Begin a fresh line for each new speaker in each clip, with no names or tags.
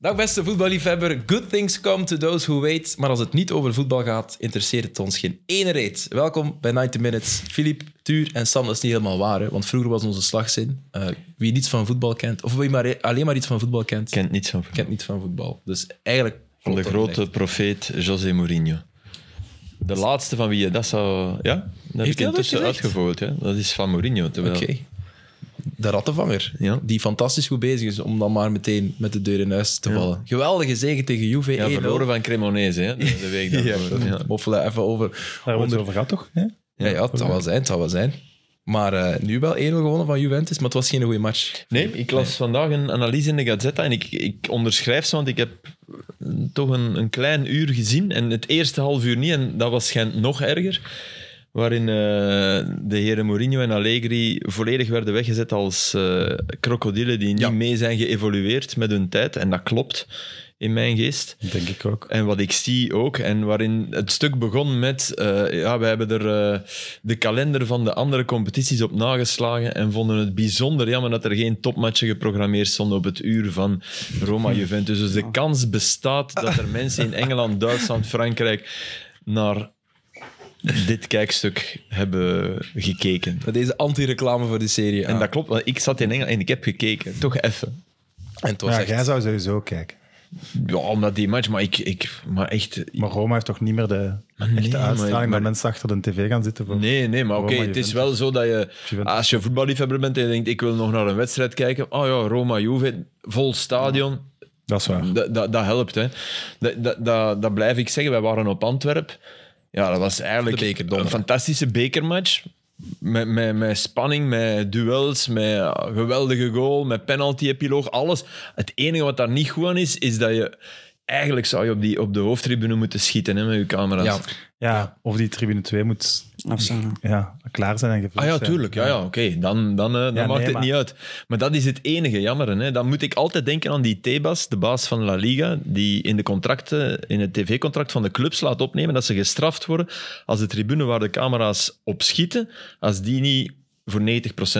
Dag beste voetballiefhebber, good things come to those who wait. Maar als het niet over voetbal gaat, interesseert het ons geen ene reet. Welkom bij 90 Minutes. Filip, Tuur en Sam, dat is niet helemaal waar. Hè? Want vroeger was onze slagzin, eh, wie niets van voetbal kent, of wie maar, e- alleen maar iets van voetbal kent,
kent niets van voetbal.
kent niets van voetbal. Dus eigenlijk...
Van de
klopt dat
grote
niet.
profeet José Mourinho. De laatste van wie je dat zou... Ja, dat
hij
heb ik
dat
intussen
gezegd?
uitgevogeld. Hè? Dat is van Mourinho. Terwijl...
Oké. De rattenvanger,
Ja.
die fantastisch goed bezig is om dan maar meteen met de deur in huis te vallen. Geweldige zege tegen Juve,
Ja,
1-0.
verloren van Cremonese hè? de, de week daarvoor. ja.
Moffelen even over
Daar wordt het over gehad, toch? Hè?
Ja, ja, het zal wel zijn, het zal wel zijn. Maar eh, nu wel 1-0 gewonnen van Juventus, maar het was geen goede match.
Nee, ik las vandaag een analyse in de Gazzetta en ik, ik onderschrijf ze, want ik heb mm, toch een, een klein uur gezien. En het eerste half uur niet, en dat was schijnt nog erger. Waarin eh, de heren Mourinho en Allegri volledig werden weggezet als eh, krokodillen die niet
Ja.
mee zijn geëvolueerd met hun tijd. En dat klopt in mijn geest.
Denk ik ook.
En wat ik zie ook, en waarin het stuk begon met, eh, ja, we hebben er eh, de kalender van de andere competities op nageslagen en vonden het bijzonder jammer dat er geen topmatchen geprogrammeerd stonden op het uur van Roma-Juventus. Dus de kans bestaat dat er mensen in Engeland, Duitsland, Frankrijk naar dit kijkstuk hebben gekeken.
Maar Deze anti-reclame voor de serie.
En dat klopt, want ik zat in Engeland en ik heb gekeken. Toch even.
en het was
Ja,
echt...
jij zou sowieso kijken.
Ja, omdat die match, maar ik, ik maar echt,
Maar Roma heeft toch niet meer de
nee,
echte
maar-
uitstraling
maar-
dat mensen achter de tv gaan zitten? Voor...
Nee, nee, maar oké,
Roma,
het is wel
Juventus.
zo dat je,
Juventus.
als je voetballiefhebber bent en je denkt, ik wil nog naar een wedstrijd kijken. Oh ja, Roma, Juve, vol stadion,
Dat is waar.
dat, dat, dat helpt. Hè. Dat, dat, dat, dat blijf ik zeggen, wij waren op Antwerpen. Ja, dat was eigenlijk
De beker,
een
donderdag.
fantastische bekermatch. Met, met, met spanning, met duels, met ja, geweldige goal, met penalty-epiloog, alles. Het enige wat daar niet goed aan is, is dat je... Eigenlijk zou je op, die, op de hoofdtribune moeten schieten hè, met je camera's.
Ja.
Ja, of die tribune 2 moet
Afstaan.
ja, klaar zijn en gevuld
Ah ja,
zijn.
tuurlijk. Ja, ja, oké. Dan, dan, eh, dan
Ja,
maakt
nee,
het
maar-
niet uit. Maar dat is het enige jammer. Hè. Dan moet ik altijd denken aan die Tebas, de baas van La Liga, die in, de contracten, in het tv-contract van de clubs laat opnemen dat ze gestraft worden als de tribune waar de camera's op schieten, als die niet voor 90%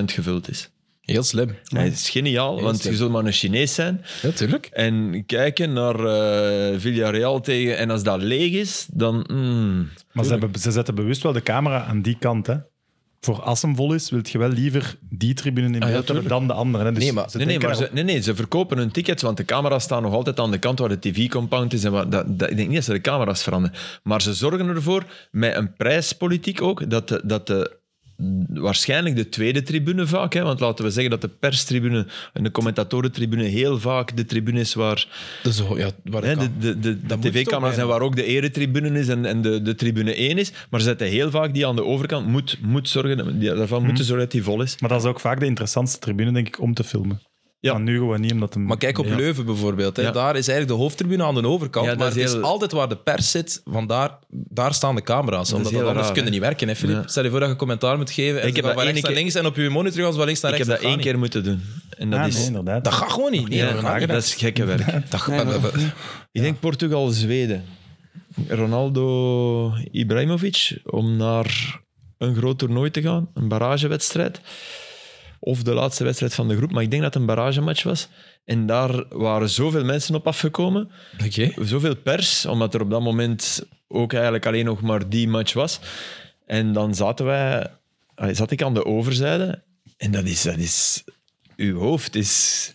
gevuld is.
Heel slim.
Dat is geniaal,
Heel
want
slim.
je zult maar een Chinees zijn
Natuurlijk.
en kijken naar eh, Villarreal tegen... En als dat leeg is, dan... mm,
Maar ze, hebben, ze zetten bewust wel de camera aan die kant. Hè. Voor als hem vol is, wil je wel liever die tribune in beeld hebben
Ah tuurlijk.
dan de andere. Hè. Dus
Nee, maar-
ze
Nee, nee,
denken
maar ze,
daarop.
nee, nee, ze verkopen hun tickets, want de camera's staan nog altijd aan de kant waar de tv-compound is. En waar, dat, dat, ik denk niet dat ze de camera's veranderen. Maar ze zorgen ervoor, met een prijspolitiek ook, dat de, dat de, waarschijnlijk de tweede tribune vaak... Hè, want laten we zeggen dat de perstribune en de commentatorentribune heel vaak de tribune is waar...
Dus oh, ja, waar
Hè,
kan.
de de, de, de
moet het ook
tv-camera's
bijna.
zijn waar ook de eretribune is en, en de, de tribune 1 is. Maar ze zetten heel vaak die aan de overkant. Moet, moet zorgen, dat- die- daarvan
Mhm.
moeten zorgen dat die vol is.
maar dat is ook vaak de interessantste tribune, denk ik, om te filmen.
Ja.
Maar nu gewoon niet, omdat hem...
Maar kijk op Leuven bijvoorbeeld. Hè.
Ja.
Daar is eigenlijk de hoofdtribune aan de overkant.
Ja, dat
maar
is
het is
heel-
altijd waar de pers zit, want daar, daar staan de camera's. Omdat dat
heel
anders
raar,
kunnen
hè.
niet werken, hè, Filip?
Ja.
Stel je voor dat je commentaar moet geven en ze
Ik heb
gaan
dat
van
één
rechts naar
keer-
links en op je monitor gaan ze van links naar
Ik heb
rechts.
dat één
gaat
keer moeten doen. En dat
Ah,
is...
nee, inderdaad.
niet. Dat gaat gewoon niet. Nee,
Ja,
we gaan
dat is gekke werk.
Dat gaat-
Ik denk Portugal, Zweden. Ronaldo Ibrahimovic om naar een groot toernooi te gaan, een barragewedstrijd. Of de laatste wedstrijd van de groep, maar ik denk dat het een barragematch was. En daar waren zoveel mensen op afgekomen,
Oké.
zoveel pers, omdat er op dat moment ook eigenlijk alleen nog maar die match was. En dan zaten wij, allee, zat ik aan de overzijde. En dat is, dat is, uw hoofd is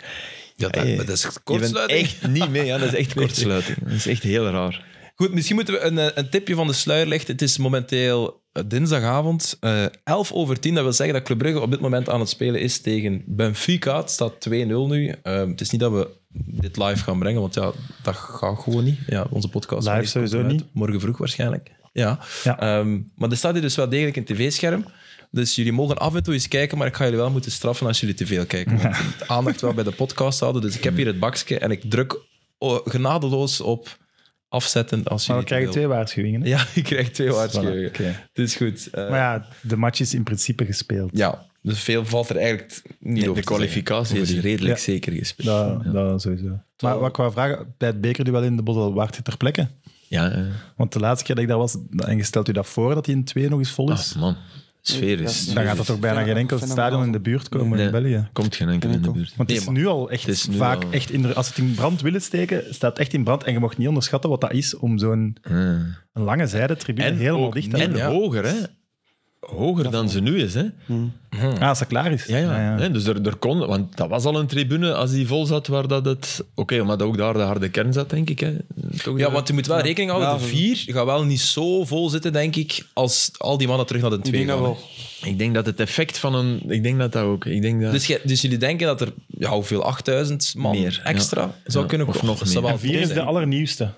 Ja, dat,
Hey,
maar dat is
je bent
kortsluiting.
echt niet mee, ja. dat is echt kortsluiting. Dat is echt heel raar.
Goed, misschien moeten we een, eh, een tipje van de sluier lichten. Het is momenteel eh, dinsdagavond, eh 11 over 10. Dat wil zeggen dat Club Brugge op dit moment aan het spelen is tegen Benfica. Het staat 2-0 nu. Ehm, het is niet dat we dit live gaan brengen, want ja, dat gaat gewoon niet. Ja, onze podcast.
Live
wanneer komt
sowieso
die
niet.
uit? Morgen vroeg waarschijnlijk. Ja.
Ja.
Ehm, maar er staat hier dus wel degelijk een tv-scherm. Dus jullie mogen af en toe eens kijken, maar ik ga jullie wel moeten straffen als jullie te veel kijken. Want de aandacht wel bij de podcast houden. Dus ik heb hier het bakje en ik druk oh, genadeloos op afzetten als
Maar
jullie
we krijgen
te veel-
twee waarschuwingen. hè.
Ja, ik krijg twee
Voilà,
waarschuwingen.
oké.
Het is goed. Eh,
Maar ja, de match is in principe gespeeld.
ja, dus veel valt er eigenlijk niet over
de
te zeggen.
kwalificatie is redelijk
Ja.
zeker gespeeld.
Dat, dat sowieso. Maar wat ik wou vragen, bij het bekerduel in de Boddel, waart je ter plekke?
Ja, eh.
Want de laatste keer dat ik daar was, en je stelt u dat voor dat die in twee nog eens vol is?
Ah, man. sfeer is.
Ja.
Dan gaat er toch bijna
Fenomenaal.
geen enkel stadion in de buurt komen
Nee.
in België.
Komt geen enkel in de
Enkel.
buurt.
Want het is
Nee,
nu al echt
het is nu
vaak
al-
echt in de- als het in brand willen steken, staat het echt in brand en je mag niet onderschatten wat dat is om zo'n
Ah.
een lange zijde tribune
En,
helemaal
ook,
dicht te
en
hebben.
Ja.
hoger, hè? Hoger dan ze nu is, hè?
Ah, als dat klaar is.
Ja, ja.
Ah,
Hè, dus er, er kon, want dat was al een tribune als die vol zat, waar dat het. Oké, maar dat ook daar de harde kern zat, denk ik. Hè. Toch
Ja,
de-
want je moet wel rekening houden.
Ja,
de
voor-
vier gaat wel niet zo vol zitten, denk ik, als al die mannen terug naar de
Ik
twee
denk dat
gaan, hè.
wel.
Ik denk dat het effect van een. Ik denk dat dat ook. Ik denk dat,
Dus, jij- dus jullie denken dat er ja, hoeveel 8000 man
Meer,
extra
ja.
zou
Ja,
kunnen
of
komen?
nog
Dat zou
meer.
wel
En vier
veel
is de
zijn.
allernieuwste.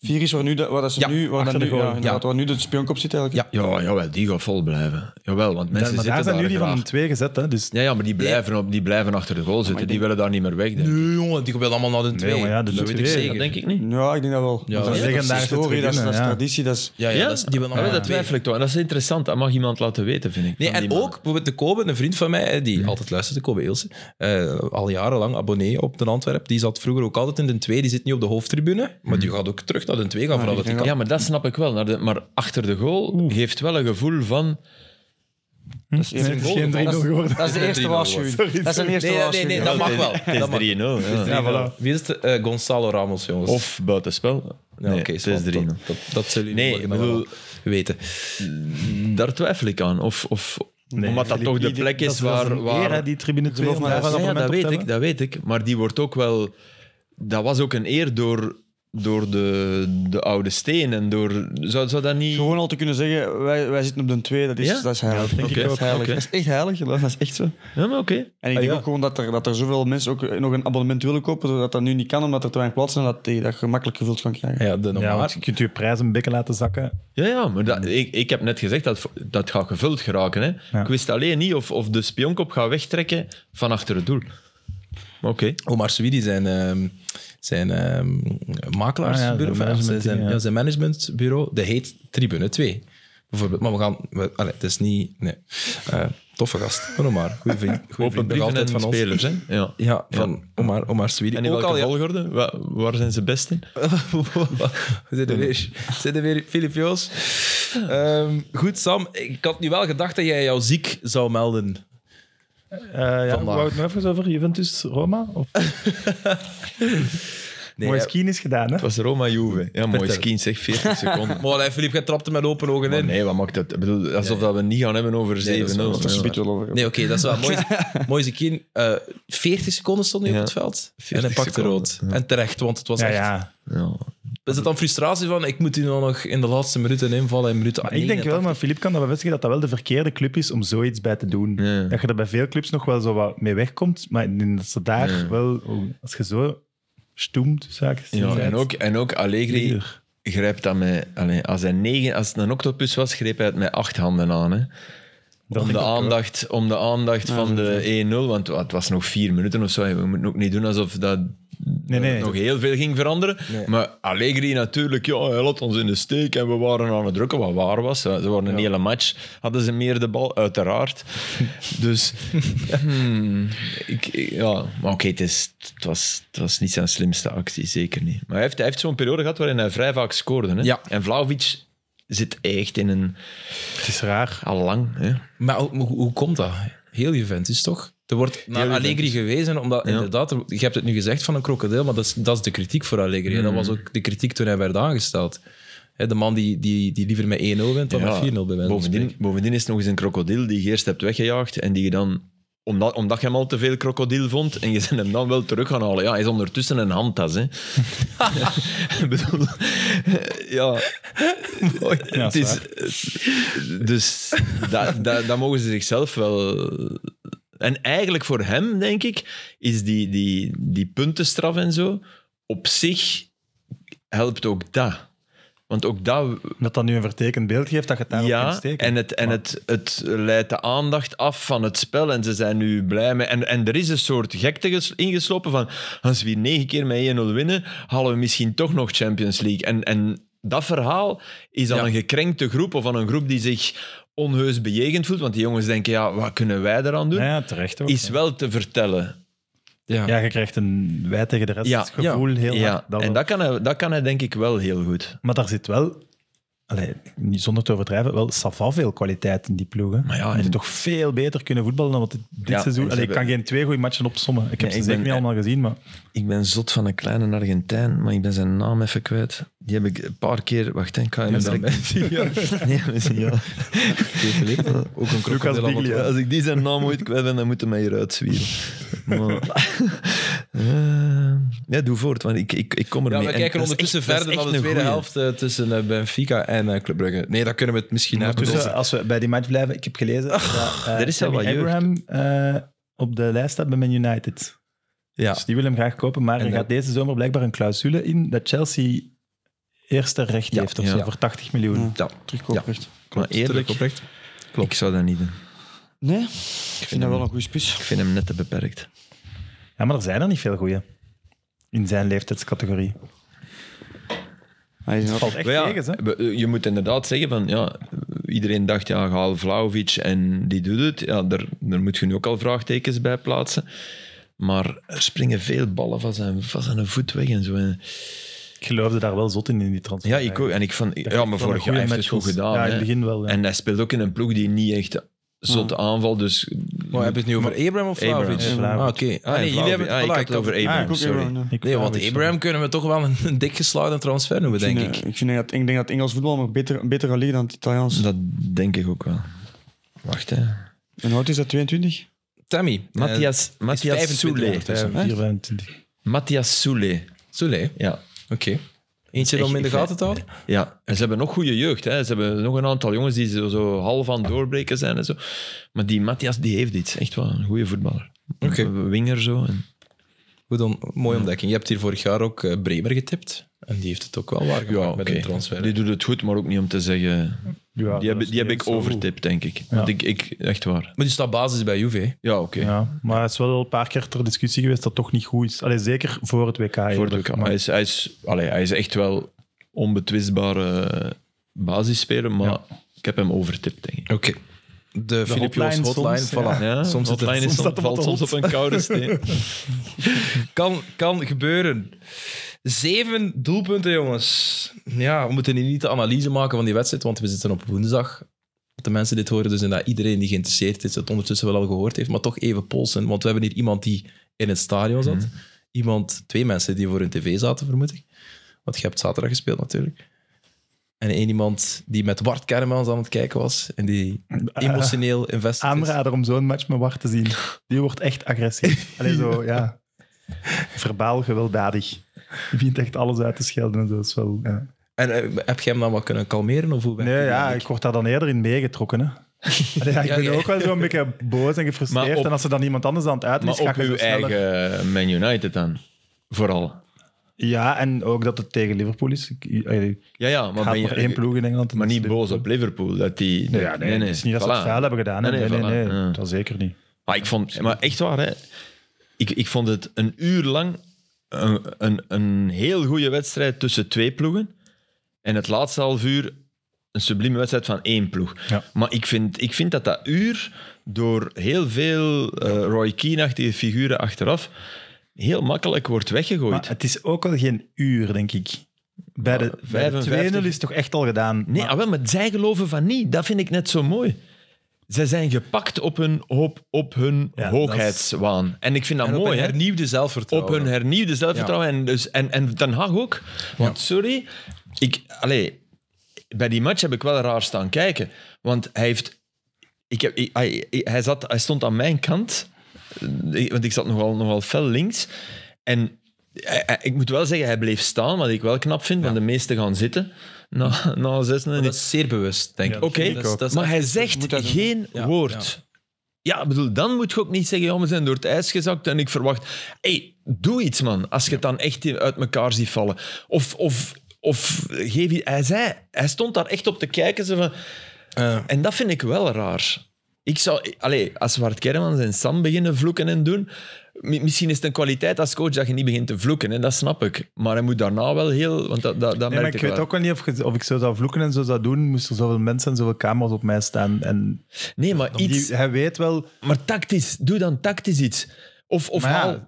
Vier is waar, nu de, waar dat ze
Ja,
nu, waar
achter
dan
de
nu,
goal.
ja, inderdaad, waar nu de spionkop zit eigenlijk.
Ja.
Ja, jawel, die gaat vol blijven. Jawel, want mensen
Ja, maar daar
zitten
zijn
daar
nu die
graag.
van een twee gezet. Hè, dus
Ja, ja, maar die blijven, op, die blijven achter de goal zitten. Die willen daar niet meer weg. denk ik.
Nee, jongen, die willen allemaal naar de twee.
maar ja, de
dat weet ik
twee,
zeker.
Dat denk ik niet.
Ja, ik denk dat wel.
Ja,
dat is
dat is
dat is
legendarische
historie, dat is, dat is
tribune, ja.
traditie. Dat is,
Ja, ja, Dat, is, die willen
Ah,
allemaal
dat
naar de
twijfel ik toch. En dat is interessant. Dat mag iemand laten weten, vind ik.
Nee,
van die Mhm.
en
man.
ook bijvoorbeeld de Kobe, een vriend van mij, hè, die altijd luistert, de Kobe Ilse, eh, al jarenlang abonnee op de Antwerp. Die zat vroeger ook altijd in de 2, die zit niet op de hoofdtribune, maar
Mhm.
die gaat ook terug naar de
Ah,
2 gaan vanaf
ik
dat die
denk
kan.
Ja, maar dat snap ik wel. Naar de- maar achter de goal geeft wel een gevoel van...
nee, het is geen 3-0
dat is-
geworden.
Dat is de eerste
3-0
waarschuwing.
geworden.
Dat is een eerste
Nee, nee, nee, nee,
waarschuwing.
dat mag wel.
Het is
Dat mag.
3-0. ja.
Ja, voilà.
Wie is het? Eh, Gonzalo Ramos, jongens.
Of buitenspel.
Ja,
nee,
oké,
het
zwart,
is 3-0.
Dat, dat, dat zullen jullie
Nee,
morgen
ik
dan wel
bedoel-
weten.
Daar twijfel ik aan. Of, of,
Nee,
omdat dat
Filip,
toch de
die-
plek
dat
is waar...
Dat is een
waar
eer, hè, die tribune 2. om
maar
daar
dat-
een
ja, ja,
abonnement
dat
op
weet
te
ik,
hebben.
dat weet ik. Maar die wordt ook wel... Dat was ook een eer door, door de, de oude steen. En door, zou, zou dat niet...
Gewoon al te kunnen zeggen, wij, wij zitten op de twee, dat is,
Ja?
dat is heilig.
denk ik
dat is
ook.
heilig.
Oké.
Dat is echt heilig, dat is echt zo.
Ja, maar oké.
En ik denk ook gewoon dat er, dat er zoveel mensen ook nog een abonnement willen kopen, dat dat nu niet kan, omdat er te weinig plaatsen is en dat die dat gemakkelijk gevuld kan krijgen.
Ja, de
Ja,
normaal.
want je kunt je prijs een beetje laten zakken.
Ja, ja maar
Mm.
dat, ik, ik heb net gezegd dat dat gaat gevuld geraken. Hè.
Ja.
Ik wist alleen niet of, of de spionkop gaat wegtrekken van achter het doel. Maar Oké.
Omar Swidi, zijn, ehm, zijn ehm,
Ah ja,
makelaarsbureau,
zijn
enfin, zijn, zijn,
managementteam, ja.
ja, zijn managementbureau, dat heet Tribune 2. Bijvoorbeeld, maar we gaan... We, allee, het is niet... Nee. Eh, toffe gast, Omar. maar. Goeie vriend. Goeie
Open
vriend, nog
brieven
altijd
en
van ons.
spelers. Hè? Ja.
Ja, van Omar, Omar Swidi.
En in
Ook
welke
al-
volgorde? Wa- Waar zijn ze best in?
We zitten weer, we zitten weer Filip Joos. Ehm, goed, Sam. Ik had nu wel gedacht dat jij jou ziek zou melden.
Eh ja, wou het nu even over Juventus-Roma? Of...
Nee,
Mooi
hè.
skiën is gedaan, hè?
Het was Roma Juve. Ja, mooi skien, zeg 40 seconden.
Maar allee, Filip, jij trapte met open ogen
Maar
in.
nee, wat maakt dat? Ik bedoel, alsof dat we niet gaan hebben over 7-0.
Nee, dat is wel-
Dat is een
Ja.
beetje wel over.
Nee, oké, dat is wel mooi. Mooi Zekin. eh 40 seconden stond hij
Ja.
op het veld. En
40
hij pakte
seconden,
rood. En terecht, want het was
Ja,
echt...
ja.
Ja.
Is het dan frustratie van, ik moet die nou nog in de laatste minuten invallen, in minuten
Maar ik denk wel, maar Filip kan dat bevestigen, dat dat wel de verkeerde club is om zoiets bij te doen.
Ja.
Dat je er bij veel clubs nog wel zo wat mee wegkomt, maar ik denk dat ze daar wel, als je zo stoemt, zaken
Ja, en, ook, en ook Allegri
Leader.
grijpt dat met... allee, als, hij negen, als het een octopus was, greep hij het met acht handen aan. Hè. Om de, aandacht, om de aandacht van de 1-0, want oh, het was nog vier minuten of zo. We moeten ook niet doen alsof dat
Nee, nee.
nog heel veel ging veranderen. Maar Allegri natuurlijk, ja, hij laat ons in de steek en we waren aan het drukken, wat waar was. Ze waren een hele match, hadden ze meer de bal, uiteraard. dus, hmm, ik, ik- ja. Maar oké, het, is- het, was, het was niet zijn slimste actie, zeker niet. Maar hij heeft, hij heeft zo'n periode gehad waarin hij vrij vaak scoorde. Hè?
Ja.
En Vlaovic zit echt in een...
Het is raar.
al lang, hè.
Maar hoe, hoe- hoe komt dat? Heel Juventus, toch? Er wordt naar
Heel
Allegri
Juventus.
gewezen, omdat
Ja.
inderdaad, er- je hebt het nu gezegd van een krokodil, maar dat is, dat is de kritiek voor Allegri. En dat
Mm.
was ook de kritiek toen hij werd aangesteld. Hè, De man die, die, die liever met 1-0 wint dan
Ja,
met 4-0 bij wijze van
bovendien,
spreken.
bovendien is het nog eens een krokodil die je eerst hebt weggejaagd en die je dan omdat, omdat je hem al te veel krokodil vond en je bent hem dan wel terug gaan halen. Ja, hij is ondertussen een handtas. Hè. Ik bedoel, ja.
Ja,
het is, dus dat, dat, dat mogen ze zichzelf wel. En eigenlijk voor hem, denk ik, is die, die, die puntenstraf en zo op zich helpt ook dat. Want ook dat
Dat dat nu een vertekend beeld geeft, dat je het daarop kunt
ja,
steken.
en, het, en het, het leidt de aandacht af van het spel en ze zijn nu blij mee. En, en er is een soort gekte ges- ingeslopen van als we hier negen keer met 1-0 winnen, halen we misschien toch nog Champions League. En, en dat verhaal is aan
Ja.
een gekrenkte groep of aan een groep die zich onheus bejegend voelt, want die jongens denken, ja, wat kunnen wij eraan doen?
Ja, ja, terecht ook.
Is wel te vertellen.
Ja.
Ja, je krijgt een wij tegen de rest
Ja,
gevoel heel
ja.
hard. Dat
en
wel.
dat kan, hij, dat kan hij denk ik wel heel goed.
Maar daar zit wel allee, niet zonder te overdrijven, wel sava veel kwaliteit in die ploegen.
Maar ja,
Die moeten
en-
toch veel beter kunnen voetballen dan wat dit dit
Ja,
seizoen...
en ze
Allee, ik kan
hebben-
geen twee goede matchen opsommen. Ik heb
Nee,
ze
ik
zeker
ben-
niet allemaal gezien, maar...
Ik ben zot van een kleine Argentijn, maar ik ben zijn naam even kwijt. Die heb ik een paar keer... Wacht, hè, ik ga hem
dan
direct- Nee, misschien ja. Ook een krokodil aan
Biglia.
het- Als ik die zijn naam ooit kwijt ben, dan moeten mij hier uitzwieren. Maar, Eh, ja, doe voort, want ik, ik, ik kom ermee.
Ja, we
En
kijken
dat is
ondertussen
echt- dat is
verder
echt
dan de
een
tweede
goeie.
helft eh, tussen eh, Benfica en eh, Club Brugge. Nee, daar kunnen we het misschien hebben.
Ondertussen,
Dus-
als we bij die match blijven, ik heb gelezen dat eh,
er is wel
Tammy
wat jeugd.
Abraham eh, op de lijst staat bij Man United.
ja.
Dus die wil hem graag kopen, maar er
dat-
gaat deze zomer blijkbaar een clausule in dat Chelsea eerste recht
Ja,
heeft of
ja. Mm.
zo, voor 80 miljoen.
Ja.
Ja,
Terugkooprecht.
maar eerlijk,
oprecht.
ik zou dat niet doen.
Nee, ik vind dat wel een goede spits.
Ik vind hem net te beperkt.
Ja, maar er zijn er niet veel goeie in zijn leeftijdscategorie.
Hij is een
Valt echt
Maar ja,
tegen, hè?
we- eh, Je moet inderdaad zeggen van ja, iedereen dacht ja, haal Vlaovic en die doet het. Ja, daar, daar moet je nu ook al vraagtekens bij plaatsen. Maar er springen veel ballen van zijn, van zijn voet weg en zo. En-
Ik geloofde daar wel zot in, in die transfer.
Ja, ik ook. En ik van, ja, maar vorig jaar heeft hij het goed gedaan.
Ja, in
hè.
het begin wel. Ja.
En hij speelt ook in een ploeg die niet echt zot aanval. Dus
Maar heb je het nu over Abraham of
Abraham.
Vlahovic?
Vlahovic.
Ah, oké. Ah,
Ah,
nee, jullie hebben
ah,
voilà,
ik had het over Abraham,
Ah, ik ook
sorry.
Abraham, ja.
Ik
Nee,
wou
want
niks
Abraham kunnen we toch wel een, een dik geslaagde transfer noemen, denk
ik.
ik.
Ik, vind dat, ik denk dat Engels voetbal nog beter, een betere liga dan het Italiaans.
Dat denk ik ook wel. Wacht, hè.
En hoe oud is dat? 22?
Tammy.
Matthias, Matthias
25
Soule.
ondertussen.
van. 24.
Matthias Soule.
Soule,
Ja.
oké. Eentje
Echt
om in de
fijn.
gaten te houden?
Ja, en ze hebben nog goede jeugd. Hè. Ze hebben nog een aantal jongens die zo, zo half aan het doorbreken zijn en zo. Maar die Matthias, die heeft iets. Echt wel een goede voetballer.
Oké.
Een winger zo. En...
Goed, dan, mooie ontdekking. Je hebt hier vorig jaar ook eh, Bremer getipt. En die heeft het ook wel waar gemaakt met een transfer.
Die doet het goed, maar ook niet om te zeggen...
Ja,
Die
dat
heb,
is
die heb
niet
ik
zo goed.
overtipt, denk ik. Want
Ja.
ik, ik... Echt waar.
Maar die staat basis bij Juve. hè.
Ja, oké.
Ja, maar het is wel een paar keer ter discussie geweest dat het toch niet goed is. Allee, zeker voor het WK.
Voor de-
eerlijk, maar-
hij, is, hij, is, allee, hij is echt wel onbetwistbare basisspeler, maar ik heb hem overtipt, denk ik.
Oké. De Filip Joos
hotline
hotline,
soms,
voilà.
Ja,
soms zit
hotline
het,
is
soms staat hem
valt
op de
soms op een koude steen.
kan, kan gebeuren. Zeven doelpunten, jongens. Ja, we moeten hier niet de analyse maken van die wedstrijd, want we zitten op woensdag. De mensen dit horen, dus en dat iedereen die geïnteresseerd is, het ondertussen wel al gehoord heeft, maar toch even polsen. Want we hebben hier iemand die in het stadion zat.
Mhm.
Iemand, twee mensen die voor hun tv zaten, vermoed ik. Want je hebt zaterdag gespeeld natuurlijk. En één iemand die met Bart Kermans aan het kijken was en die
Eh,
emotioneel invested is.
Aanrader om zo'n match met Wart te zien. Die wordt echt agressief. Allee, zo, ja. Verbaal gewelddadig. Die vindt echt alles uit te schelden en zo. is wel, ja.
En eh, heb jij hem dan wat kunnen kalmeren? Of hoe werkt
Nee,
die
ja,
eigenlijk?
ik word daar dan eerder in meegetrokken. Hè. Allee, ja, ik
Ja,
ben
ja.
ook wel zo'n beetje boos en gefrustreerd.
Maar op-
en als er dan iemand anders aan het uiten is,
Maar
ga
op
ik zo
uw
sneller-
eigen eh, Man United dan, vooral.
Ja, en ook dat het tegen Liverpool is. Ik, ik, ik
Ja, ja, maar,
haat
ben je,
maar één ploeg in Engeland. en
maar
dat
niet
is
boos op Liverpool. Dat die,
Nee, ja, nee, het is niet dat ze het
voilà.
vuil hebben gedaan. hè.
Nee,
Nee, nee,
nee,
nee,
voilà. Ja.
dat zeker niet.
Maar, ik vond, maar echt waar, hè. Ik, ik vond het een uur lang een, een, een heel goede wedstrijd tussen twee ploegen. En het laatste half uur een sublieme wedstrijd van één ploeg.
Ja.
Maar ik vind, ik vind dat dat uur door heel veel eh, Roy Keane-achtige figuren achteraf heel makkelijk wordt weggegooid.
Maar het is ook al geen uur, denk ik. Bij de, bij de
55.
2-0 is het toch echt al gedaan.
Nee, ah, wel, maar zij geloven van niet. Dat vind ik net zo mooi. Zij zijn gepakt op hun, op, op hun
Ja,
hoogheidswaan. En ik vind dat
En op
mooi,
een
hè?
hernieuwde zelfvertrouwen.
Op hun hernieuwde zelfvertrouwen. En, dus, en, en Den Haag ook. Want, sorry, ik, allee, bij die match heb ik wel raar staan kijken. Want hij heeft... Ik heb, ik- hij, hij- hij, zat, hij stond aan mijn kant, eh, want ik zat nogal, nogal fel links. En hij- hij- ik moet wel zeggen, hij bleef staan, wat ik wel knap vind, want de meesten gaan zitten na, na zes.
dat is zeer bewust, denk ik.
Ja,
Oké,
Dat is- dat is
maar
echt-
hij
moet
zegt
hij doen.
geen
Ja,
woord. Ja, ik bedoel, dan moet je ook niet zeggen, ja, we zijn door het ijs gezakt en ik verwacht... hey, doe iets, man, als je het dan echt in- uit elkaar ziet vallen. Of, of, of geef... i- Hij zei, hij stond daar echt op te kijken, zo van...
Eh,
En dat vind ik wel raar. Ik zou, allee, als Wart Kermans en Sam beginnen vloeken en doen, mi- misschien is het een kwaliteit als coach dat je niet begint te vloeken, hè, dat snap ik. Maar hij moet daarna wel heel... Want dat, dat, dat
Nee, maar
merk
ik
ik
weet
wel.
ook wel niet of, je- of ik zo zou vloeken en zo zou doen. Moest er zoveel mensen en zoveel camera's op mij staan. En
Nee, maar
die-
iets...
hij weet wel...
Maar tactisch, doe dan tactisch iets. Of, of
Maar ja,
haal.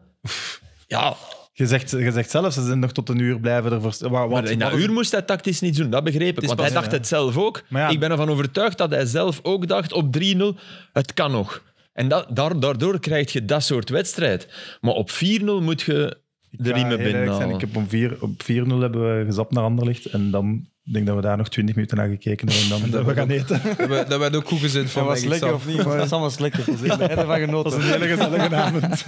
Ja,
Je zegt, je zegt zelfs, ze zijn nog tot een uur blijven ervoor... st- wa- wat-
Maar in dat
wat-
uur moest hij tactisch niets doen, dat begreep
Het
ik.
is
Want
pas-
hij dacht
ja.
het zelf ook.
Maar ja.
Ik ben ervan overtuigd dat hij zelf ook dacht op 3-0, het kan nog. En dat, daar- daardoor krijg je dat soort wedstrijd. Maar op 4-0 moet je de
Ja,
riemen
heel eerlijk zijn, Ik
binnenhalen.
heb om vier- op 4-0 hebben we gezapt naar Anderlicht. En dan ik denk dat we daar nog 20 minuten naar gekeken hebben. En dan dat we gaan eten.
Dat werd- dat werd ook goed gezin van
Dat was
denk ik,
lekker
Sam.
of niet? Dat was lekker. Ik heb er ervan
Dat
genoten.
was een hele gezellige avond.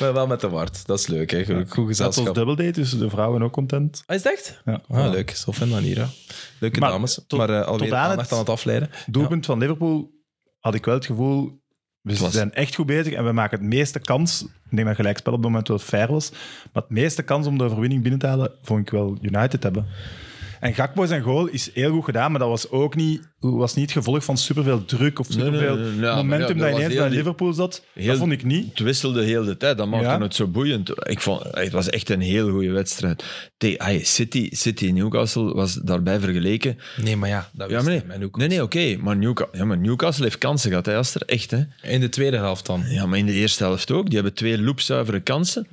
Maar wel met de Wart, dat is leuk. Hè? Goed, goed
Dat was
gezelschap.
double date, dus de vrouwen ook content.
Ah, is het echt?
Ja.
Ah, leuk, zo fijn dan hier. hè. Leuke
Maar
dames.
tot-
maar eh, alweer
tot aan
aandacht
het-
aan het afleiden.
Doelpunt van Liverpool had ik wel het gevoel... We
was-
zijn echt goed bezig en we maken het meeste kans. Ik denk dat gelijkspel op het moment wel fair was. Maar het meeste kans om de overwinning binnen te halen, vond ik wel United hebben. En Gakpo zijn goal is heel goed gedaan, maar dat was ook niet, was niet het gevolg van superveel druk of
nee,
superveel
nee, nee, ja, maar ja,
momentum
dat
dat
was
ineens
heel
bij
die-
Liverpool zat.
heel-
Dat vond ik niet.
Het wisselde heel de tijd, dat maakte
Ja.
het zo boeiend. Ik vond, het was echt een heel goede wedstrijd. T- ay, City, City Newcastle was daarbij vergeleken.
Nee, maar ja, dat
Ja,
wist
maar
hij, mijn
nee,
hoek.
nee, nee oké. Maar, Newca- ja, maar Newcastle heeft kansen gehad, hè, Aster. Echt, hè.
In de tweede helft dan.
Ja, maar in de eerste helft ook. Die hebben twee loopzuivere kansen.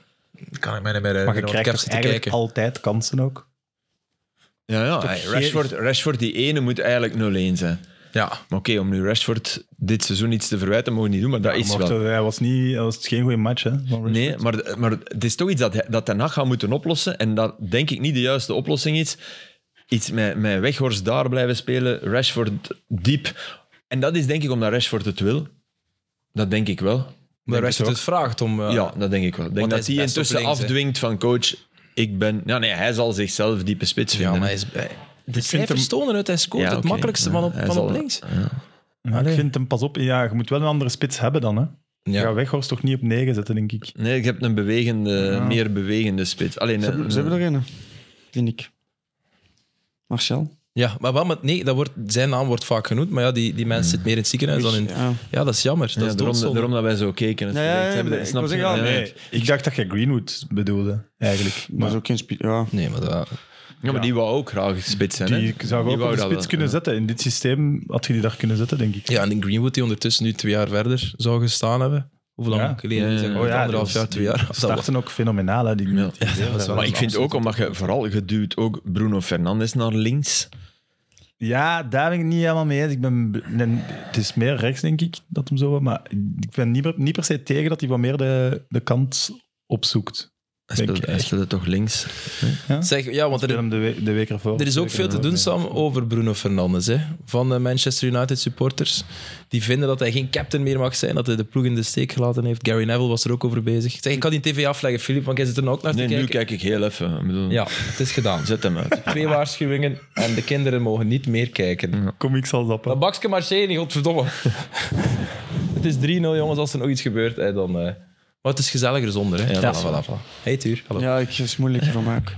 Kan ik mij niet meer herinneren,
Maar je
want
krijgt
ik heb
toch
ze te
eigenlijk
kijken.
altijd kansen ook.
Ja, ja.
Toch
hey,
geen-
Rashford, Rashford, die ene moet eigenlijk 0-1 zijn.
Ja,
Maar oké, om nu Rashford dit seizoen iets te verwijten, mogen we niet doen, maar dat is
Mocht-
wel.
Hij was, niet, hij was geen goede match. Hè, van Rashford.
Nee, maar, maar het is toch iets dat, hij- dat Ten Hag gaat moeten oplossen. En dat denk ik niet de juiste oplossing is. Iets met, met Weghorst daar blijven spelen, Rashford diep. En dat is denk ik omdat Rashford het wil. Dat denk ik wel.
maar
Denk
Rashford
het
het vraagt om... eh,
Ja, dat denk ik wel. Ik denk
hij
dat
is
hij
best op
intussen
links, hè.
afdwingt van coach, ik ben... Ja, nee, hij zal zichzelf diepe spits
ja,
vinden.
maar
hè.
hij is... eh, De cijfers tonen het, hij scoort
Ja,
het
oké.
makkelijkste van op,
Ja, hij
van op
zal-
links.
ja.
Ja, ik vind hem pas op. Ja, je moet wel een andere spits hebben dan. Hè. Je
Ja.
gaat Weghorst toch niet op 9 zetten, denk ik.
Nee, ik heb een bewegende, meer bewegende spits. Alleen, eh,
Ze hebben- ze hebben er een, vind ik. Marcel?
ja, maar wel met... Nee, dat wordt, zijn naam wordt vaak genoemd, maar ja, die, die mens zit meer in het ziekenhuis dan in...
Ja.
Ja, dat is jammer. Dat
ja,
is
daarom,
doodzonde.
daarom dat wij zo keken.
Ja, ja, ja,
Snap
maar ik
je?
wil zeggen, ja,
Ja,
nee.
ja.
Ik dacht dat je Greenwood bedoelde, eigenlijk.
Maar
Maar
is ook geen speed. Ja.
Nee, maar dat...
Ja, maar die wou ook graag spits zijn.
die
hè?
zou je ook
wou
op de
dat
spits
wel.
kunnen zetten. In dit systeem had je die daar kunnen zetten, denk ik.
Ja, en in Greenwood, die ondertussen nu twee jaar verder zou gestaan hebben. Hoe lang
Ja.
geleden?
Ja,
Zeg maar
ja,
ja,
anderhalf
dus
jaar, twee jaar. Dat was-
starten ook fenomenaal, hè, die
Ja.
dat was wel
Maar
een
ik vind ook, omdat je vooral geduwd ook Bruno Fernandes naar links.
Ja, daar ben ik niet helemaal mee eens. Ik ben, nee, het is meer rechts, denk ik, dat hem zo was. Maar ik ben niet, per- niet per se tegen dat hij wat meer de, de kant opzoekt.
Hij
Denk
speelde, hij
echt.
speelde toch links?
Zeg, ja, want
Speel
er,
hem de, we- de week ervoor.
er is ook veel te doen, Sam, over Bruno Fernandes. Hè, van de Manchester United supporters. Die vinden dat hij geen captain meer mag zijn. Dat hij de ploeg in de steek gelaten heeft. Gary Neville was er ook over bezig. Zeg, ik kan die tv afleggen, Filip, want jij zit er nou ook naar
Nee,
te
nu
kijken.
kijk ik heel even. Ik bedoel,
Ja, het is gedaan.
Zet hem uit.
Twee waarschuwingen en de kinderen mogen niet meer kijken.
Kom, ik zal
Dat
zappen.
bakje Marcheni, godverdomme. het is 3-0, jongens. Als er nog iets gebeurt, hè, dan... eh, Maar het is gezelliger zonder, hè?
Ja, dat is
voilà,
waar.
voilà. Hey, Tuur. Hallo.
Ja, ik is moeilijk van maken.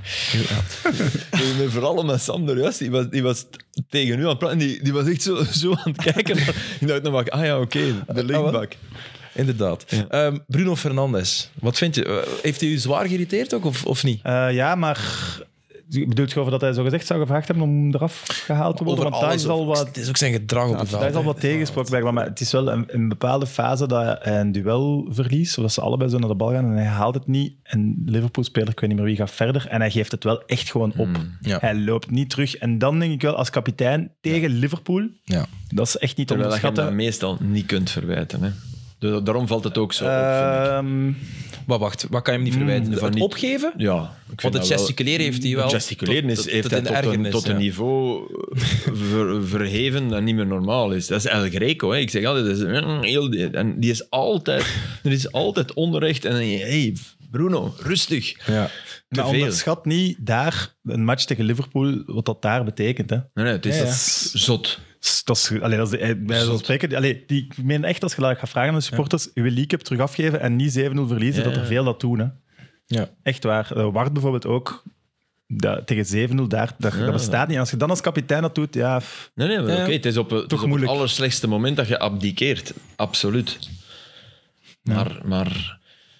Nee, nee, vooral omdat Sam er juist, die was, die was t- tegen u aan het praten. Die, die was echt zo, zo aan het kijken. Ik dacht nog maar, ah ja, oké, de linkbak.
Inderdaad. Ehm, Bruno Fernandes, wat vind je? Eh, heeft hij u zwaar geïrriteerd ook, of, of niet?
Eh, ja, maar bedoelt je over dat hij zo gezegd zou gevraagd hebben om eraf gehaald te worden? Want daar is al
over-
wat
Het is ook zijn gedrag op het
Daar is al
veld.
wat tegensproken blijkbaar, maar het is wel een, een bepaalde fase dat hij een duel verliest, zodat ze allebei zo naar de bal gaan en hij haalt het niet. En Liverpool-speler, ik weet niet meer wie, gaat verder en hij geeft het wel echt gewoon op.
Mm, ja.
Hij loopt niet terug. En dan denk ik wel, als kapitein tegen Liverpool,
Ja.
dat is echt niet te
Terwijl je hem dat
onderschatten.
meestal niet kunt verwijten. Hè. Da- Daarom valt het ook zo op, vind ik.
Ehm,
Maar wacht, wat kan je hem niet verwijten?
van
het
niet-
opgeven?
Ja, ik
Want
vind
het
dat wel-
gesticuleren heeft hij wel...
Het gesticuleren
tot-
is,
tot-
heeft
tot
hij
in
tot, een,
ergernis,
tot een
ja.
niveau eh, ver- verheven dat niet meer normaal is. Dat is El Greco. Hè. Ik zeg altijd, dat is een heel, en die is altijd, er is altijd onrecht. En dan denk je, hey, Bruno, rustig.
Ja.
Te
maar
veel.
onderschat niet daar een match tegen Liverpool, wat dat daar betekent. Hè.
Nee, nee, het is
Ja, ja.
dat is zot.
S- Dat is, allee, dat is, eh, bij zo'n spreken, allee, die, ik meen echt als je dat gaat vragen aan de supporters, je wil League Cup terug afgeven en niet 7-0 verliezen,
Ja,
dat er
ja.
veel dat doen. Hè.
Ja.
Echt waar. Eh, Ward bijvoorbeeld ook. Da- tegen 7-0, daar, dat, dat bestaat niet. En als je dan als kapitein dat doet, ja... f-
Nee, nee, maar
Ja, ja.
oké, het is op, het, is op het
moeilijk.
allerslechtste moment dat je abdikeert. Absoluut. Maar, maar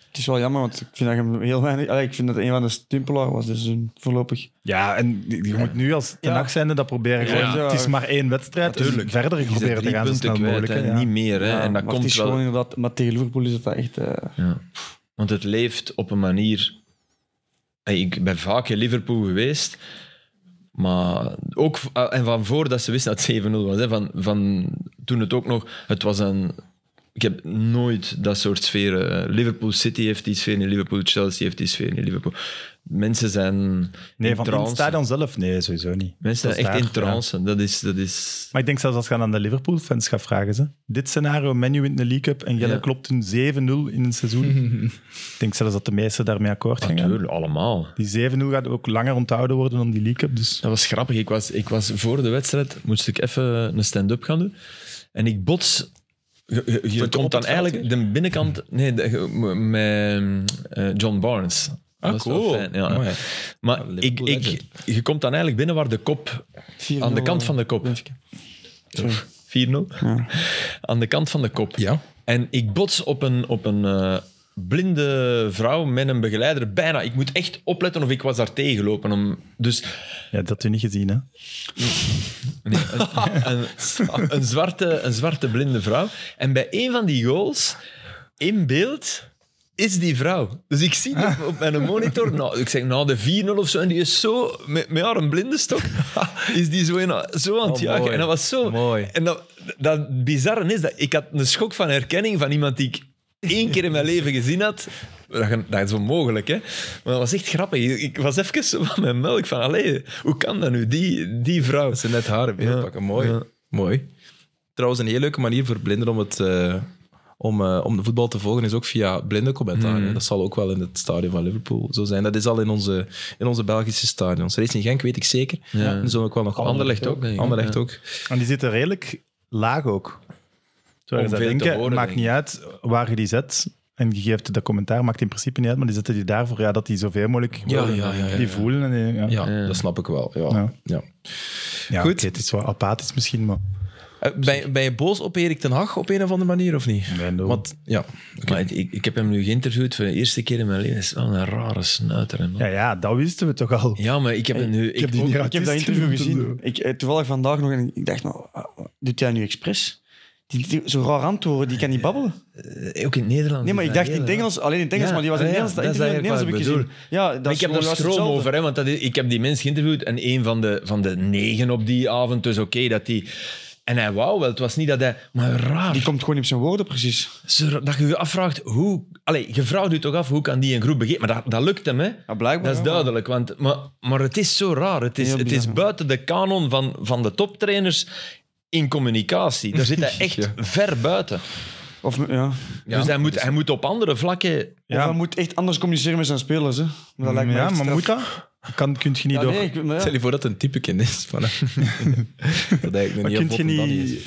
Het is wel jammer, want ik vind dat je hem heel weinig. Allee, ik vind dat een van de stumpelaar was, dus een voorlopig.
Ja, en je je moet nu als ten
Ja.
nacht zijnde dat proberen.
Ja.
Gewoon,
Ja.
Het is maar één wedstrijd. dus
Tuurlijk.
verder
je zit
proberen te
drie
gaan zo
punten
snel
kwijt,
mogelijk.
hè,
hè, ja.
niet meer. Hè. en dat
maar
komt
het is
wel...
gewoon inderdaad. Maar tegen Liverpool is dat echt. eh,
Ja. Want het leeft op een manier... Hey, Ik ben vaak in Liverpool geweest, maar ook... v- En van voordat ze wisten dat het 7-0 was, hè, van, van toen het ook nog... Het was een... Ik heb nooit dat soort sferen. eh, Liverpool City heeft die sfeer in Liverpool, Chelsea heeft die sfeer in Liverpool. Mensen zijn
Nee,
in
van in het
trance.
stadion zelf? Nee, sowieso niet.
Mensen
Dat
zijn
is
echt
daar,
in trance. Dat is... Dat is
Maar ik denk zelfs als je aan de Liverpool-fans gaat vragen, ze. dit scenario, menu wint de League Cup en Jelle
Ja.
klopt een 7-0 in een seizoen. ik denk zelfs dat de meesten daarmee akkoord gaan gaan.
Natuurlijk, allemaal.
Die 7-0 gaat ook langer onthouden worden dan die League Cup. Dus
Dat was grappig. Ik was, ik was voor de wedstrijd, moest ik even een stand-up gaan doen. En ik bots. Je, je- je
op
komt
het veld
dan eigenlijk de binnenkant. Nee, de- ge- m- met eh, John Barnes. Dat was wel fijn, ja.
Ah, Mooi.
Maar ik,
Liverpool
ik, je komt dan eigenlijk binnen waar de kop. Aan de kant van de
eh,
kop. 4-0.
Ja.
Aan de kant van de kop.
Ja.
En ik bots op een, op een eh, blinde vrouw met een begeleider. Bijna. Ik moet echt opletten of ik was daar tegenlopen. Om, dus
ja, dat had u niet gezien, hè?
Nee, een, een, een zwarte, een zwarte blinde vrouw. En bij een van die goals, in beeld, is die vrouw. Dus ik zie die op, op mijn monitor, nou, ik zeg nou de 4-0 of zo, en die is zo, met, met haar een blinde stok, is die zo, in, zo aan het
Oh,
jagen.
mooi.
En dat was zo...
Mooi.
En dat, dat bizarre is, dat ik had een schok van herkenning van iemand die ik één keer in mijn leven gezien had. Dat, dat is onmogelijk, hè? Maar dat was echt grappig. Ik was even zo van mijn melk van, allee, hoe kan dat nu? Die, die vrouw.
Dat ze net haar in beeld
Ja.
pakken. Mooi.
Ja.
Mooi. Trouwens, een heel leuke manier voor blinden om, het, eh, om, eh, om de voetbal te volgen is ook via blinde commentaar.
Mm.
hè. Dat zal ook wel in het stadion van Liverpool zo zijn. Dat is al in onze, in onze Belgische stadions. Racing in Genk weet ik zeker.
Ja.
En er zullen ook wel nog
Anderlecht ook, denk ik.
Anderlecht
Ja.
ook.
En die zitten redelijk laag ook. Terwijl
Om
je zou
veel te
denken,
horen,
maakt
denk
niet uit waar je die zet. En je geeft dat commentaar, maakt in principe niet uit, maar die zetten die daarvoor ja, dat die zoveel mogelijk
Ja,
worden.
ja, ja, ja,
die
ja.
voelen. En die- ja.
Ja,
Ja.
dat snap ik wel. Ja.
Ja.
Ja.
Ja,
Goed.
oké, het is wel apathisch misschien, maar...
Eh, Ben, ben je boos op Erik ten Hag op een of andere manier, of niet?
Nee, nul.
Want, ja.
Maar het- ik, ik heb hem nu geïnterviewd voor de eerste keer in mijn leven. Dat is wel een rare snuiter. hè, man.
Ja, ja, dat wisten we toch al.
Ja, maar ik heb hem nu... Ik,
heb die
ook-
niet
Ik heb dat
artiest
interview
genoemd dus, en zo.
gezien. Ik, eh, toevallig vandaag nog. En ik dacht, nou, ah, doet hij nu expres? Die, die- zo raar antwoorden, die kan niet babbelen.
eh, ook in het Nederlands.
Nee, maar
is
ik
dat
dacht in het
heel
Engels, alleen in het Engels,
Ja,
maar die was in
ah
het
ja,
Nederlands.
dat is
Dat interview in het
eigenlijk
Nederlands
wat
heb ik gezien. Ja, dat
raar. Maar
is
ik heb daar
gewoon juist
stroom
hetzelfde.
over, hè, want dat is- ik heb die mensen geïnterviewd en een van de, van de negen op die avond, dus oké, dat die... En hij wou wel, het was niet dat hij... Maar raar,
Die komt gewoon niet op zijn woorden, precies.
zo raar, dat je je afvraagt hoe... Allee, je vraagt je toch af, hoe kan die een groep begeven? Maar dat, dat lukt hem, hè?
Ja, blijkbaar.
Dat is
ja.
duidelijk, want, maar, maar het is zo raar. Het is,
Heel
het
bizar,
is
ja.
buiten de kanon van, van de toptrainers in communicatie. Daar zit hij echt
Ja.
ver buiten.
Of, ja.
dus hij moet, hij moet op andere vlakken...
Ja.
Of hij moet echt anders communiceren met zijn spelers. Hè. Maar dat
Mm,
lijkt me
ja,
echt
maar
straf.
moet dat? Kan, kun je niet
Ja,
door...
nee, ik, maar ja.
Stel je voor dat het een typeke is. Van, dat eigenlijk een
Maar
heel
kun je
vlotte daddy is.
niet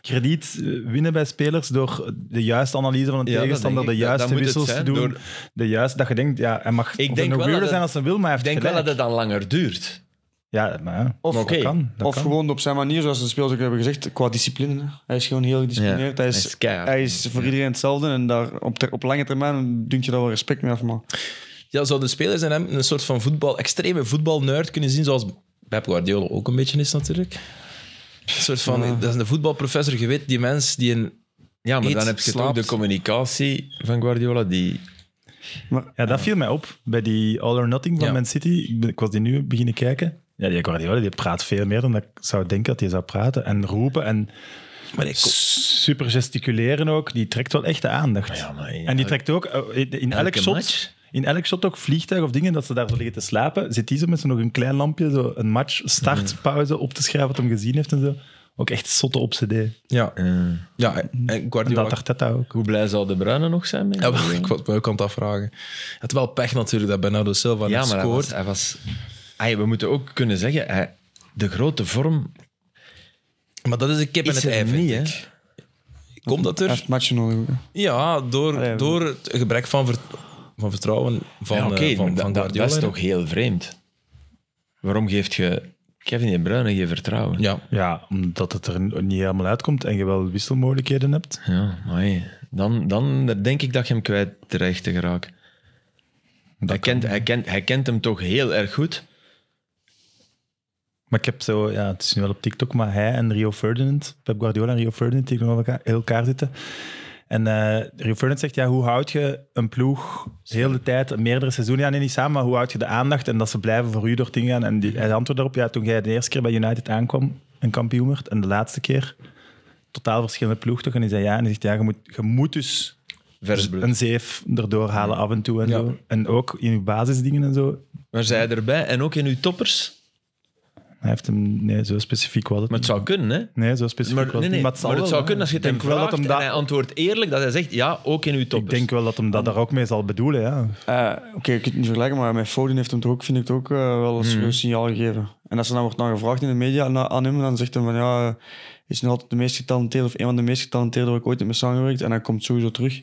krediet eh, winnen bij spelers door de juiste analyse van een
Ja, dat
tegenstander,
denk
de
ik. Dat- dat
juiste
moet het
wissels te
zijn,
doen,
door-
de juiste, dat je denkt, ja, hij mag ik
denk wel
nog weirder
dat het-
zijn als hij wil, maar hij
Ik
heeft
denk wel
gelijk.
dat het dan langer duurt.
Ja, maar ja,
Of-
dat
Oké.
kan. Dat
Of
kan.
gewoon op zijn manier, zoals de spelers ook hebben gezegd, qua discipline. hè. Hij is gewoon heel gedisciplineerd.
Ja,
hij,
hij
is,
is keihard.
hij is voor iedereen hetzelfde. En daar, op, ter- op lange termijn dunkt je daar wel respect mee af. Maar
Ja, zouden spelers en hem een soort van voetbal, extreme voetbalnerd kunnen zien, zoals Pep Guardiola ook een beetje is natuurlijk. Een soort van, dat is een voetbalprofessor, je weet, die mens die een...
Ja, maar
Eet,
dan heb je
slaapt.
toch de communicatie van Guardiola die...
Ja, dat viel mij op bij die All or Nothing van
Ja.
Man City. Ik, ben- ik was die nu beginnen kijken. Ja, die Guardiola die praat veel meer dan dat ik zou denken dat hij zou praten. En roepen en
Maar ik,
super gesticuleren ook. Die trekt wel echt de aandacht.
Ja, maar in
en die
elk-
trekt ook eh, in elk
elke
shot...
match?
In elk shot ook vliegtuig of dingen dat ze daar zo liggen te slapen. Zit die zo met zo nog een klein lampje, zo een match, start, pauze op te schrijven wat hem gezien heeft en zo. Ook echt zotte op CD. En
ja,
Eh,
ja, en Guardiola...
dat Arteta ook.
hoe blij zou De Bruyne nog zijn? met-
Ja, wel, ik wou- wou ik aan het afvragen. Het had wel pech natuurlijk dat Bernardo Silva
Ja,
niet
maar hij
scoort.
was... Hij was Ai, we moeten ook kunnen zeggen, hij- de grote vorm
Maar dat is een kip en
is
het
er
ei, vind
niet, hè?
ik. Komt dat
hij
er?
heeft matchen nodig. ook, hè.
Ja, door,
Allee, we-
door het gebrek van, ver- van vertrouwen van,
ja,
eh,
oké,
van,
maar
van
dat,
Guardiola.
dat is toch heel vreemd. Waarom geeft je Kevin De Bruyne geen vertrouwen?
Ja,
Ja, omdat het er niet helemaal uitkomt en je wel wisselmogelijkheden hebt.
Ja, amai. dan, dan denk ik dat je hem kwijt terecht te geraakt. Hij kent, hij, kent, hij kent hem toch heel erg goed.
Maar ik heb zo, ja, het is nu wel op TikTok, maar hij en Rio Ferdinand, Pep Guardiola en Rio Ferdinand, die tegenover elkaar, elkaar zitten. En eh Rio Ferdinand zegt, ja, hoe houd je een ploeg heel de tijd, meerdere seizoenen, ja, nee, niet samen, maar hoe houd je de aandacht en dat ze blijven voor u door het ding gaan? En die, hij antwoordt daarop, ja, toen jij de eerste keer bij United aankwam, een kampioen werd, en de laatste keer, totaal verschillende ploeg toch? En hij zei ja, en hij zegt, ja, je moet, je moet dus
Vers bloed.
een zeef erdoor halen af en toe en
Ja.
zo. En ook in je basisdingen en zo.
Maar zij erbij en ook in uw toppers.
Hij heeft hem, nee, zo specifiek was het.
Maar het
niet.
zou kunnen, hè?
Nee, zo specifiek
Maar,
was het
nee, nee,
niet,
maar het,
zal
zou
wel,
kunnen
hè.
als je het
Ik
hem
denk wel
vraagt
dat hem
en
dat-
hij antwoordt eerlijk dat hij zegt ja, ook in uw
Ik
toppers.
denk wel dat hem dat daar ook mee zal bedoelen, ja.
Eh, Oké, ik kan het niet vergelijken, maar met Foden heeft hem toch ook, vind ik, het ook eh, wel een
Hmm.
serieus signaal gegeven. En als er dan wordt naar gevraagd in de media na- aan hem, dan zegt hij van ja, eh, is nog altijd de meest getalenteerde of een van de meest getalenteerde waar ik ooit mee samengewerkt. En hij komt sowieso terug.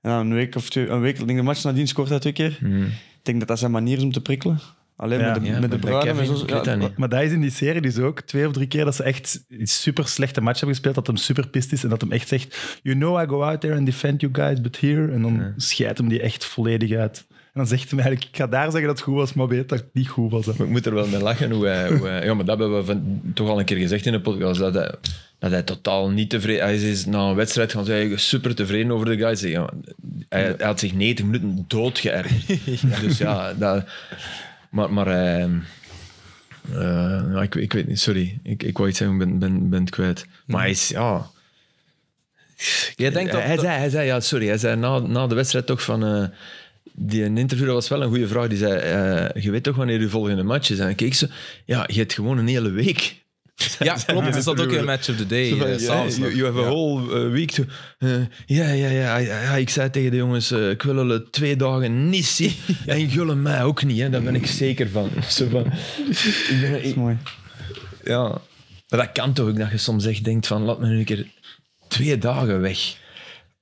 En dan een week of twee, een week, ik denk de match nadien scoort hij twee keer. Ik denk dat dat zijn manier is om te prikkelen. Alleen
Ja.
met de,
Hmm. Ja,
met de
maar bij
bruine,
Kevin,
met zo-
ik
ja,
weet dat niet.
Maar dat is in die serie dus ook twee of drie keer dat ze echt een super slechte match hebben gespeeld, dat hem super pist is en dat hem echt zegt, you know I go out there and defend you guys, but here... En dan scheidt hem die echt volledig uit. En dan zegt hij eigenlijk, ik ga daar zeggen dat het goed was, maar weet dat het niet goed was. hè.
Maar ik moet er wel mee lachen. Hoe hij, hoe hij- ja, maar dat hebben we van, toch al een keer gezegd in de podcast. Dat hij, dat hij totaal niet tevreden hij is. is na een wedstrijd gaan zeggen, super tevreden over de guy. Ik Zeg, ja, hij, hij had zich 90 minuten doodgeërgerd. Dus ja, dat, maar, maar hij, eh, ja, ik, ik weet niet, sorry. Ik, ik wou iets zeggen, ik ben, ben, ben het kwijt. Maar hij is, ja...
Jij denkt dat-
hij,
dat-
zei, hij zei, ja, sorry, hij zei na, na de wedstrijd toch van... eh, die een interview, dat was wel een goede vraag. Die zei, eh, je weet toch wanneer je volgende match is? En dan keek ze, ja, je hebt gewoon een hele week.
Ja, klopt. Het is dat ook een match of the day. eh, s'avonds
you,
nog.
you have a whole eh, week to... eh, ja, ja, ja, ja, ja, Ik zei tegen de jongens, eh, ik wil hulle twee dagen niet zien. En jullie mij ook niet, hè. Daar ben ik zeker van. Zo van ik ben-
dat
ik-
is mooi.
ja. Maar dat kan toch ook, dat je soms echt denkt van, laat me nu een keer twee dagen weg.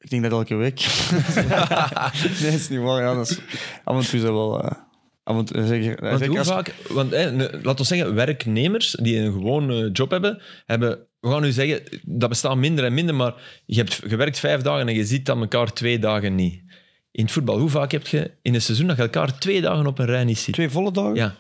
Ik denk dat elke week. nee, dat is niet waar. Ja, dat is, af en toe is dat wel... eh, af en toe, zeker,
Want
zeker
hoe
als-
vaak, want hè, ne- laten we zeggen, werknemers die een gewone eh, job hebben, hebben, we gaan nu zeggen, dat bestaat minder en minder, maar je hebt gewerkt vijf dagen en je ziet dan elkaar twee dagen niet. In het voetbal, hoe vaak heb je in een seizoen dat je elkaar twee dagen op een rij niet ziet?
Twee volle dagen?
Ja,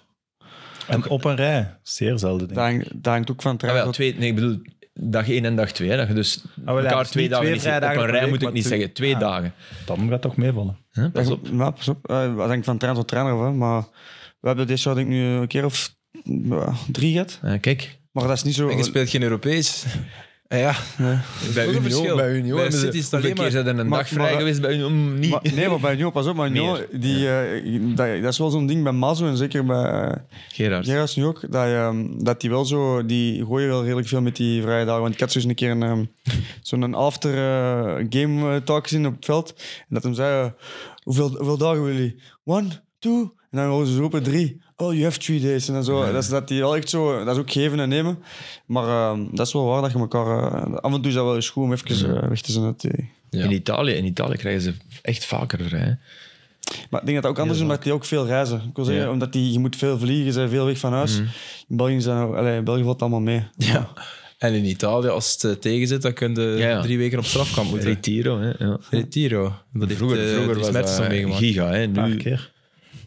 En op een rij, zeer zelden. Denk
Dat
ik.
hangt, dat hangt ook van het
Ah,
traject
wel,
tot-
twee, nee, ik bedoel, dag één en dag twee. Hè, dat je dus
wel, ja,
elkaar
dus
twee
niet
dagen
twee
niet ziet. Op
vrijdagen
een
per
rij
week,
moet ik
maar
niet
twee- Ah,
zeggen, twee dagen.
Dan gaat toch meevallen.
Hè, pas op.
Ja, pas op. Eh, dat hangt van trainer tot trainer af. hè. Maar we hebben dit jaar denk ik nu een keer of ja, drie gehad.
Ah, kijk.
Maar dat is niet zo...
En je speelt geen Europees. Eh, Ja,
Bij
ook een verschil.
bij Union
Bij
hebben ze-
City is het
hoeveel
alleen
keer
maar-
zijn er een
Maar-
dag vrij
maar-
geweest bij Union? Niet.
Maar- nee, maar bij Njo, pas op. Maar Njo,
Meer,
die, eh, dat, dat is wel zo'n ding bij Mazo en zeker bij uh,
Gerard.
Gerards nu ook. Dat, ehm, dat die wel zo... Die gooien wel redelijk veel met die vrije dagen. Want ik had zo eens een keer een, ehm, zo'n after eh, game eh, talk gezien op het veld. En dat hem zei... eh, hoeveel, hoeveel dagen willen jullie? One, two... En dan horen ze roepen drie. Oh, you have three days. En dan zo. Dat, is, dat, die wel echt zo, dat is ook geven en nemen. Maar ehm, dat is wel waar dat je elkaar... eh, af en toe is dat wel eens goed om even eh, weg te zijn uit die...
Ja.
In, Italië, in Italië krijgen ze echt vaker vrij. hè.
Maar ik denk dat dat ook anders is, omdat die ook veel reizen. Ik wil zeggen,
Ja.
omdat die, je moet veel vliegen, je bent veel weg van huis. In België, zijn, er- allee, in België valt het allemaal mee.
ja. En in Italië, als het eh, tegen zit, dan kun je
Ja, ja.
drie weken op strafkamp moeten.
Retiro, hè? Ja.
Retiro. Dat heeft,
Vroeger,
eh,
vroeger
Dries
was
Mertens
dat
nog meegemaakt.
giga. Hè?
Een paar
Nu,
keer.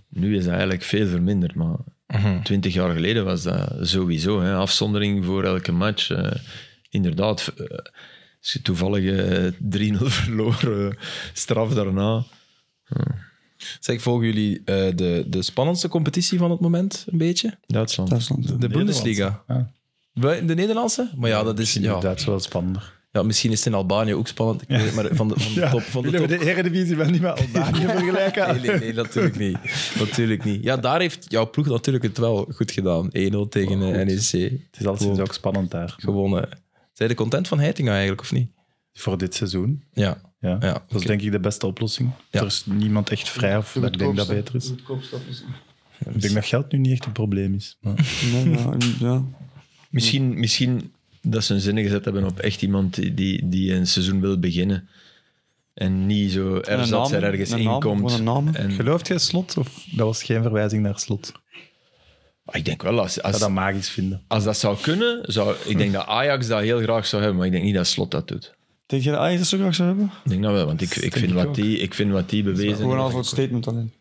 nu is dat eigenlijk veel verminderd, maar
Mhm.
twintig jaar geleden was dat sowieso. Hè? Afzondering voor elke match. eh, inderdaad, eh, als je toevallig eh, 3-0 verloren, eh, straf daarna.
Zeg, volgen jullie eh, de, de spannendste competitie van het moment een beetje?
Duitsland.
Duitsland.
De Bundesliga.
Ja.
Wel, De Nederlandse? Maar ja, dat is...
Ja.
Ja,
Dat is wel spannender.
ja, misschien is het in Albanië ook spannend. Ik weet het, maar van de, van de top... Van de
Willen
top.
we de Eredivisie wel niet met Albanië vergelijken?
Nee, nee, nee, natuurlijk niet. natuurlijk niet. Ja, daar heeft jouw ploeg natuurlijk het wel goed gedaan. 1-0 tegen eh, NEC.
Het is alleszins ook spannend daar.
Gewonnen. Zijn de content van Heitinga eigenlijk, of niet?
Voor dit seizoen.
Ja.
Ja.
Ja,
dat is
oké.
denk ik de beste oplossing.
Ja.
Er is niemand echt vrij of dat ik denk dat beter is. Ik denk dat geld nu niet echt een probleem is.
Nee, ja, ja.
Misschien, misschien dat ze hun zinnen gezet hebben op echt iemand die- die, die een seizoen wil beginnen. En niet zo ergens
naam,
dat ze er ergens Eh,
een naam,
inkomt.
gewoon een naam.
En,
Gelooft jij slot? Of dat was geen verwijzing naar slot? Ik
Ah, ik denk wel, als, als,
zou dat magisch vinden.
Als dat zou kunnen, zou, ik denk dat Ajax dat heel graag zou hebben, maar ik denk niet dat Slot dat doet.
Denk je dat Ajax dat zo graag zou hebben?
Ik denk dat wel, want ik, ik, vind, wat die, ik vind wat die bewezen
Gewoon al
heeft.
voor het statement alleen.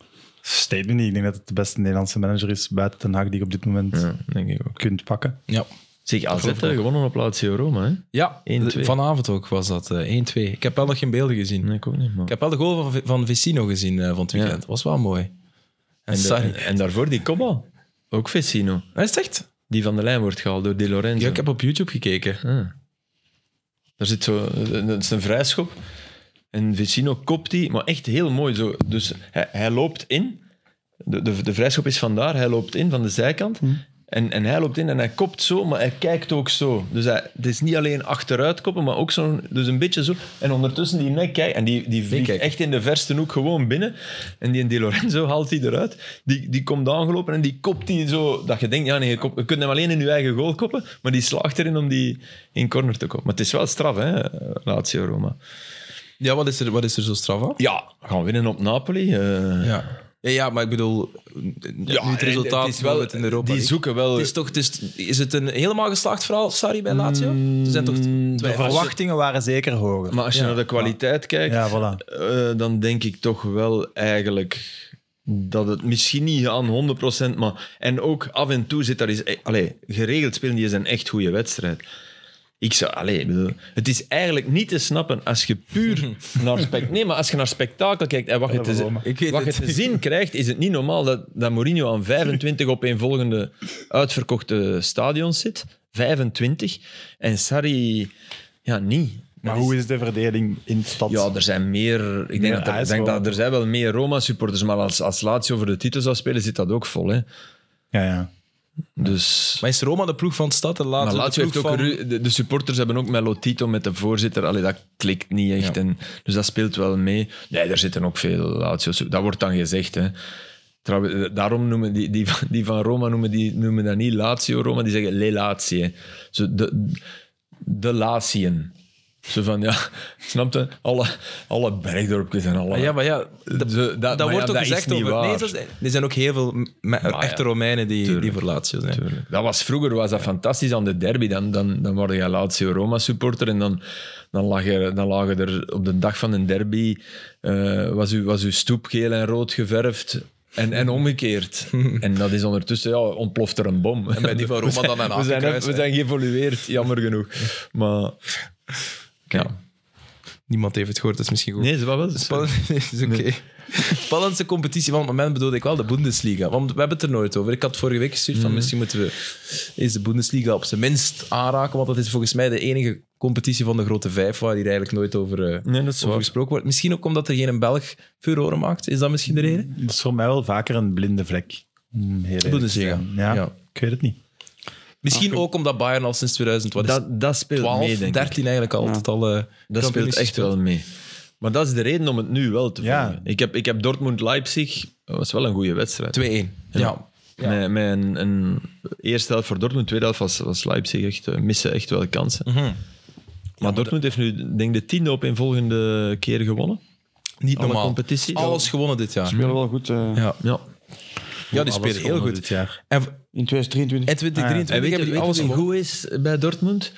Statement niet. Ik denk dat het de beste Nederlandse manager is buiten Den Haag die je op dit moment
Ja, denk ik ook.
kunt pakken.
Ja.
Zeg, AZ heeft gewonnen op Lazio Roma, hè?
Ja,
1-2.
vanavond ook was dat eh, 1-2. Ik heb wel nog geen beelden gezien.
Nee, ik ook niet, man.
Ik heb wel de goal van, van Vecino gezien eh, van het weekend.
Ja.
Dat was wel mooi. En,
En, de-
Sarri.
en, en daarvoor die kopbal. Ook Vecino.
Hij is het echt?
Die van de lijn wordt gehaald door Di Lorenzo.
Ja, ik heb op YouTube gekeken.
Ah. Daar zit zo... Het is een vrijschop. En Vecino kopt die, maar echt heel mooi. Zo. Dus hij, hij loopt in. De, de, de vrijschop is vandaar. Hij loopt in van de
Hm.
zijkant. En, en hij loopt in en hij kopt zo, maar hij kijkt ook zo. Dus hij, het is niet alleen achteruit koppen, maar ook zo, dus een beetje zo. En ondertussen die nek kijkt, en die, die vliegt
kijk.
echt in de verste hoek gewoon binnen. En die Di Lorenzo haalt die eruit. Die, die komt aangelopen en die kopt die zo. Dat je denkt, ja, nee, je, kop- je kunt hem alleen in je eigen goal koppen, maar die slaagt erin om die in corner te koppen. Maar het is wel straf, hè, Lazio Roma.
Ja, wat is er, wat is er zo straf aan?
Ja, we gaan winnen op Napoli. eh.
Ja. Ja, ja, maar ik bedoel, ja,
en
het resultaat
het is wel-
in Europa
Die
League.
zoeken wel.
Het is, toch, het is, is het een helemaal geslaagd verhaal, Sarri, bij Lazio? Ze zijn toch
Mm,
De
twijfels.
verwachtingen waren zeker hoger.
maar als je naar de kwaliteit kijkt,
ja, voilà.
Eh, dan denk ik toch wel eigenlijk dat het misschien niet aan 100%, maar... En ook af en toe zit daar eens... eh, Allee, geregeld spelen die is een echt goede wedstrijd. Ik zou... Allee, ik bedoel, het is eigenlijk niet te snappen als je puur naar, spect, nee, maar als je naar spektakel kijkt en wat je te,
Roma.
Ik weet
wat je
het.
te zien krijgt, is het niet normaal dat, dat Mourinho aan 25 opeenvolgende uitverkochte stadions zit. 25. En Sarri... Ja, niet.
Maar
Dat is-
hoe is de verdeling in de stad?
ja, er zijn meer. Ik
Meer
denk, dat er, ik denk
ijsballen.
dat er zijn wel meer Roma-supporters, maar als, als Lazio voor de titel zou spelen, zit dat ook vol. Hè?
ja, ja.
Dus.
Maar is Roma de ploeg van de stad? De
Maar
laatste
Lazio
de
heeft
ploeg
ook
van...
ru- de, de supporters hebben ook Melotito met de voorzitter. Allee, dat klikt niet echt. En, dus dat speelt wel mee. Nee, daar zitten ook veel Lazio's. Dat wordt dan gezegd. Hè. Trouwens, eh, daarom noemen die, die, van- die van Roma noemen, die, noemen dat niet Lazio Roma, die zeggen Le Lazie. Zo de, de Lazien. Zo van, ja, snap je? Alle, alle bergdorpjes en alle...
Ah, ja, maar ja, dat,
Zo, dat-
dat
maar
wordt
ja,
ook
dat is
gezegd
niet
over...
waar.
Nee, dat is- er zijn ook heel veel me- echte
ja.
Romeinen die, die
Tuurlijk.
voor Lazio zijn.
Tuurlijk. Dat was, vroeger was dat fantastisch aan de derby. Dan, dan, dan word je Lazio-Roma-supporter en dan, dan, lag er, dan lagen er op de dag van een derby... eh, was, uw, was uw stoep geel en rood geverfd. En, en omgekeerd. En dat is ondertussen, ja, ontploft er een bom. En
bij die van Roma dan een
We zijn,
hakenkruis,
we
hè.
zijn geëvolueerd, jammer genoeg. Maar... Ja.
Niemand heeft het gehoord, dat is misschien goed.
Nee, ze was wel...
Spannend is oké. Spannendste competitie van het moment bedoelde ik wel de Bundesliga. Want we hebben het er nooit over. Ik had vorige week gestuurd
Mhm.
van misschien moeten we eens de Bundesliga op zijn minst aanraken. Want dat is volgens mij de enige competitie van de grote vijf waar hier eigenlijk nooit over, eh,
Nee, dat is
over
waar.
gesproken wordt. Misschien ook omdat er geen Belg furoren maakt. Is dat misschien de reden?
Dat is voor mij wel vaker een blinde vlek. om heel eerlijk te
Bundesliga.
zijn. Ja,
Ja.
ik weet het niet.
Misschien ook omdat Bayern al sinds 2000, wat is het,
Ah, Dat, dat speelt
12,
mee, denk ik.
13 eigenlijk altijd al... eh,
Dat speelt
kampioenschap
echt wel mee. Maar dat is de reden om het nu wel te
Ja.
volgen. Ik heb, ik heb Dortmund-Leipzig, dat was wel een goede wedstrijd.
2-1. Ja.
Met, met een, een eerste helft voor Dortmund, tweede helft was, was Leipzig echt, eh, missen echt wel kansen. Mhm. Maar Dortmund heeft nu, denk ik, de tiende op een volgende keer gewonnen.
Niet
Alle
normaal.
competities.
Alles gewonnen dit jaar.
spelen wel goed. eh,
Ja,
Ja.
ja die
Alles
spelen heel
gewonnen
goed.
dit jaar.
En
In 2023.
En 2023
Ah En weet je
hebben die
weet
alles
je wie
gewonnen.
goed is bij Dortmund?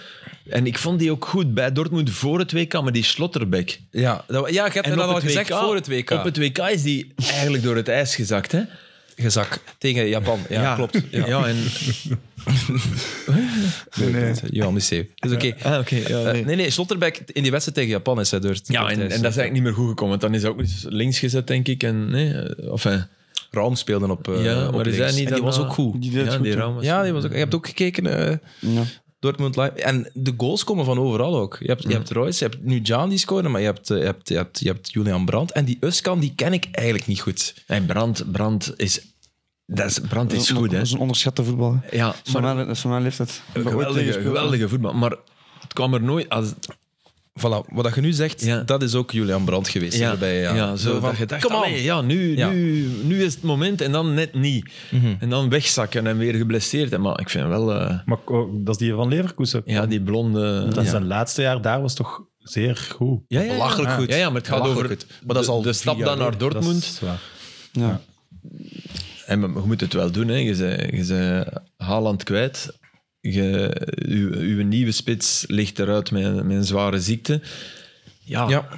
En ik vond die ook goed bij Dortmund voor het WK, maar die Slotterbeck.
Ja, dat, ja, je hebt me
En
dat
op
al
het
gezegd
WK
voor het WK.
Op het WK is die eigenlijk door het ijs gezakt, hè?
Gezak tegen Japan. Ja, klopt. Ja.
ja en,
Johan Museeuw. Dat is oké.
ah, oké, ja,
Eh, nee, nee, Slotterbeck in die wedstrijd tegen Japan is hij door het
Ja, en, en dat is eigenlijk niet meer goed gekomen. Want dan is hij ook eens links gezet, denk ik. En, nee, eh, enfin,
Raum speelde op, eh
Ja,
op
maar is
links.
hij niet
En die
daarna-
was ook goed.
Die deed het
ja,
goed,
die
ja.
Raum was-
Ja, die was ook... Je hebt ook gekeken... eh,
Ja.
Dortmund live. En de goals komen van overal ook. Je hebt, je hebt Royce, je hebt nu Jan die scoorde, maar je hebt, eh, je hebt, je hebt, je hebt Julian Brandt. En die Uskan, die ken ik eigenlijk niet goed.
En Brand, Brand is... Dat is, Brand is
een-
goed, hè.
Dat is een onderschatte voetballer.
Ja,
Dat is
maar
van mijn- dat is van mijn leeftijd. Ik heb ooit
geweldige,
tegen gespeeld.
geweldige voetbal. Maar het kwam er nooit... Als,
Voilà, wat dat je nu zegt,
Ja.
dat is ook Julian Brandt geweest.
ja,
erbij, ja.
zo van, je dacht,
come on.
allee, ja, Mhm. nu,
Ja.
Nu, nu is het moment en dan net niet. En dan wegzakken en weer geblesseerd. Maar ik vind wel... eh,
Maar ook- oh, dat is die van Leverkusen.
ja, die blonde...
Dat is
ja.
zijn laatste jaar daar was toch zeer goed.
Ja, ja, ja.
Belachelijk goed.
Ja, ja, maar het gaat over
Belachelijk goed. Maar dat is
de-
al
de,
vier
stap
jaar
dan naar
geleden.
Dat is
Dortmund.
waar.
Ja.
En maar je moet het wel doen, hè. Je bent, je bent Haaland kwijt. Je, uw, uw nieuwe spits ligt eruit met, met een zware ziekte. Ja,
Ja.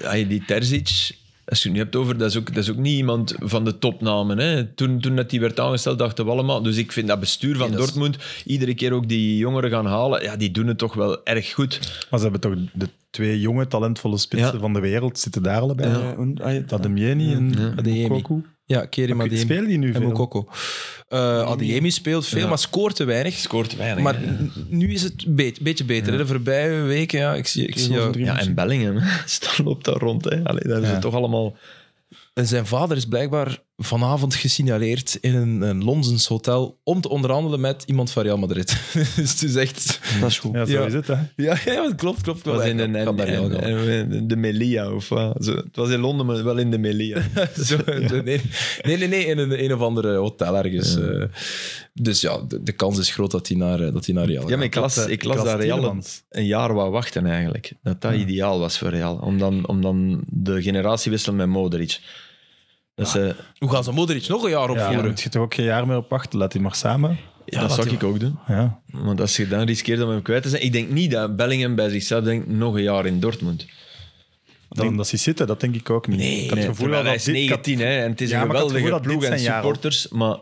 Hey, die Terzic, Als je het nu hebt over, dat is ook, dat is ook niet iemand van de topnamen. Hè. Toen, toen dat die werd aangesteld, dachten we allemaal. Dus ik vind dat bestuur van
Nee, dat is-
Dortmund, iedere keer ook die jongeren gaan halen, ja, die doen het toch wel erg goed.
Maar ze hebben toch de twee jonge, talentvolle spitsen
Ja.
van de wereld zitten daar allebei.
Eh, en- ah, je-
Tademieni en
Adeyemi.
Mokoku.
Ja, Kerim
Maar
Adeyemi.
spelen die nu
En
veel?
Moukoko. Eh Adeyemi speelt veel, maar scoort te weinig.
Scoort weinig.
maar
hè.
n- nu is het een beetje beter. hè. De voorbije weken, ja, ik zie, ik zie
goals en
jou.
drie
ja, en Bellingham, Stan loopt daar rond. Hè. Allee, dat is
Ja.
het toch allemaal.
En zijn vader is blijkbaar vanavond gesignaleerd in een, een Lonsens hotel om te onderhandelen met iemand van Real Madrid. dus het is echt...
Dat is goed.
Ja, zo
Ja.
is het. Hè.
Ja, ja dat klopt, klopt.
Het was in een,
kan daar Real
en-
gaan.
en- en- de Melia of wat. Zo, Het was in Londen, maar wel in de Melia.
Zo, zo, nee, nee, nee, nee, in een, een of andere hotel ergens. eh. dus ja, de, de kans is groot dat hij naar, eh, dat hij naar Real gaat.
Ja, maar ik las,
eh,
ik las
Klaas
dat Real een,
Tielemans.
een jaar wou wachten eigenlijk. Dat dat ideaal was voor Real. Om dan, om dan de generatiewissel met Modric. Dat, ze,
Hoe gaan ze Modric nog een jaar
Ja, daar
opvoeren?
moet je toch ook geen jaar meer op wachten. Laat die maar samen.
Ja,
dat
laat
zou
die
ik ook doen.
Ja.
Want als je dan riskeert om hem kwijt te zijn... Ik denk niet dat Bellingham bij zichzelf denkt nog een jaar in Dortmund.
Dan dat ze zitten, dat denk ik ook niet. ik had het gevoel
terwijl
dat
hij is
dit, ik had-
19 hè, en het is
Ja,
een
maar ik had het
geweldige
gevoel dat
ploeg
dit
en
zijn jaar
supporters. Maar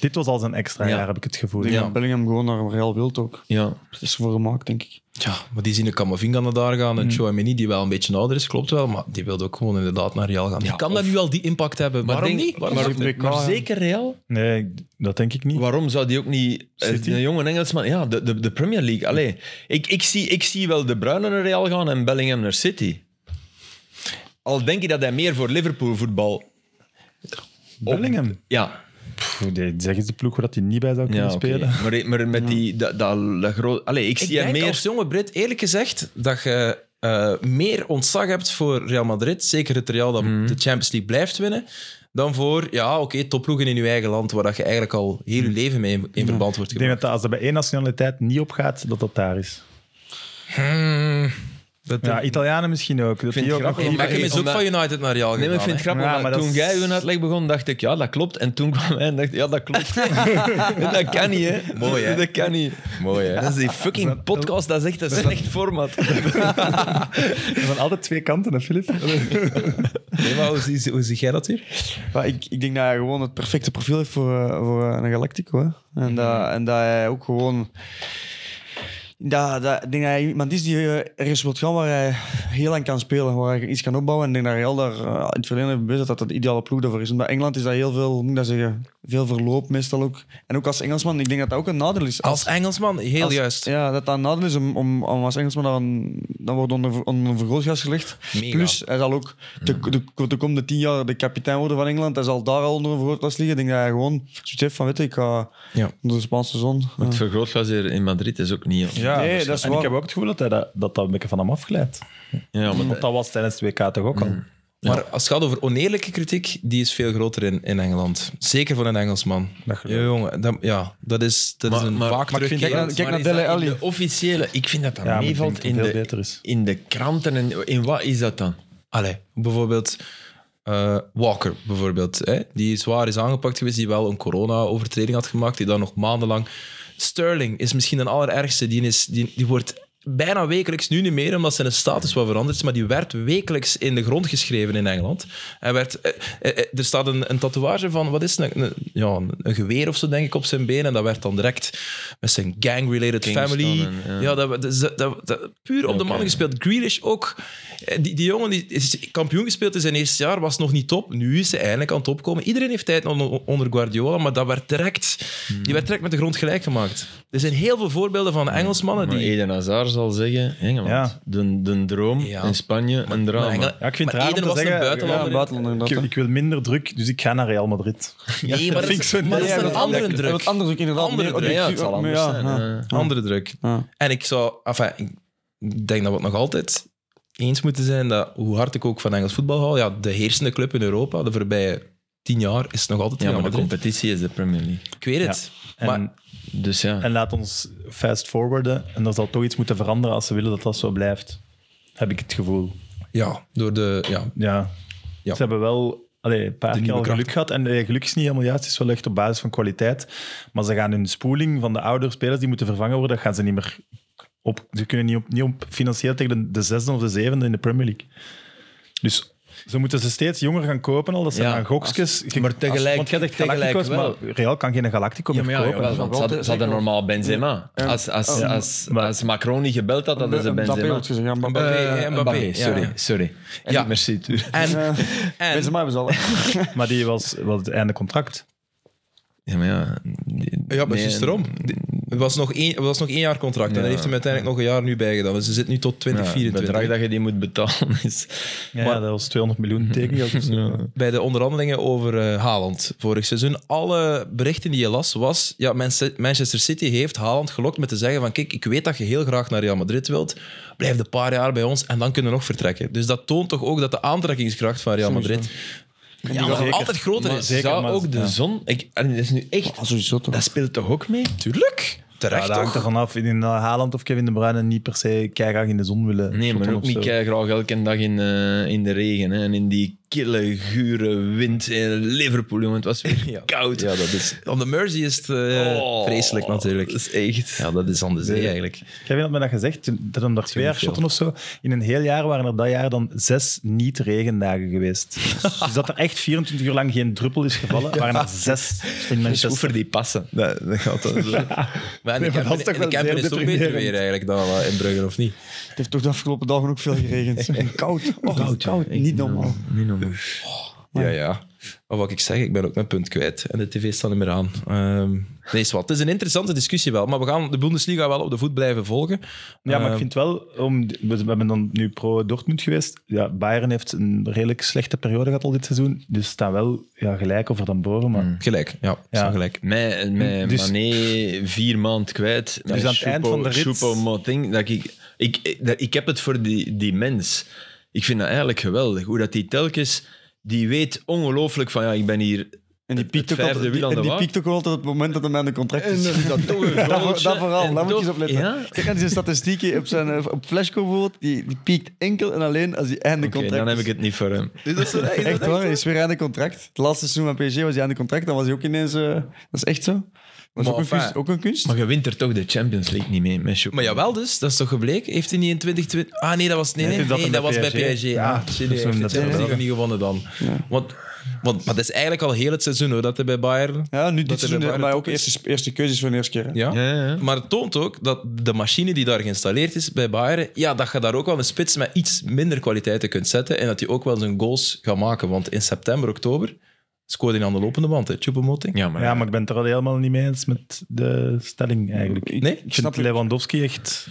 dit was al zijn extra
Ja.
jaar, heb ik het gevoel.
Ik denk
Ja.
dat Bellingham gewoon naar Real wilt ook.
ja,
Dat is voor gemaakt, denk ik.
Ja, maar die zien de Camavinga naar daar gaan en
Mm.
Chouameni, die wel een beetje ouder is, klopt wel, maar die wilde ook gewoon inderdaad naar Real gaan. die kan dan nu al die impact hebben.
Maar
Waarom
denk-
niet? Waarom
maar-
zou ik niet?
maar zeker Real
Nee, ik- dat denk ik niet.
Waarom zou die ook niet... eh,
City?
Een jonge Engelsman... Ja, de, de, de Premier League. Allee, ik, ik, zie, ik zie wel De Bruyne naar Real gaan en Bellingham naar City. Al denk ik dat hij meer voor Liverpool voetbal...
Bellingham.
Ja,
Pff, die- zeg eens de ploeg waar dat hij niet bij zou kunnen
ja oké.
spelen.
Maar, maar met die... Dat, dat, dat groot, allee, ik,
Ik
zie hem
denk
meer...
als jonge Brit, eerlijk gezegd, dat je eh, meer ontzag hebt voor Real Madrid, zeker het Real dat de Champions League blijft winnen, dan voor, ja, oké, topploegen in je eigen land, waar dat je eigenlijk al heel je leven mee in, in verband wordt
Ik denk
gebracht.
dat dat als dat bij één nationaliteit niet opgaat, dat dat daar is.
Hmm, dat
Ja, Italianen misschien ook. Dat
vind het
die ook nog
grappig,
liever-
Beckham is ook
Omdat-
van United naar Real gegaan.
Nee, maar ik
hè.
vind het grappig.
Ja,
want
maar dat
toen
is-
jij hun uitleg begon, dacht ik, ja, dat klopt. En toen kwam hij en dacht ik, ja, dat klopt. dat kan niet, hè. Mooi, hè. Dat kan niet. Mooi, hè. Dat is die fucking podcast, dat is echt een slecht format.
Er zijn altijd twee kanten, hè, Filip?
Nee, maar hoe, zie, hoe zie jij dat hier?
Maar ik, ik denk dat hij gewoon het perfecte profiel heeft voor, eh, voor eh, een Galactico. Hè? En, dat, en dat hij ook gewoon. Dat, dat, ik denk dat hij iemand is die eh, ergens wilt gaan waar hij heel lang kan spelen, waar hij iets kan opbouwen. En ik denk dat Real daar eh, in het verleden heeft bewezen dat dat de ideale ploeg daarvoor is. En bij Engeland is dat heel veel, hoe moet ik dat zeggen, veel verloop meestal ook. En ook als Engelsman, ik denk dat dat ook een nadeel is.
Als Engelsman, heel
Als-
juist.
Ja, dat dat een nadeel is om, om, om als Engelsman dan, dan wordt onder, onder een vergrootglas gelegd.
Mega.
Plus, hij zal ook de, de, de komende tien jaar de kapitein worden van Engeland. Hij zal daar al onder een vergrootglas liggen. Ik denk dat hij gewoon zoiets heeft van, weet je, ik ga
Ja.
onder de Spaanse zon.
Het vergrootglas hier in Madrid is ook niet... Ja,
Ja,
Nee,
dus-
dat is
en
waar.
ik heb ook het gevoel dat hij dat, dat, dat een beetje van hem afglijdt.
ja maar
Want dat was tijdens het WK toch ook
Hmm.
al.
Maar als het gaat over oneerlijke kritiek, die is veel groter in, in Engeland. Zeker voor een Engelsman. Ja,
Dat geloof ik.
jongen, dat, ja, dat is, dat is
Maar-
een
maar-
vaak
maar ik vind
terugkerend-
dat- kijk
Maar
naar
is dat
Dele
in
Alli.
De officiële, ik vind dat dat
Ja, maar ik denk
meevalt
dat het
in
veel
de,
beter is.
in de kranten. En, in wat is dat dan?
Allee, bijvoorbeeld eh, Walker, bijvoorbeeld, hè, die zwaar is aangepakt geweest, die wel een corona-overtreding had gemaakt, die dan nog maandenlang... Sterling is misschien de allerergste. Die, is, die, die wordt bijna wekelijks, nu niet meer, omdat zijn status wat veranderd is, maar die werd wekelijks in de grond geschreven in Engeland. Hij werd, eh, eh, eh, er staat een, een tatoeage van, wat is het, een, een- ja, een- een geweer of zo, denk ik, op zijn been. En dat werd dan direct met zijn gang-related
Kingston
family...
en, ja.
ja, dat, we- dus dat, dat, dat- puur op de
Oké.
man gespeeld. Grealish ook. Eh, Die, die jongen die is kampioen gespeeld in zijn eerste jaar, was nog niet top. Nu is ze eindelijk aan het opkomen. Iedereen heeft tijd onder, onder Guardiola, maar dat werd direct, die werd direct met de grond gelijk gemaakt. Er zijn heel veel voorbeelden van Engelsmannen
Maar
die...
Eden Hazard zal zeggen, Engeland,
Ja.
de, de droom
Ja.
in Spanje, een drama.
Maar Engel-
Ja, ik vind
maar
het raar om
Eden
te
was
zeggen,
een
Ja,
buitenlander.
een buitenlander
Ik,
inderdaad.
wil- ik wil minder druk, dus ik ga naar Real Madrid.
nee, maar dat,
vind
is-
ik zo
maar dat is
niet.
een
Ja,
andere
dat-
druk.
Wat anders ook inderdaad.
Andere
meer
druk.
ja,
objectief,
het zal
maar
anders
ja,
zijn.
ja.
eh.
Andere druk.
Ja.
En ik zou, enfin, ik denk dat we het nog altijd eens moeten zijn dat, hoe hard ik ook van Engels voetbal hou, ja, de heersende club in Europa de voorbije tien jaar is nog altijd
Ja,
Real
maar de
Madrid.
competitie is de Premier League.
Ik weet het.
En,
Maar
Dus ja.
en laat ons fast forwarden. En er zal toch iets moeten veranderen als ze willen dat dat zo blijft. Heb ik het gevoel.
ja, door de... Ja,
Ja.
Ja.
Ze hebben wel allee, een paar keer
nieuwe
al
kracht.
geluk gehad. En eh, geluk is niet helemaal juist. Het is wel echt op basis van kwaliteit. Maar ze gaan hun spoeling van de oudere spelers die moeten vervangen worden, dat gaan ze niet meer op. Ze kunnen niet op, niet op financieel tegen de, de zesde of de zevende in de Premier League. Dus Ze moeten ze steeds jonger gaan kopen al. Dat zijn
Ja,
aan gokjes. ge-
maar tegelijk-
als- want jij zegt
tegelijk
Galactico's,
wel.
maar Real kan geen Galactico
Ja,
meer
maar ja,
kopen.
jawel, want ze hadden- ze hadden normaal Benzema. Als, als, als, als,
maar-
Macron niet gebeld had, hadden ze
Dat
Benzema.
heeft gezegd, ja, Mbappé.
Mbappé,
Eh,
ja, Mbappé, ja.
sorry. sorry.
Ja.
Ja, merci. tuur.
En,
Eh,
en
Benzema hebben ze al.
Maar die was wel het einde contract.
Ja, maar ja. die-
Ja, maar
nee,
juist daarom. Het was nog één, het was nog één jaar contract en
Ja.
daar heeft hij uiteindelijk nog een jaar nu bij gedaan. Dus ze zit nu tot
ja, Het
2024.
bedrag dat je die moet betalen is...
Ja, ja, dat was
Mhm.
200 miljoen dus- tekengeld. of zo.
Bij de onderhandelingen over eh, Haaland vorig seizoen, alle berichten die je las, was ja, Manche- Manchester City heeft Haaland gelokt met te zeggen van kijk, ik weet dat je heel graag naar Real Madrid wilt, blijf een paar jaar bij ons en dan kunnen we nog vertrekken. Dus dat toont toch ook dat de aantrekkingskracht van Real Madrid ja, maar
zeker.
altijd groter
Maar
is.
zeker,
zou
maar-
ook de
ja.
zon... Ik, en dat is nu echt...
Ah, sowieso toch.
Dat speelt toch ook mee?
Tuurlijk,
Ja,
terecht
dat hangt
toch?
er vanaf. In eh, Haaland of Kevin De Bruyne niet per se keihard in de zon willen.
Nee, maar
shotten
ook
of
niet
zo.
graag elke dag in, eh, in de regen. Hè, en in die kille, gure wind in Liverpool. jongen, het was weer
Ja.
koud.
Ja, dat is... Op de Mersey is het eh,
Oh,
vreselijk natuurlijk.
Dat is echt...
Ja, dat is aan de zee eigenlijk.
Kevin had me dat gezegd, toen- dat hem daar twee jaar
veel.
shotten of zo. In een heel jaar waren er dat jaar dan zes niet-regendagen geweest. dus dat er echt 24 uur lang geen druppel is gevallen, waren er zes in
Dat is goed
Manchester.
voor die passen. Dat, dat gaat wel zo.
Maar in de Kempen
Nee, maar dat is toch
in de
wel
Kempen is
zeer
het ook beter weer
deprimerend.
eigenlijk dan eh, in Brugge, of niet?
Het heeft toch de afgelopen dagen ook veel geregend. En koud. Oh, koud. Niet normaal.
Niet normaal.
Ja, ja. Maar wat ik zeg, ik ben ook mijn punt kwijt. En de tv staat niet meer aan. Ehm, nee, is wat. Het is een interessante discussie wel. Maar we gaan de Bundesliga wel op de voet blijven volgen.
Ja, maar
Ehm,
ik vind wel, om, we we hebben dan nu pro-Dortmund geweest. Ja, Bayern heeft een redelijk slechte periode gehad al dit seizoen. Dus staan wel ja, gelijk over dan boven. Maar
Gelijk, ja.
Ja.
Zo gelijk.
Mijn, mijn
Dus-
Mané vier maand kwijt. Met
aan het eind
Choupo-
van de rit-
Choupo-Moting, dat ik, ik, ik, dat- ik heb het voor die, die mens. Ik vind dat eigenlijk geweldig. Hoe dat die telkens... Die weet ongelooflijk van, ja, ik ben hier...
En die
het-
piekt ook
het vijfde
altijd,
wiel
die,
aan
en
de
die
waag.
piekt ook altijd op het moment dat hem aan de contract is.
dat toch een
Dat, voor-
goaltje.
dat vooral,
En
daar moet je
toch-
eens op letten.
Ja?
Kijk aan zijn statistieken op, zijn, eh, op Flashco bijvoorbeeld. Die, die piekt enkel en alleen als hij einde
Oké,
contract
dan
is.
heb ik het niet voor hem.
Echt waar, hij is weer aan de contract. Het laatste seizoen van PSG was hij aan de contract, dan was hij ook ineens... eh, dat is echt zo. Dat is
Maar
ook een,
enfin.
kunst, ook een kunst.
Maar je wint er toch de Champions League niet mee, met Choupo.
Maar jawel dus, dat is toch gebleken? Heeft hij niet in 2020... Ah nee, dat was, nee, nee,
Nee,
nee,
dat
dat,
hem bij
was bij
PSG.
PSG.
Ja,
Ah, shit, nee,
dat is
hij heeft
hem
de Champions
natuurlijk
League niet gewonnen dan. Want, want, maar dat is eigenlijk al heel het seizoen hoor, dat hij bij Bayern...
Ja, nu
hij
dit seizoen,
bij Bayern
maar
top
ook
is.
eerste, eerste keuzes voor de eerste keer. hè.
Ja.
Ja, ja.
Maar het toont ook dat de machine die daar geïnstalleerd is bij Bayern, ja, dat je daar ook wel een spits met iets minder kwaliteiten kunt zetten en dat hij ook wel zijn goals gaat maken. Want in september, oktober scoorde hij aan de lopende band, hè, Choupo-Moting.
Ja, maar...
ja, maar ik ben het er al helemaal niet mee eens met de stelling eigenlijk.
Ik-
Nee,
ik
Ik
snap
vind
het.
Lewandowski echt...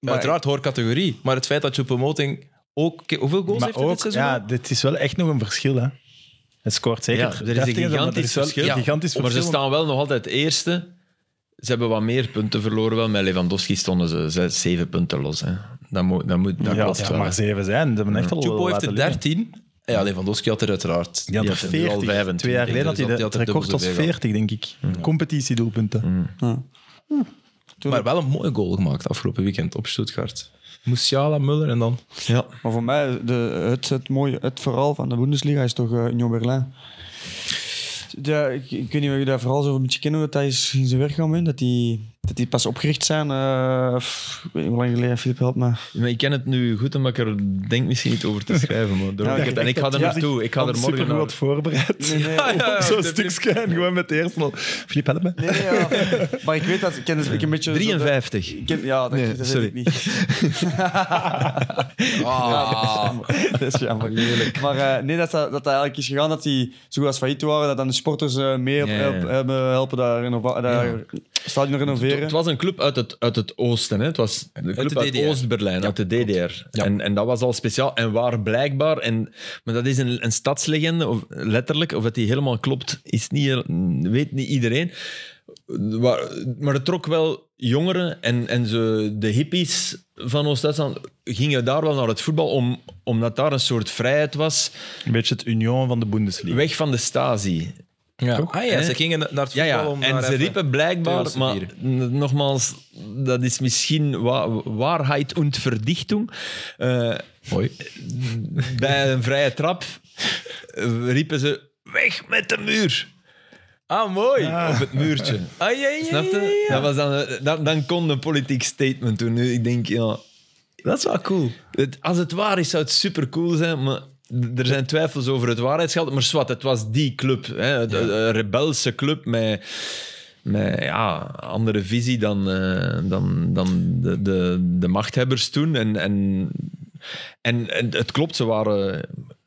Maar Uiteraard hoor categorie, maar het feit dat Choupo-Moting ook... Kijk, Hoeveel goals heeft hij dit seizoen?
ja,
al?
dit is wel echt nog een verschil. Hè. Het scoort zeker.
Ja, er is een
heftig, maar
gigantisch
is wel
verschil.
een gigantisch
Maar ze
verschil.
staan wel nog altijd eerste. Ze hebben wat meer punten verloren. Wel, met Lewandowski stonden ze zes, zeven punten los. Hè. Dat, moet, dat, moet, dat
ja,
klopt
ja,
wel.
maar zeven zijn. Ze hebben echt al
Choupo
wel
heeft
laten
er
liggen.
13. Ja, Lewandowski had er uiteraard.
Die had
Die
er
had er nu al
40.
25,
Twee jaar geleden had
dus
hij de-
die had
het
er
record
dubbel
was
zoveel
40, denk ik. Competitiedoelpunten.
Mm.
Maar wel een mooie goal gemaakt afgelopen weekend op Stuttgart. Musiala, Muller en dan...
Ja.
Maar voor mij, de, het, het, mooie, het verhaal van de Bundesliga is toch eh, Union Berlin. Ja, ik, ik weet niet of je daar vooral zo een beetje kennen hoe dat is in zijn werk gaan in. Dat die, dat die pas opgericht zijn. eh, pff, ik weet niet hoe lang geleden, Filip, help me.
Maar ik ken het nu goed, maar ik er denk misschien niet over te schrijven. Maar door-
Ja,
ik- en ik ga er
ja,
naartoe. Ik ga er morgen
Super
naar.
goed voorbereid.
Nee, nee, nee,
Zo'n stukje en gewoon met de eerste al. Filip, help me.
nee, ja. Maar ik weet dat, ik ken dus- ik een beetje... zo de-
53.
ik ken- ja, dat,
Nee,
dat weet
sorry.
ik niet. Ah, dat is jammer. Maar eh, nee, dat, dat dat eigenlijk is gegaan dat die zo goed als failliet waren, dat dan de sporters eh, mee op-
Ja, ja.
help- hebben helpen daar, renova- daar stadion
Het,
renoveren.
het was een club uit het, uit het oosten. Hè. Het was de club
de
uit,
DDR.
Oost-Berlijn, uit de DDR. En, en dat was al speciaal. En waar blijkbaar... En, maar dat is een, een stadslegende, of letterlijk. Of dat die helemaal klopt, is niet, heel- weet niet iedereen. Waar, maar het trok wel jongeren en, en ze, de hippies van Oost-Duitsland gingen daar wel naar het voetbal, om, omdat daar een soort vrijheid was.
Een beetje het union van de Bundesliga.
Weg van de Stasi.
Ja. Ah ja,
Hè?
ze gingen naar het
Ja,
voetbal
ja.
om
en
daar
ze
even-
riepen blijkbaar,
Teels te
maar
vieren.
n- nogmaals, dat is misschien wa waarheid und verdichtung. Eh,
Mooi.
bij een vrije trap eh, riepen ze, weg met de muur.
Ah, mooi.
Op het muurtje.
Ah, ja, ja,
Snap
ja,
je?
ja.
Dat was dan, eh, dat, dan kon een politiek statement doen. Nu, ik denk, ja,
Dat is wel cool.
het- als het waar is, zou het super cool zijn, maar d- er zijn twijfels over het waarheidsgeld, maar zwart, het was die club. Hè, de, de rebelse club met, met ja, andere visie dan, eh, dan, dan de, de, de machthebbers toen. En, en, en, en het klopt, ze waren...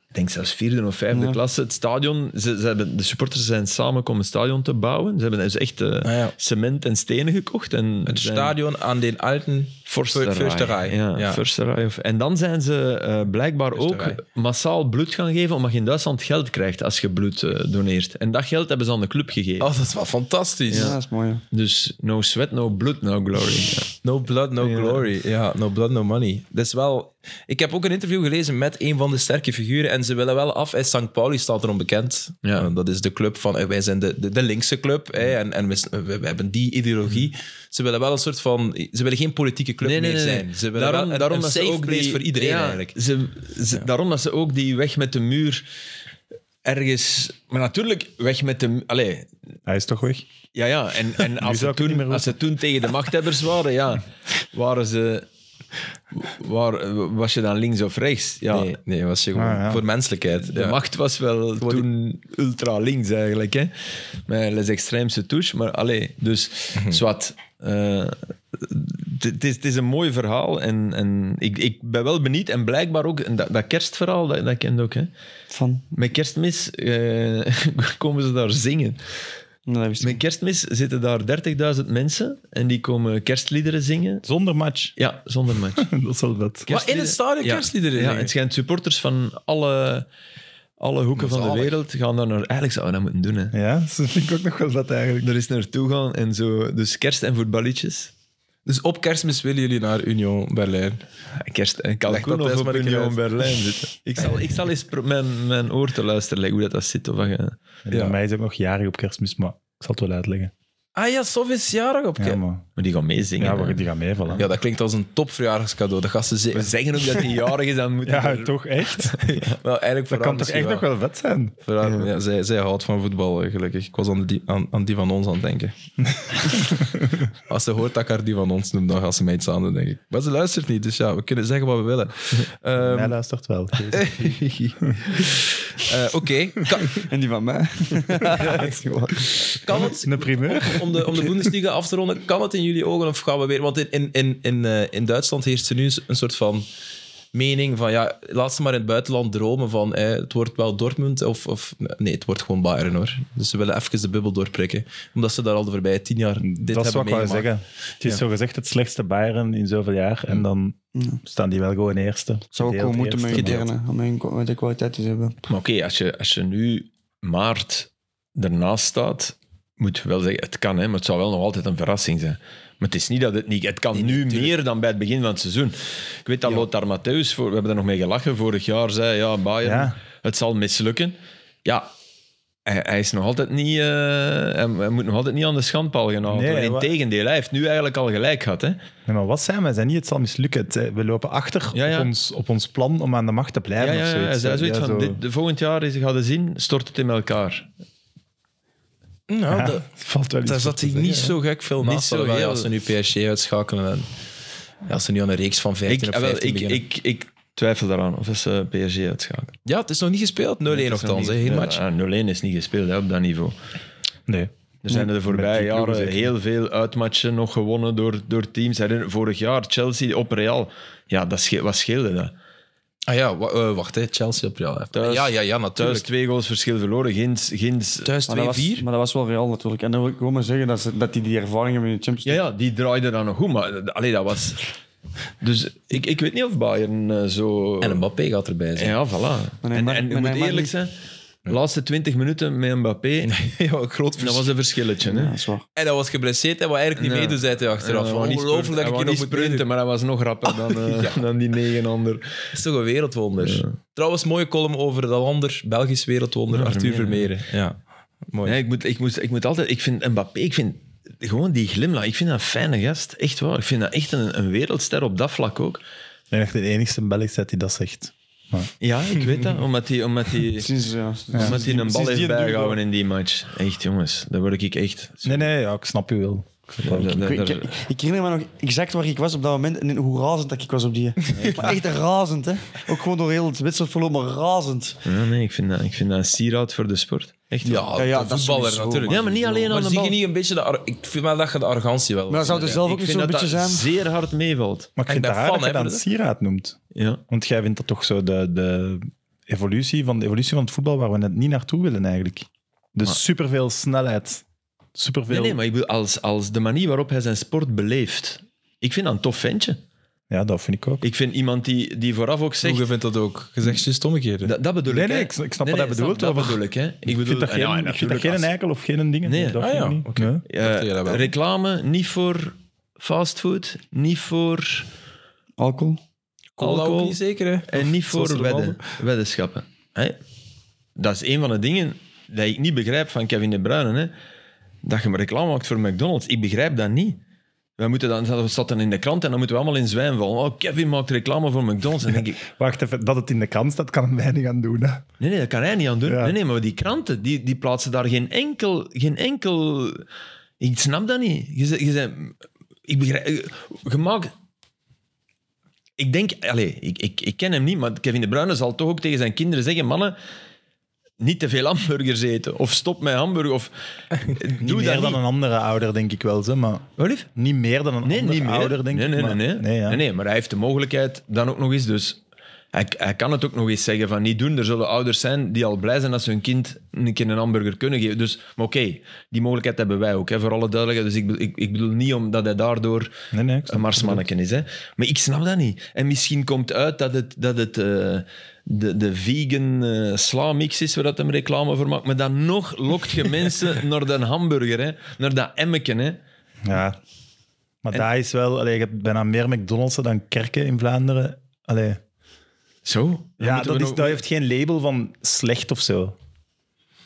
Ik denk zelfs vierde of vijfde klasse. Het stadion, ze, ze hebben, de supporters zijn samen komen het stadion te bouwen. Ze hebben dus echt eh,
Ah, ja.
cement en stenen gekocht. En
Het
er zijn-
stadion aan den alten
Forsterij.
Forsterij,
Ja,
ja.
Forsterij of- En dan zijn ze eh, blijkbaar
Forsterij.
ook massaal bloed gaan geven, omdat je in Duitsland geld krijgt als je bloed eh, doneert. En dat geld hebben ze aan de club gegeven.
Oh, dat is wel fantastisch.
Ja, dat is mooi. ja.
Dus no sweat, no blood, no glory. Ja.
No blood, no glory. Ja, no blood, no money. Dat is wel... Ik heb ook een interview gelezen met een van de sterke figuren en ze willen wel af. Hey, St. Pauli staat erom bekend.
Ja.
Eh, Dat is de club van... eh, Wij zijn de, de, de linkse club hè, en, en we, s- we- we hebben die
Mhm.
ideologie. Ze willen wel een soort van... Ze willen geen politieke club meer zijn. Ze willen wel een, een
dat ze
safe
ook
place
die-
voor iedereen
ja,
eigenlijk.
Ze, ze- Daarom dat ze ook die weg met de muur ergens... Maar natuurlijk, weg met de... mu- Allee,
Hij is toch weg?
Ja, ja. En, en als,
zou
ze
ik niet meer
toen, als ze toen tegen de machthebbers waren, ja, waren ze... Waar, was je dan links of rechts? Ja,
Nee, nee, was je gewoon
Ah, ja.
voor menselijkheid.
De
ja.
macht was wel toen ultra links eigenlijk, hè? met les extreemse touche. Maar allee, dus
Mhm.
zwart. eh, het- Het is, het is een mooi verhaal en, en ik, ik ben wel benieuwd. En blijkbaar ook, en dat, dat kerstverhaal, dat, dat kent ook. Hè?
Van.
Met kerstmis eh, komen ze daar zingen.
Nee, dat wist ik.
Met kerstmis zitten daar 30.000 mensen en die komen kerstliederen zingen.
Zonder match.
Ja, zonder match.
dat is wel wat.
Maar in het stadion kerstliederen
Ja,
zingen?
het schijnt supporters van alle, alle hoeken van de
Zalig.
wereld gaan daar naar... Eigenlijk zouden we dat moeten doen, hè.
Ja, dat vind ik ook nog wel wat eigenlijk.
Er is naartoe gaan en zo. Dus kerst en voetballetjes.
Dus op kerstmis willen jullie naar Union Berlijn.
Kerst en
dat
Calcun
thuis
of op
maar een keer
Union
uit.
Berlijn zitten. Ik zal, ik zal eens pro- mijn, mijn oor te luisteren leggen hoe dat, dat zit. Of, wat je-
Ja. Bij mij is het nog jarig op kerstmis, maar ik zal het wel uitleggen.
Ah ja, Sof is jarig op
Ja,
kerst.
maar,
maar die gaan meezingen.
ja
hè.
we, die gaan meevallen.
Ja, dat klinkt als een topverjaardagscadeau. Dat gaat ze
We
zeker.
zeggen ook dat die jarig is, dan moet
Ja,
er-
toch echt?
dus Wel, eigenlijk
Dat
voor haar
kan toch
misschien
echt nog wel vet zijn?
Voor haar- ja, zij, zij houdt van voetbal, eh, gelukkig. Ik was aan die, aan, aan die van ons aan het denken. Als ze hoort dat ik haar die van ons noem, dan gaat ze mij iets aan doen, denk ik. Maar ze luistert niet, dus ja, we kunnen zeggen wat we willen. Ehm,
Hij luistert wel.
eh, Oké, kan,
En die van mij.
kan het,
Een primeur.
om de, om de Bundesliga af te ronden, kan het in jullie ogen of gaan we weer... Want in, in, in, in, eh, in Duitsland heerst er nu een soort van mening van, ja, laat ze maar in het buitenland dromen van, eh, het wordt wel Dortmund of, of... Nee, het wordt gewoon Bayern, hoor. Dus ze willen even de bubbel doorprikken. Omdat ze daar al de voorbije tien jaar dit
dat
hebben
is wat ik wou
meegemaakt.
zeggen. Het is
Ja.
zo gezegd het slechtste Bayern in zoveel jaar. En dan staan die wel gewoon eerste.
Zou ik
Gedeeld
gewoon moeten
eerste, maar-
mengeren hè, om mijn kwa- de kwaliteit te hebben.
Maar oké, als, je, als je nu maart ernaast staat, moet je wel zeggen, het kan, hè, maar het zou wel nog altijd een verrassing zijn. Maar het is niet dat het niet... Het kan nu meer dan bij het begin van het seizoen. Ik weet dat Lothar Matthäus, voor, we hebben er nog mee gelachen, vorig jaar zei, ja, Bayern,
Ja.
het zal mislukken. Ja, hij, hij is nog altijd niet... eh, hij, hij moet nog altijd niet aan de schandpaal gaan houden.
Nee,
Nee,
wa-
Integendeel, hij heeft nu eigenlijk al gelijk gehad, hè.
Nee, maar wat zijn we? Zijn niet, het zal mislukken. Het, eh, we lopen achter
Ja, ja.
Op, ons, op ons plan om aan de macht te
Ja,
blijven.
ja,
of
ja,
zoiets.
hij zei zoiets
Ja,
van,
zo.
dit- de- volgend jaar is, gaat het zien, stort het in elkaar.
Nou,
Ja,
dat-
valt wel iets
daar
voor
zat
te
hij
zeggen,
niet
hè.
zo gek veel
Niet
naast.
zo
Wel, ja,
heel.
Als ze nu PSG uitschakelen en ja, als ze nu aan een reeks van 15
Ik,
of
ah, wel,
15
ik,
beginnen.
ik, ik twijfel daaraan of eh, ze PSG uitschakelen.
ja, het is nog niet gespeeld. 0-1
Het is nog
nogthans,
niet-
hè, geen
ja,
match.
ja, 0-1 eh, is niet gespeeld hè, op dat niveau.
Nee.
Er zijn er de voorbije
die ploegen
jaren
zeker.
heel veel uitmatchen nog gewonnen door, door teams. Herinner- Vorig jaar Chelsea op Real. Ja, dat sche- wat scheelde dat?
Ah ja, wa- eh, wacht, hè, Chelsea op Real.
Thuis-
ja, ja, ja,
Thuis
natuurlijk.
twee goals verschil verloren. Gins, Gins,
Thuis 2-4.
Maar dat, was, maar dat was wel real natuurlijk. En dan wil ik gewoon maar zeggen dat, ze, dat die die ervaring hebben in de Champions
ja,
League.
ja, die draaide dan nog goed. Maar eh, allee, dat was... Dus ik, ik weet niet of Bayern eh, zo...
En Mbappé gaat erbij zijn.
Ja, voilà.
Maar hij
en
mag-
en je
maar
moet
hij mag
eerlijk
niet-
zijn, de laatste 20 minuten met Mbappé,
Ja, een groot
dat was een verschilletje. Hè?
Ja, dat is waar.
En dat was geblesseerd en wat eigenlijk niet
Ja.
meedoen, zei hij achteraf.
Ja, hij wou niet
Ongelooflijk
sprinten.
dat
Hij
ik
wou
hier nog
niet
moet
sprinten,
meedoen.
maar hij was nog rapper dan, eh, dan die negen ander.
Dat is toch een wereldwonder. Trouwens, mooie column over de lander, Belgisch wereldwonder,
Ja,
Arthur Vermeeren.
Vermeeren.
Ja, mooi.
Nee, ik, moet, ik, moest, ik moet altijd... Ik vind Mbappé, ik vind gewoon die glimlach, ik vind dat een fijne gast. Echt waar. Ik vind dat echt een, een wereldster op dat vlak ook.
Ik ben echt de enigste Belg dat die dat zegt. Maar,
Ja, ik weet dat. Omdat hij... Omdat die,
Sinds, ja, sinds-
Omdat hij een bal
sinds
heeft
die een duo-
bijgehouden in die match. Echt, jongens. Daar word ik echt...
nee, nee, ja, ik snap je wel.
Ja,
Ik,
daar-
ik,
daar-
ik, ik herinner me nog exact waar ik was op dat moment en hoe razend dat ik was op die. Maar echt razend, hè. Ook gewoon door heel het wedstrijdverloop, maar razend.
Ja, nee, ik vind, dat, ik vind dat een sieraad voor de sport. Echt
Ja,
wel.
Ja, ja,
de
dat
voetballer
sowieso,
natuurlijk.
Ja, maar niet alleen
Maar
aan de
zie
bal.
je niet een beetje de... ar- Ik vind wel dat je de arrogantie wel...
Maar zou het zelf ook
ik
niet
vind
zo'n
dat
beetje
dat
zijn?
zeer hard meevalt.
Maar ik vind
En
het
daarvan,
raar dat je
hè,
dat een
voor
sieraad noemt.
Ja.
Want jij vindt dat toch zo de, de, evolutie van, de evolutie van het voetbal waar we net niet naartoe willen eigenlijk. Dus
Maar-
superveel snelheid.
Nee,
Superveel...
nee, maar ik bedoel, als, als de manier waarop hij zijn sport beleeft. Ik vind dat een tof ventje.
Ja, dat vind ik ook.
Ik vind iemand die, die vooraf ook zegt...
vindt dat ook? Je zegt juist omgekeerd.
Dat, dat bedoel
Nee,
ik.
nee,
hè.
ik, ik snap wat hij
snap,
bedoelt.
Dat
over-
bedoel ik, hè. Ik
Ik
bedoel,
vind dat
en
geen,
ja, nou,
ik vind dat
natuurlijk,
geen
als-
eikel of geen dingen.
Nee.
dat
Ah,
vind
ja,
ik niet.
oké.
Nee.
eh,
dacht je dat wel.
reclame, niet voor fastfood, niet voor
Alcohol?
Cola ook
alcohol
niet zeker, hè?
en niet
Zoals
voor
de
wedden, weddenschappen. Hè? Dat is een van de dingen dat ik niet begrijp van Kevin De Bruyne. Hè? Dat je maar reclame maakt voor McDonald's. Ik begrijp dat niet. We moeten dan, dat staat dan in de krant en dan moeten we allemaal in zwijm vallen. Oh, Kevin maakt reclame voor McDonald's. En dan denk ik,
Wacht even, dat het in de krant staat, kan hem weinig aan doen. Hè.
Nee, nee, dat kan hij niet aan doen.
Ja.
Nee, nee, maar die kranten, die, die plaatsen daar geen enkel, geen enkel... Ik snap dat niet. Je, ze- je, ze- ik begrijp... je- Je maakt... Ik denk... Allez, ik, ik, ik ken hem niet, maar Kevin De Bruyne zal toch ook tegen zijn kinderen zeggen... Mannen, niet te veel hamburgers eten. Of stop met hamburger. Of
Niet
doe
meer
dat
dan
niet.
een andere ouder, denk ik wel. Ze, maar
Wat lief?
niet meer dan een
Nee,
andere
niet meer.
ouder, denk
nee,
ik.
nee,
maar-
nee, nee.
Nee, ja.
Nee, nee, maar hij heeft de mogelijkheid dan ook nog eens. Dus hij, hij kan het ook nog eens zeggen van niet doen. Er zullen ouders zijn die al blij zijn als ze hun kind een keer een hamburger kunnen geven. Dus, maar oké, die mogelijkheid hebben wij ook, hè, voor alle duidelijkheid. Dus ik, be- ik, ik bedoel niet omdat hij daardoor
Nee, nee, ik snap
een marsmanneken is. Hè. Maar ik snap dat niet. En misschien komt uit dat het, dat het eh, de, de vegan eh sla-mix is waar dat hem reclame voor maakt. Maar dan nog lokt je mensen naar de hamburger, hè, naar dat emmeken. Hè.
Ja. Maar daar is wel... Allee, je hebt bijna meer McDonald's dan kerken in Vlaanderen. Allee.
Zo? dan
Ja,
moeten
dat,
we
is,
nog-
dat heeft geen label van slecht of zo.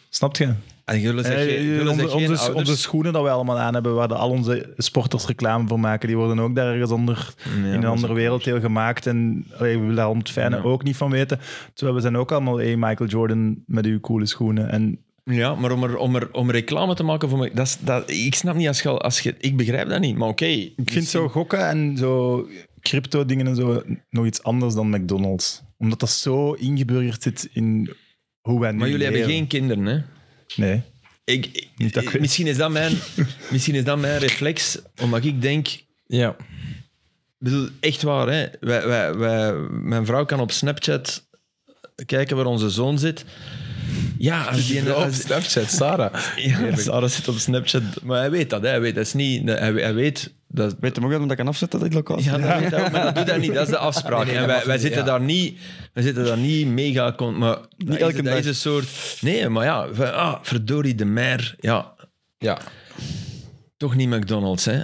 Snap je?
En jullie zijn geen-
Eh,
jullie zijn
onze,
geen
onze,
ouders?
onze schoenen dat wij allemaal aan hebben, waar de, al onze sporters reclame voor maken, die worden ook daar ergens onder, in een
dat is
ander werelddeel gemaakt. En allee, we willen daar om het fijne
Ja.
ook niet van weten. Terwijl we zijn ook allemaal hey, Michael Jordan met uw coole schoenen. En
Ja, maar om, er, om, er, om reclame te maken voor mij, dat, is- dat, ik snap niet als je, al- als je... Ik begrijp dat niet, maar oké. Dus-
ik vind zo gokken en zo crypto dingen en zo nog iets anders dan McDonald's. Omdat dat zo ingeburgerd zit in hoe wij nu
Maar jullie hebben
leven.
geen kinderen, hè?
Nee.
Ik, ik-
Niet dat ik weet.
misschien, is dat mijn, misschien is dat mijn reflex, omdat ik denk... ik
Ja.
bedoel, echt waar, hè? Wij, wij, wij, mijn vrouw kan op Snapchat kijken waar onze zoon zit. Ja, als die...
Op
als-
Snapchat, Sarah.
Ja, Sarah zit op Snapchat. Maar hij weet dat, hè. hij weet dat is niet... Hij, hij weet... Dat,
Weet hem ook dat ik dat kan afzetten, dat ik lokaal
Ja, dat weet hij ook, maar dat doet dat niet. Dat is de afspraak.
nee, dat
en wij,
mag
wij,
niet,
zitten
ja.
daar niet, wij zitten daar niet mega... Con, maar dat is-
elke
dat
dag.
is een soort... Nee, maar ja, van, ah, verdorie, de mer. Ja,
Ja.
toch niet McDonald's, hè.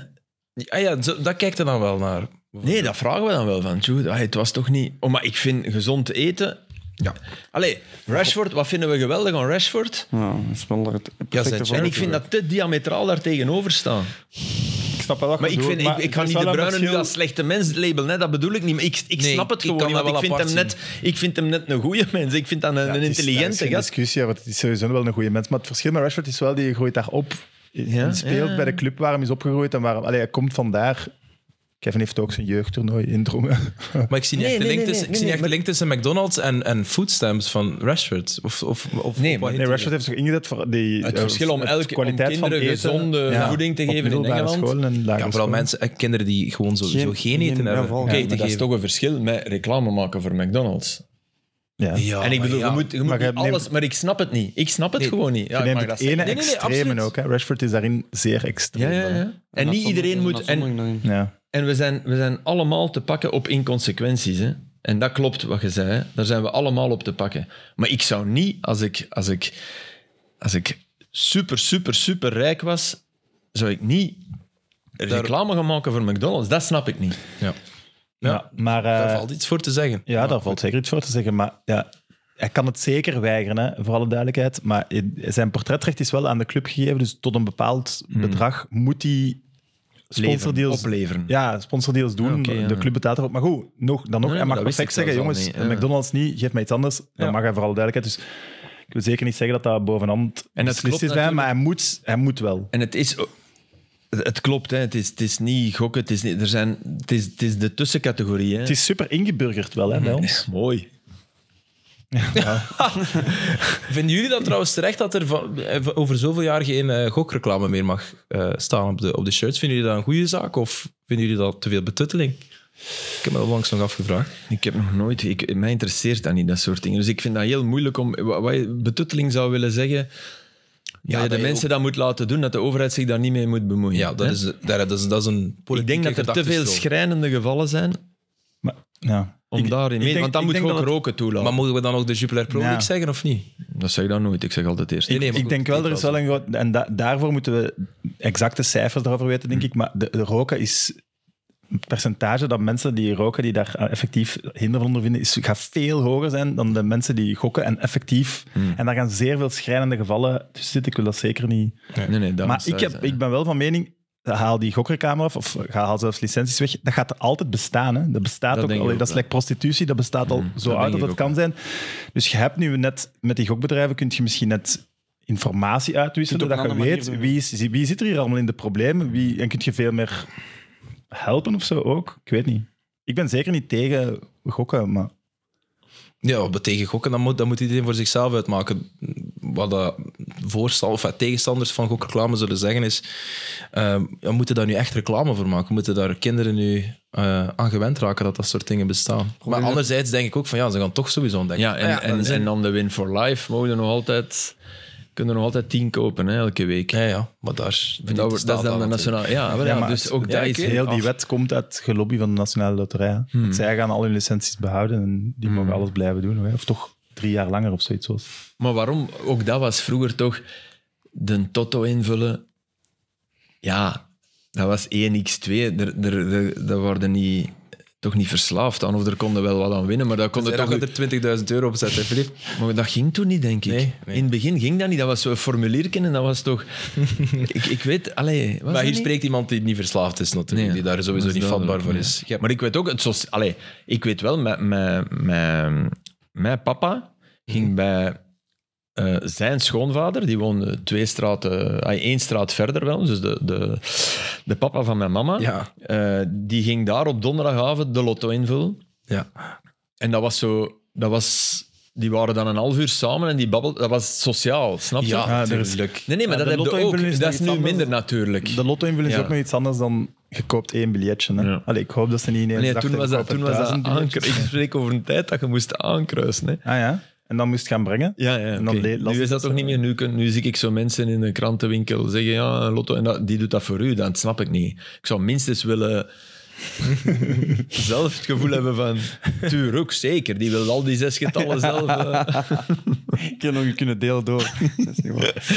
Ah ja, zo, dat kijkt er dan wel naar.
Nee, dat vragen we dan wel van. Tjoe, ah, het was toch niet... Oh, maar ik vind gezond eten...
Ja.
Allee, Rashford, wat vinden we geweldig aan Rashford?
Ja, dat is wel het
Ja,
perfecte
zijn
voorbeeld.
En ik vind dat te diametraal daar tegenover staan.
Ik snap wel wat je
Maar ik,
bedoelt,
vind,
maar
ik, ik
er
ga
is
niet
wel
de
een
bruine nu
verschil-
als slechte mens labelen, hè? dat bedoel ik niet. Maar ik, ik
Nee,
snap het
ik
gewoon
kan
niet,
dat
want ik
wel
vind, hem
apart
net, ik vind hem net een goede mens. Ik vind dat een, een
Ja, het is-
intelligente
dat is geen
gast.
discussie, ja, want het is sowieso wel een goede mens. Maar het verschil met Rashford is wel, die groeit daar op. Die
Ja,
speelt
ja.
bij de club waar hem is opgegroeid en waar hem- allee, hij komt vandaar. Kevin heeft ook zijn jeugdtoernooi in Drongen.
Maar ik zie niet echt
Nee,
de
nee,
link tussen-
nee,
ik
nee,
zie niet echt de
nee,
link tussen McDonald's en, en foodstamps van Rashford. Of, of, of,
Nee,
of
maar-
wat
Nee,
heet
Rashford heeft zich ingezet voor die...
Het
eh,
verschil om
het
elke- om kinderen gezonde voeding te
op
geven in
middelbare
Engeland.
scholen en lagere
die? Ja, vooral
scholen.
mensen, eh, kinderen die gewoon sowieso
Geen-
geen, eten
geen-
hebben.
ja, vooral.
om
Oké,
te
maar dat is
geven.
toch een verschil met reclame maken voor McDonald's.
Ja.
Ja,
en ik
maar
bedoel,
ja.
je moet, je moet
Maar je
niet
neemt-
alles, maar ik snap het niet. Ik snap het
Nee.
gewoon niet. Ja,
Je
ik
neemt
mag
het
dat
ene
zeggen. Nee, nee, nee,
extreem
absoluut.
ook. Hè. Rashford is daarin zeer extreem.
Ja, ja, ja. En niet iedereen moet. En,
Ja.
en we, zijn, we zijn allemaal te pakken op inconsequenties. Hè? En dat klopt wat je zei. Hè? Daar zijn we allemaal op te pakken. Maar ik zou niet, als ik, als ik, als ik super, super, super rijk was, zou ik niet reclame gaan maken voor McDonald's. Dat snap ik niet.
Ja. Ja,
Ja, Maar
daar
eh,
valt iets voor te zeggen.
Ja, daar valt zeker iets voor te zeggen. Maar ja, hij kan het zeker weigeren, hè, voor alle duidelijkheid. Maar zijn portretrecht is wel aan de club gegeven. Dus tot een bepaald
Hmm.
bedrag moet hij sponsordeals...
Leven, opleveren.
Ja, sponsordeals doen.
Ja, oké, ja.
De club betaalt erop. Maar goed, nog, dan nog.
Nee, maar
hij mag
dat wist
perfect
ik
zeggen,
zelfs al
jongens,
niet, ja.
McDonald's niet, geef mij iets anders. Dan
Ja.
mag hij voor alle duidelijkheid. Dus ik wil zeker niet zeggen dat dat bovenhand
En dat
beslist
klopt
is bij hem. Maar hij moet, hij moet wel.
En het is. het klopt, hè. Het, is, het is niet gokken. Het is, niet, er zijn, het is, het is de tussencategorie. Hè.
Het is super ingeburgerd wel,
Mhm.
hè, bij ons.
mooi.
Vinden jullie dat trouwens terecht dat er van, eh, van- over zoveel jaar geen eh, gokreclame meer mag eh, staan op de, op de shirts? Vinden jullie dat een goede zaak of vinden jullie dat te veel betutteling? Ik heb me dat onlangs nog afgevraagd.
Ik heb nog nooit... Ik, mij interesseert dat niet, dat soort dingen. Dus ik vind dat heel moeilijk om... Wat, wat je betutteling zou willen zeggen... dat je
dat
de
je
mensen dat moet laten doen, dat de overheid zich daar niet mee moet bemoeien.
Ja, dat
hè.
is, daar- dat is, dat is een
ik denk
politieke
dat er te veel
gedachtenstroom.
schrijnende gevallen zijn
Maar, ja.
om
Ik-
daarin
ik
mee...
denk-
want dan
ik
moet je
denk
ook
dat het-
roken toelaten.
Maar mogen we dan ook de Jupiler Pro
Ja.
League zeggen of niet?
Dat zeg ik dan nooit. Ik zeg altijd eerst.
Nee, nee, maar
ik
goed,
denk wel, er is
wel
wel een groot... En da- daarvoor moeten we exacte cijfers daarover weten,
Mm.
denk ik. Maar de, de roken is... Het percentage dat mensen die roken, die daar eh, effectief hinder van ondervinden, is, gaat veel hoger zijn dan de mensen die gokken en effectief.
Mm.
En daar gaan zeer veel schrijnende gevallen tussen zitten. Ik wil dat zeker niet...
Nee, nee, daarom
Maar
zei
ik,
ze,
heb,
hè.
ik ben wel van mening, haal die gokreclame af of ga haal zelfs licenties weg. Dat gaat altijd bestaan. Hè? Dat bestaat
Dat
ook,
denk ik
allee,
ook,
dat is
ja.
like prostitutie, dat bestaat al zo
dat
oud
denk
als
ik
het
ook,
kan zijn. Dus je hebt nu net met die gokbedrijven, kun je misschien net informatie uitwisselen,
Je kunt
dat
het op
je
een andere
weet
manier doen,
wie, is- wie zit er hier allemaal in de problemen, wie, en kun je veel meer helpen of zo ook. Ik weet niet. Ik ben zeker niet tegen gokken, maar
Ja, wat tegen gokken, dan moet, dan moet iedereen voor zichzelf uitmaken. Wat de voorstel of wat tegenstanders van gokreclame zullen zeggen is, ehm we moeten daar nu echt reclame voor maken. We moeten daar kinderen nu eh, aan gewend raken dat dat soort dingen bestaan. Maar anderzijds denk ik ook van ja, ze gaan toch sowieso ontdekken.
Ja, en,
Ah dat
en,
is-
en dan de Win for Life mogen we nog altijd, kunnen we nog altijd tien kopen hè, elke week.
ja, ja, maar daar...
Dat, wordt- dat is dan de nationale. Ja, wel,
Ja,
ja,
maar
dus
het-
ook
ja,
dat
ik
is
weet-
heel die wet komt uit het gelobby van de Nationale Loterij. hè.
Hmm.
Want Zij gaan al hun licenties behouden en die mogen alles blijven doen. hè. Of toch drie jaar langer of zoiets. zoals.
Maar waarom? Ook dat was vroeger toch de Toto invullen. Ja, dat was 1x2. Er, er, er, daar worden niet, toch niet verslaafd aan. Of er konden wel wat aan winnen, maar dat konden
Ze
toch.
gaan er 20.000 euro op zetten, Filip.
Maar dat ging toen niet, denk ik.
Nee, nee.
In het begin ging dat niet. Dat was zo'n formulierken en dat was toch. ik, ik weet, allee, was dat
Maar hier
niet?
spreekt iemand die niet verslaafd is natuurlijk,
Nee,
die daar sowieso
dat is
niet vatbaar voor
duidelijk,
is. Je
Ja,
hebt-
maar ik weet ook, het soci- Allee, ik weet wel, mijn, mijn, mijn, mijn papa ging bij eh, zijn schoonvader, die woonde twee straten, ah, één straat verder wel, dus de, de, de papa van mijn mama,
Ja.
eh, die ging daar op donderdagavond de lotto invullen.
ja.
En dat was zo, dat was, die waren dan een half uur samen en die babbelden, dat was sociaal, snap je?
Ja,
Ah, er is-
Nee, nee, maar
Ja,
dat
de
heb je
lotto
ook.
invullen is nog
Dat is
iets
nu
anders.
minder natuurlijk.
De lotto invulling is
Ja.
ook nog iets anders dan je koopt één biljetje. Hè?
Ja.
Allee, ik hoop dat ze niet ineens
Nee,
dachten,
toen was
ik
dat,
koop
toen was dat
1000 biljetjes.
aankru- Ik spreek over een tijd dat je moest aankruisen. Hè.
Ah ja, en dan moest je gaan brengen.
Ja, ja.
En dan
oké.
le- las
Nu is
ik
dat toch niet meer. Nu, kun- nu zie ik zo mensen in de krantenwinkel zeggen: Ja, een Lotto, en dat, die doet dat voor u. Dat snap ik niet. Ik zou minstens willen. zelf het gevoel hebben van. Tuur ook zeker. Die wil al die zes getallen zelf. eh.
Ik heb nog een kunnen delen door. Dat is niet waar.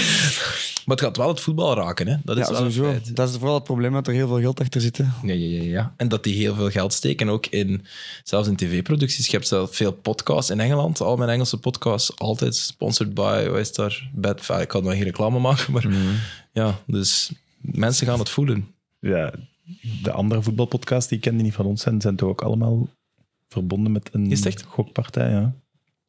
Maar het gaat wel het voetbal raken, hè? Dat
ja,
is wel een
sowieso.
feit.
Dat is vooral het probleem dat er heel veel geld achter zit. hè.
Ja, ja, ja, ja. En dat die heel veel geld steken, ook in, zelfs in tv-producties. Je hebt zelf veel podcasts in Engeland. Al mijn Engelse podcasts, altijd sponsored by, wat is daar? Bad, enfin, ik kan nog geen reclame maken, maar ja, dus mensen gaan het voelen.
Ja, de andere voetbalpodcasts die ik ken, die niet van ons zijn, zijn toch ook allemaal verbonden met een
Is het echt?
gokpartij. Ja.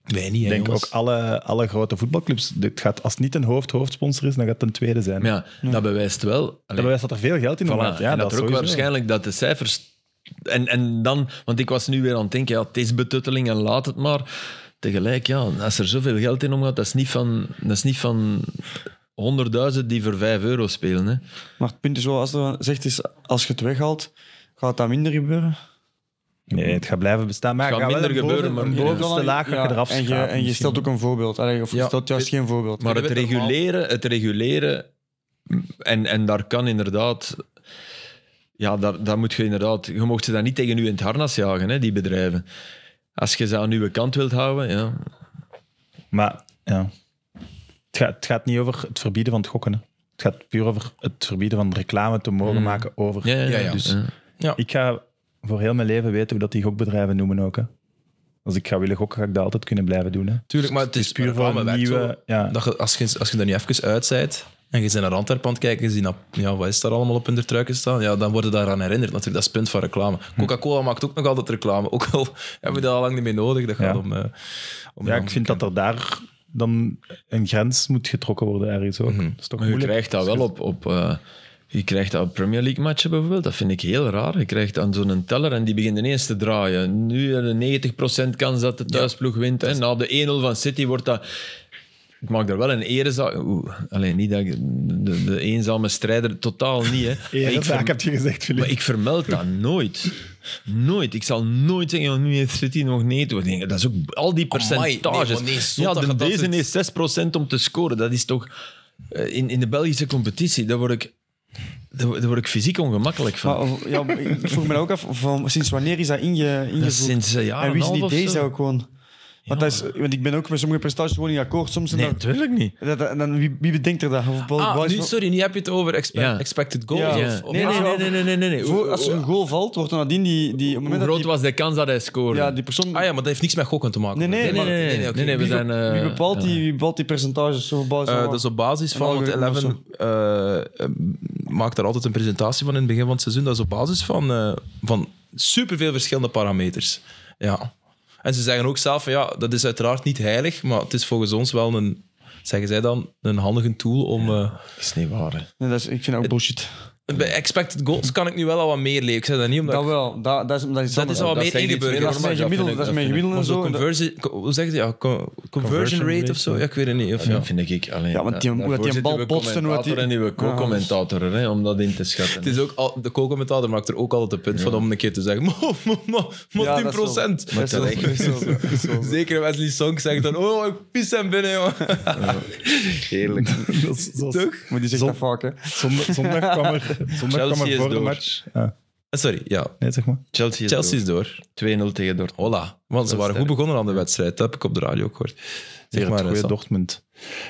Wij niet, hè,
Ik denk ook
jongens.
alle, alle grote voetbalclubs. Dit gaat, als het niet een hoofd-hoofdsponsor is, dan gaat het een tweede zijn.
Maar ja, dat bewijst wel.
Dat
Allee,
bewijst dat er veel geld in
Voilà,
omgaat. Ja,
en dat, er ook
sowieso.
waarschijnlijk dat de cijfers... En, en dan, want ik was nu weer aan het denken, ja, het is betutteling en laat het maar. Tegelijk, ja, als er zoveel geld in omgaat, dat is niet van, dat is niet van 100.000 die voor 5 euro spelen. Hè.
Maar het punt is wel, als er zegt is, als je het weghaalt, gaat dat minder gebeuren.
Nee, het gaat blijven bestaan. Maar
Het
het
gaat
gaat wel
minder
een boven-
gebeuren, maar-
een bovenste laag ga je eraf
En je,
schrapen
en je
misschien.
stelt ook een voorbeeld. Allee, of je
Ja.
stelt juist geen voorbeeld.
Maar het
Kunnen we het
reguleren, het reguleren... En, en daar kan inderdaad... Ja, daar, daar moet je inderdaad... Je mocht ze daar niet tegen u in het harnas jagen, hè, die bedrijven. Als je ze aan uw kant wilt houden, ja.
Maar ja. het, gaat, het gaat niet over het verbieden van het gokken. hè. Het gaat puur over het verbieden van reclame te mogen maken over.
Mm. Ja, ja, ja.
ja.
Dus,
Ik ga voor heel mijn leven weten hoe dat die gokbedrijven noemen ook. Hè. Als ik ga willen gokken, ga ik dat altijd kunnen blijven doen. Hè.
Tuurlijk, maar het is
puur
puur
voor
reclame
een
werkt
nieuwe-
zo.
ja.
Dat je, als, je, als je er nu even uit bent en je bent naar Antwerpen aan het kijken, je ziet dat- ja, wat is daar allemaal op in de truiken staan, ja, dan worden daaraan herinnerd. Natuurlijk, dat is het punt van reclame. Coca-Cola maakt ook nog altijd reclame, ook al hebben we dat al lang niet meer nodig. Dat gaat
Ja.
om... eh, om
Ja, ik vind dat er daar dan een grens moet getrokken worden ergens ook. Dat is toch
Maar je
moeilijk.
krijgt dat wel op, op eh, Je krijgt dat op Premier League matchen bijvoorbeeld, dat vind ik heel raar. Je krijgt aan zo'n teller en die begint ineens te draaien. Nu een 90% kans dat de thuisploeg wint. En na de 1-0 van City wordt dat... Ik maak daar wel een erezaak... Oeh, alleen niet dat ik... De, de eenzame strijder, totaal niet. Hè. Maar
Ja,
ik
dat
verm-
vaak heb je gezegd, Filip.
maar ik vermeld dat nooit. Nooit. Ik zal nooit zeggen, "Oh, nu heeft City nog nee te worden. Dat is ook al die
nee,
percentages.
maar nee, zot
ja,
dat
de,
je dat
deze
doet.
heeft 6% om te scoren. Dat is toch... eh, In, in de Belgische competitie, daar word ik, daar word daar word ik fysiek ongemakkelijk van.
Maar, of- ja, ik vroeg me dat ook af, van, sinds wanneer is dat inge,
dat
ingevoerd?
is sinds een jaar
en wie is
en een
die
half of
deze
zo.
ook gewoon? Want, dat is, want ik ben ook met sommige prestaties gewoon niet akkoord. Soms en
Nee,
dan-
natuurlijk niet.
dat, dat- dan, wie, wie bedenkt er dat? Of wel-
Ah,
wel-
nu, sorry, nu heb je het over expe-
Ja.
expected goals.
Oh, Ja.
Of,
Ja.
of-
Nee,
Ah,
nee, nee, nee, nee, nee, nee.
Voor, als er een goal valt, wordt dan nadien die... die op het
Hoe
moment dat
groot
die,
was de kans dat hij scoorde?
Ja, die persoon...
Ah ja, maar dat heeft niks met gokken te maken.
Nee, nee,
maar-
nee,
nee, nee,
oké.
nee, nee, we
Wie-
zijn... eh,
wie, bepaalt
ja.
die, wie bepaalt die percentages? Zo bepaalt
Eh,
ze-
dat is op basis van, want
algoritme of
11 eh, eh, maakt daar altijd een presentatie van in het begin van het seizoen. Dat is op basis van, eh van superveel verschillende parameters. Ja. En ze zeggen ook zelf, van, ja, dat is uiteraard niet heilig, maar het is volgens ons wel een, zeggen zij dan, een handige tool om... eh,
Dat is niet waar, hè.
Nee, dat is, ik vind dat ook bullshit.
bij expected goals kan ik nu wel al wat meer lezen. Ik zeg dat niet omdat...
Dat
ik-
wel, dat, dat is, dat is
dat is al
dat
meer
zeg ik niet
ingebeurd.
meer,
Dat
Dat
is
is
mijn
mijn
dat vind
gemiddelde,
ik-
dat is
dat
mijn
vind ik-
gemiddelde en
Zo,
zo. en dat-
conversie, co- hoe zeg je dat? Ja, co- conversion
Conversion
rate
rate,
of zo? Ja, ik weet het niet. Of, ja.
Dat vind ik alleen.
Ja, want die- hoe dat die
daarvoor zit
bal
uw
botst en hoe dat die-
commentator En uw co-commentator, hè, om dat in te schatten.
Het is ook al, de co-commentator maakt er ook altijd een punt van om een keer te zeggen: Mo, mo, mo, mo,
Ja,
10
dat is wel-
procent.
dat is wel- dat is wel- dat is wel-
Zeker Wesley Song zegt dan: Oh, ik pis hem binnen, jongen.
heerlijk.
Dat is- dat is-
Maar die zegt
Zon-
dat vaak, hè.
zondag, zondag kwam er, zondag kwam
Chelsea
er
is
voor de
door.
match. Ja,
Eh, Sorry, ja.
nee, zeg maar.
Chelsea is
Chelsea is door.
door. 2-0 tegen Dortmund.
Hola. Want ze waren goed
sterk.
begonnen aan de wedstrijd. Dat heb ik op de radio ook gehoord. Zeg
Tegen het
maar,
goede
Sam.
Dortmund.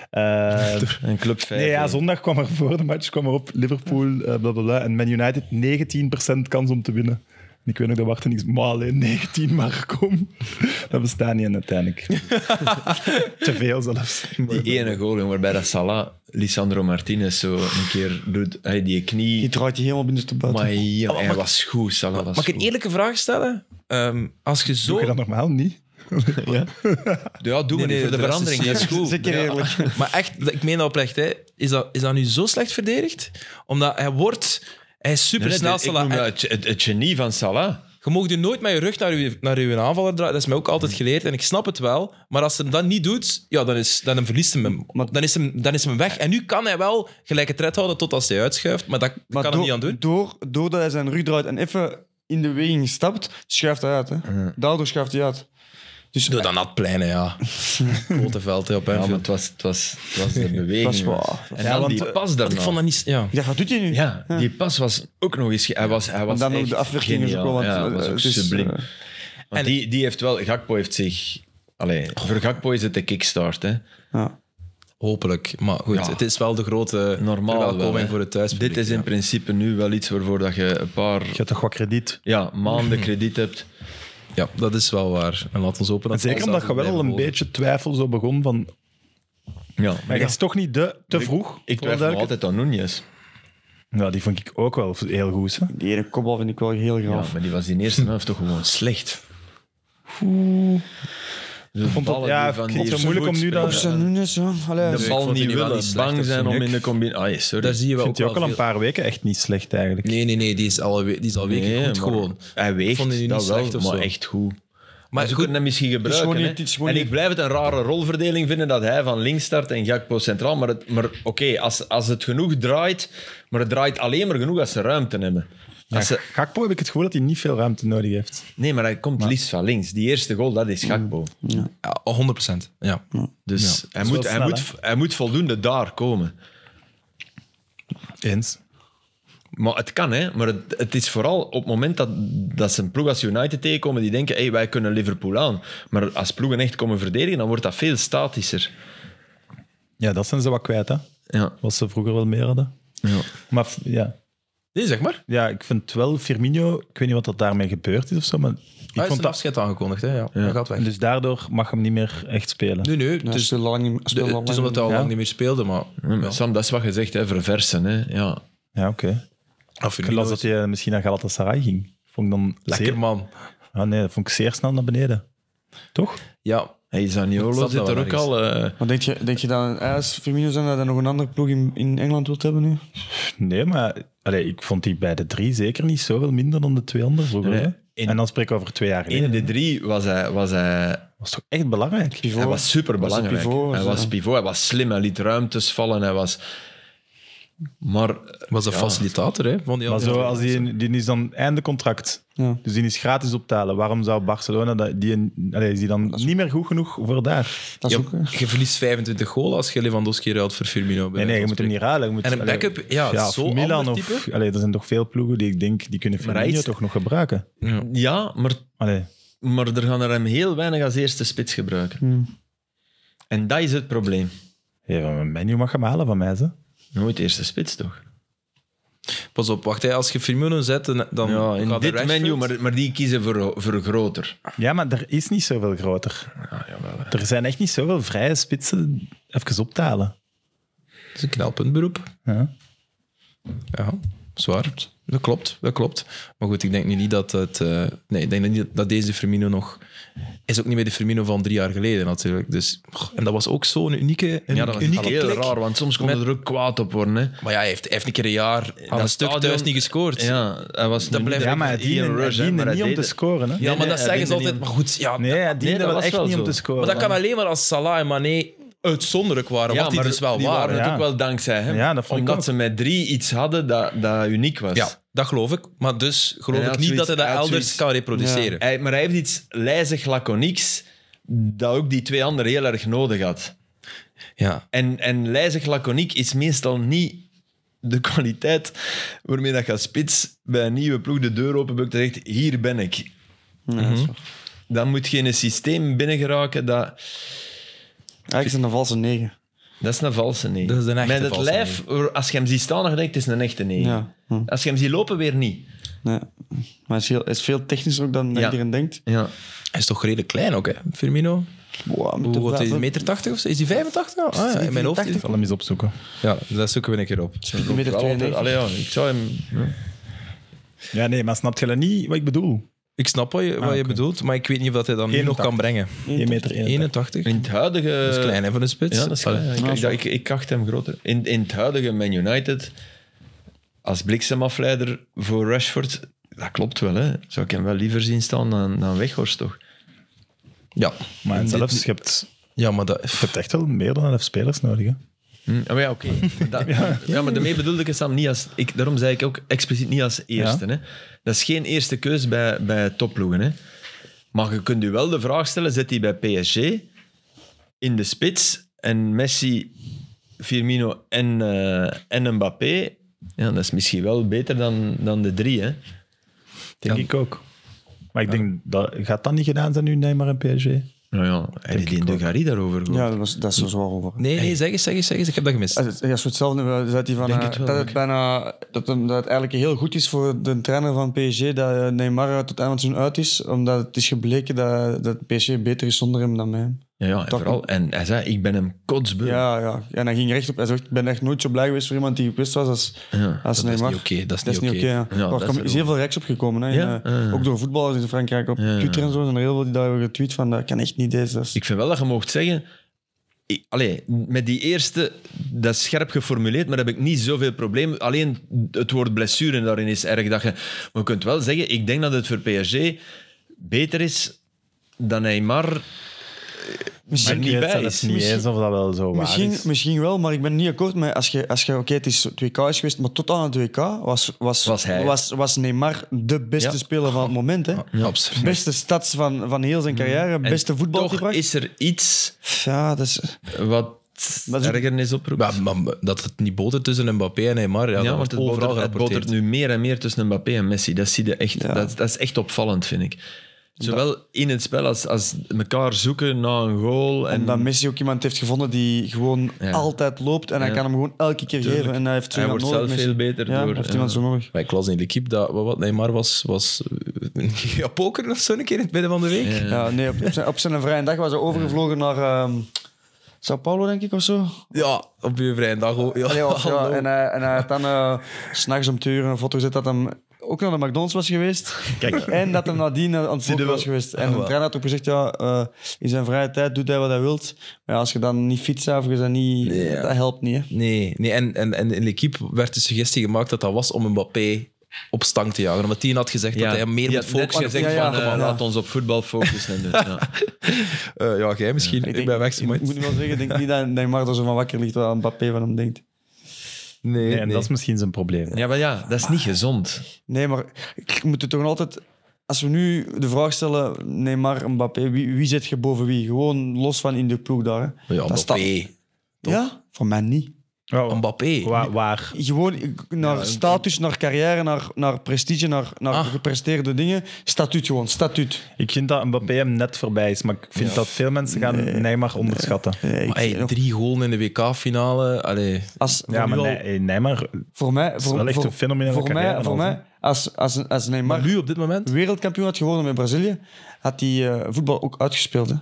Eh,
Een club 5.
nee, ja, zondag kwam er voor de match kwam er op Liverpool, eh, blablabla. En Man United 19% kans om te winnen. En ik weet nog, dat wachten niks. Maar alleen 19 maar kom. Dat bestaat niet en uiteindelijk. Te veel zelfs.
die ene goal jongen, waarbij dat Salah Lisandro Martinez zo een keer doet. Hij die
Die
knie.
draait die helemaal binnen te buiten.
Maar ja, hij was goed. Salah was
Mag ik een
goed.
eerlijke vraag stellen? Ehm, als je zo.
Doe je dat normaal niet?
Ja,
Nee,
doe
nee,
maar niet voor de
de rest is
verandering. Dat is
zeker-
goed.
Zeker
Ja.
eerlijk.
Maar echt, ik meen dat oprecht, hè. Is, dat, is dat nu zo slecht verdedigd? Omdat hij wordt. Hij is
Nee, nee,
supersnel.
ik
Salah.
noem
En-
dat het, het genie van Salah.
Je mag je nooit met je rug naar je, naar je aanvaller draaien. Dat is mij ook altijd geleerd en ik snap het wel. Maar als ze hem dat niet doet, ja, dan, is, dan verliest hij hem.
Maar-
dan, is hem dan is hem weg. En nu kan hij wel gelijke tred houden tot als hij uitschuift. Maar dat
Maar
kan
door-
hij niet aan doen.
Door, doordat hij zijn rug draait en even in de beweging stapt, schuift hij uit. Hè. Daardoor schuift hij uit. Dus
Doe dan dat pleinen, ja. Grote veld hè, op
Ja, maar
Anfield.
het was, het was, het was de beweging.
Dat is waar.
En
Ja,
dan
want,
die
eh,
pas daarna.
Ik vond dat niet... Ja.
Ik dacht, wat doet hij nu?
Ja, die pas was ook nog eens... ge- Hij was, hij was
dan ook
echt
de afwerking is ook
geniaal.
wel, want,
ja, hij was
eh,
ook
het is,
subliem.
eh,
Want
en-
die, die heeft wel... Gakpo heeft zich... Allee, voor Gakpo is het de kickstart, hè.
Ja.
Hopelijk. Maar goed,
Ja.
het is wel de grote
Normaal wel,
verwelkoming
hè.
voor het thuispubliek.
Dit is in
ja.
principe nu wel iets waarvoor dat je een paar
Je hebt toch wat krediet?
ja, maanden krediet hebt.
Ja, dat is wel waar. En laat ons open. dat
Zeker
alles
omdat je
altijd
wel al een
blijven
beetje twijfel zo begon van...
Ja, maar
Hij is toch niet de, te vroeg?
ik
voor een
twijfel
duidelijke-
altijd aan Nunez.
Ja, Nou, die vond ik ook wel heel goed. Hè?
Die ene kopbal vind ik wel heel
Ja,
graaf.
Eh,
maar die was in de eerste helft toch gewoon slecht. De
vond dat-
ballen
ja,
die van
ik vond het
die
moeilijk om nu dat-
Op zijn Nunes, ja. Allee,
de
dus ik
bal
vond die
niet
nu wel
willen,
niet slecht
bang
of
zijn
zo.
om in de combinatie... Ah, sorry.
volgen. Daar zie je
Ik
wel ook
vind die ook
wel
al een
veel-
paar weken echt niet slecht eigenlijk.
Nee, nee, nee. Die is al, die is al weken
Nee,
goed
maar
gewoon.
Hij weegt,
Vond hij nu
dat
niet
wel,
slecht of
maar
zo?
echt goed.
Maar
Maar ze
goed,
kunnen hem misschien gebruiken.
gewoon niet-
hè.
het is gewoon
en
niet-
ik blijf het een rare rolverdeling vinden dat hij van links start en Gakpo centraal. Maar, het- maar oké, als, als het genoeg draait, maar het draait alleen maar genoeg als ze ruimte hebben. Als ze,
Gakpo heb ik het gevoel dat hij niet veel ruimte nodig heeft.
nee, maar hij komt liefst van links. Die eerste goal, dat is Gakpo.
Ja, 100%. Ja.
Dus hij,
wel
moet, hij,
snel,
moet, hij moet voldoende daar komen.
Eens.
Maar het kan, hè. Maar het, het is vooral op het moment dat, dat ze een ploeg als United tegenkomen die denken, hey, wij kunnen Liverpool aan. Maar als ploegen echt komen verdedigen, dan wordt dat veel statischer.
Ja, dat zijn ze wat kwijt, hè?
Ja.
Wat ze vroeger wel meer hadden.
ja.
Maar f- ja.
Nee, zeg maar.
ja, ik vind wel Firmino, ik weet niet wat dat daarmee gebeurd is of zo, maar ik
Hij
vond
heeft een
dat.
afscheid aangekondigd, hè? Ja. Hij gaat weg.
Dus daardoor mag hem niet meer echt spelen.
Nee, nee. Het
Het is
is,
te lang niet
de-
te
het is omdat hij al
Ja.
lang niet meer speelde, maar...
Ja, maar Sam, dat is wat je zegt, hè, verversen. Hè. Ja.
Ja, oké.
Of
Ik las dat hij eh, misschien naar Galatasaray ging. Vond ik dan
Lekker
zeer...
man.
Ah, nee, dat vond ik zeer snel naar beneden. Toch?
Ja.
Hey, Zaniolo
Dat
zit
zou
er
wel
ook
ergens.
al. eh,
Maar denk je, denk je dat een AS Firmino zijn dat hij nog een andere ploeg in, in Engeland wilt hebben nu?
Nee, maar allee, ik vond die bij de drie zeker niet zoveel minder dan de twee anderen vroeger.
Nee,
hè.
in-
en dan spreken we over twee jaar geleden.
in de drie was hij, was hij
Dat was toch echt belangrijk?
Pivot.
Hij was super belangrijk.
Was een pivot,
hij
was,
was
eh.
pivot, hij was slim, hij liet ruimtes vallen. Hij was... Maar
Was een facilitator, hè? Van die
Maar zo,
andere-
als die, die is dan einde contract.
Ja.
Dus die is gratis op te halen. Waarom zou Barcelona dat, die, allee, is die dan niet meer goed genoeg voor daar?
Dat is
Ja,
ook... eh,
je verliest 25 goal als je Lewandowski ruilt voor Firmino. bij
Nee, nee, je
wijze
moet
van
hem niet ruilen. Je moet,
En een
allee,
backup, ja,
of
zo
Milan
ander
of,
type.
allee, er zijn toch veel ploegen die ik denk die kunnen
hij
Firmino
is-
toch nog gebruiken.
spreken. Ja.
ja, maar,
Allee,
maar er gaan er hem heel weinig als eerste spits gebruiken.
hmm.
En dat is het probleem.
hey, een menu mag hem halen van mij. Ze.
Nooit eerste spits, toch?
Pas op, wacht. Hè. Als je Firmino zet, dan dan
Ja, in
gaat de
dit
Rashford-
menu, maar, maar die kiezen voor, voor groter.
Ja, maar er is niet zoveel groter. er zijn echt niet zoveel vrije spitsen even op te halen.
Dat is een knelpuntberoep.
Ja.
Ja, zwaar. Dat klopt, dat klopt. Maar goed, ik denk nu niet dat het... eh, nee, ik denk niet dat- dat deze Firmino nog... Is ook niet meer de Firmino van drie jaar geleden natuurlijk. Dus, goh, en dat was ook zo'n unieke, een
Ja, dat was
unieke
heel
klik.
raar, want soms kon
Met-
er ook kwaad op worden. Hè.
Maar ja, hij heeft, hij heeft een keer een jaar aan
Dat
een stuk
stadion-
thuis niet gescoord. Ja,
Ja, hij was nu
blijft-
niet
Ja, maar hij
echt
diende,
Ian
hij
Rush, hè,
diende
maar hij
niet om
deed
te
het.
scoren. Hè?
maar dat
nee, hij
zeggen
deed
ze
dat
altijd.
niet.
Maar goed, ja,
Nee, hij diende
dat
wel
was
echt
wel
niet om
zo.
te scoren.
maar dat kan alleen maar als Salah en Mané uitzonderlijk waren. wat die
maar
dus wel
die
waren.
waren het
Ja.
ook wel dankzij hem.
Ja, dat vond ik
Omdat
ook.
ze met drie iets hadden dat, dat uniek was.
Ja, dat geloof ik. Maar dus geloof
Hij
ik
had
niet dat hij
zoiets-
dat
hij had
elders
zoiets-
kan reproduceren.
Hij- maar hij heeft iets lijzig laconieks dat ook die twee anderen heel erg nodig had.
Ja.
En, en lijzig laconiek is meestal niet de kwaliteit waarmee dat gaat spits bij een nieuwe ploeg de deur openbukt en zegt, hier ben ik.
Nee,
Mhm.
dat is waar.
Dan moet je in een systeem binnengeraken dat...
Eigenlijk is het een valse negen.
Dat is een valse nee.
Dat is een echte
Met het
valse
lijf, als je hem ziet staan, dan denk je, het is een echte nee.
Ja. Hm.
Als je hem ziet lopen, weer niet.
Nee. Maar hij is, heel, hij is veel technischer ook dan
Ja.
iedereen denkt.
Ja.
Hij is toch redelijk klein ook, hè, Firmino?
Wow, met de
Hoe wat is
vijf-
hij? meter 80 of zo? Is hij 85? Ah, ja, in mijn hoofd. is-
Ik zal hem eens opzoeken.
Ja, dat zoeken we een keer op.
meter
Wel,
92.
Allee, ja, ik zou hem...
Ja, nee, maar snap je dat niet wat ik bedoel?
Ik snap wat je, wat je
oké.
bedoelt, maar ik weet niet of dat hij dat nu nog
81.
kan brengen.
1 meter 81.
81?
In het huidige...
Dat is klein, hè, voor een spits.
Ja, dat is klein. Ik,
Ah,
ik,
zo.
ik, ik acht hem groter. In, in het huidige Man United, als bliksemafleider voor Rashford, dat klopt wel. Hè? Zou ik hem wel liever zien staan dan, dan Weghorst, toch?
Ja.
Maar zelfs, je hebt,
ja, maar dat...
je hebt echt wel meer dan 11 spelers nodig. Hè?
Hm, Maar ja, oké. Dat- ja. maar daarmee bedoelde ik het Sam niet als... Ik, daarom zei ik ook expliciet niet als eerste. Hè? Dat is geen eerste keus bij, bij topploegen. Hè? Maar je kunt u wel de vraag stellen, zet hij bij PSG in de spits en Messi, Firmino en, eh, en Mbappé... Ja, dat is misschien wel beter dan, dan de drie, hè?
Denk ik ook. Maar ik denk, dat, gaat dat niet gedaan zijn nu Neymar en PSG?
Nou ja, heb je die in Dugarry daarover gehoord?
Ja, dat, was, dat is er zwaar over.
Nee, nee, zeg eens, zeg eens, zeg eens. Ik heb dat gemist.
Als het- ja, Als we hetzelfde hebben, zei hij van, eh, dat, het bijna, dat, hem- dat het eigenlijk heel goed is voor de trainer van PSG dat eh, Neymar tot het einde van het seizoen uit is. Omdat het is gebleken dat, dat PSG beter is zonder hem dan met hem.
Ja, ja, en,
Toch-
vooral, en hij zei, ik ben hem kotsbeu.
Ja, ja. En hij ging recht op. Hij zegt, ik ben echt nooit zo blij geweest voor iemand die gewist was als,
Ja,
als
dat is
Neymar.
niet oké, dat is
Dat is
niet
niet
oké.
oké. ja.
Ja,
Maar
dat
er
is
kwam- is
wel-
heel veel reacties op gekomen. Hè.
Ja,
En, eh,
ja, ja.
Ook door voetballers in Frankrijk op
Ja, ja.
Twitter en zo zijn er heel veel die daar hebben getweet van dat kan echt niet deze. Dat is-
Ik vind wel dat je mocht zeggen. ik- Allee, met die eerste, dat is scherp geformuleerd, maar daar heb ik niet zoveel probleem. Alleen het woord blessure daarin is erg. Dat je, maar je kunt wel zeggen, ik denk dat het voor PSG beter is dan Neymar er
Misschien-
ik
niet
weet
bij
zelfs
is.
niet
Misschien-
eens of dat wel zo waar
Misschien,
is.
misschien wel, maar ik ben niet akkoord met als je, als je oké, het is het WK is geweest, maar tot aan het WK was, was,
Was hij.
was, was Neymar de beste
Ja.
speler van het moment. Hè.
Ja, absoluut.
Beste stads van, van heel zijn carrière,
Mm. En
beste voetbal
Toch
gebracht.
is er iets
Ja, dat is,
wat
Dat is ook-
ergernis oproept.
Maar, maar dat het niet botert tussen Mbappé en Neymar, ja,
ja,
dat
want
wordt
het
overal
botert, het
gerapporteerd.
botert nu meer en meer tussen Mbappé en Messi. Dat, zie je echt,
Ja.
dat, dat is echt opvallend, vind ik. Zowel in het spel als, als elkaar zoeken naar een goal. En
omdat Messi ook iemand heeft gevonden die gewoon
Mm. Ja.
altijd loopt en hij
Ja.
kan hem gewoon elke keer
Tuurlijk.
geven. En hij heeft zo
Hij
iemand
wordt
nodig,
zelf
Messi.
veel beter
Ja, hij
door, eh,
heeft
ja.
iemand zo nodig.
Maar ik las in de keep dat wat wat Neymar was, was eh, ja, poker of zo een keer in het midden van de week.
Ja, nee, op, op zijn, op zijn vrije dag was hij overgevlogen naar... ehm, Sao Paulo, denk ik, of zo.
Ja, op je vrije dag. ook. Ja,
Allee, of, Ah, ja,
hallo.
en, hij, en hij had dan eh, s s'nachts om twee uur een foto gezet dat hem ook naar de McDonald's was geweest.
Kijk,
En dat hij nadien aan het
je
vlokken
wel?
was geweest. En
Ah,
de
wel.
trainer had ook gezegd, ja, eh, in zijn vrije tijd doet hij wat hij wilt. Maar ja, als je dan niet fietst, of je dan niet...
Nee, ja.
Dat helpt niet, hè.
Nee, nee en, en, en in de equipe werd de suggestie gemaakt dat dat was om Mbappé op stang te jagen. Omdat die had gezegd dat hij meer
je
moet
had net
focussen.
gezegd
Ja, ja,
van,
ja.
eh, laat ons op voetbal focussen. en dit, ja.
Eh, ja, jij misschien. Ik,
denk-
ben weg.
Ik moet moet wel zeggen, ik denk niet dat Neymar er zo van wakker ligt wat Mbappé van hem denkt.
Nee,
Nee,
nee,
en dat is misschien zijn probleem.
ja, maar ja, dat is niet gezond.
Nee, maar ik moet het toch altijd... Als we nu de vraag stellen, Neymar, Mbappé, wie, wie zet je boven wie? Gewoon los van in de ploeg daar. hè.
Ja,
Dat is
Mbappé. toch?
Ja, voor mij niet.
Oh,
Mbappé.
wa- waar?
Gewoon ik- naar status, naar carrière, naar, naar prestige, naar, naar
Ah.
gepresteerde dingen. Statuut gewoon, statuut.
Ik vind dat Mbappé hem net voorbij is, maar ik vind dat veel mensen gaan Neymar onderschatten.
Nee, Eh, ik-
Maar hey, drie goals in de WK-finale. Allee,
als,
Ja, maar nee, hey, Neymar,
Voor mij...
is
Voor,
wel echt
voor,
een fenomenale
voor
carrière
mij,
en
voor
alles,
mij als, als, als Neymar
maar nu op dit moment?
wereldkampioen had geworden met Brazilië, had hij eh, voetbal ook uitgespeeld. Hè?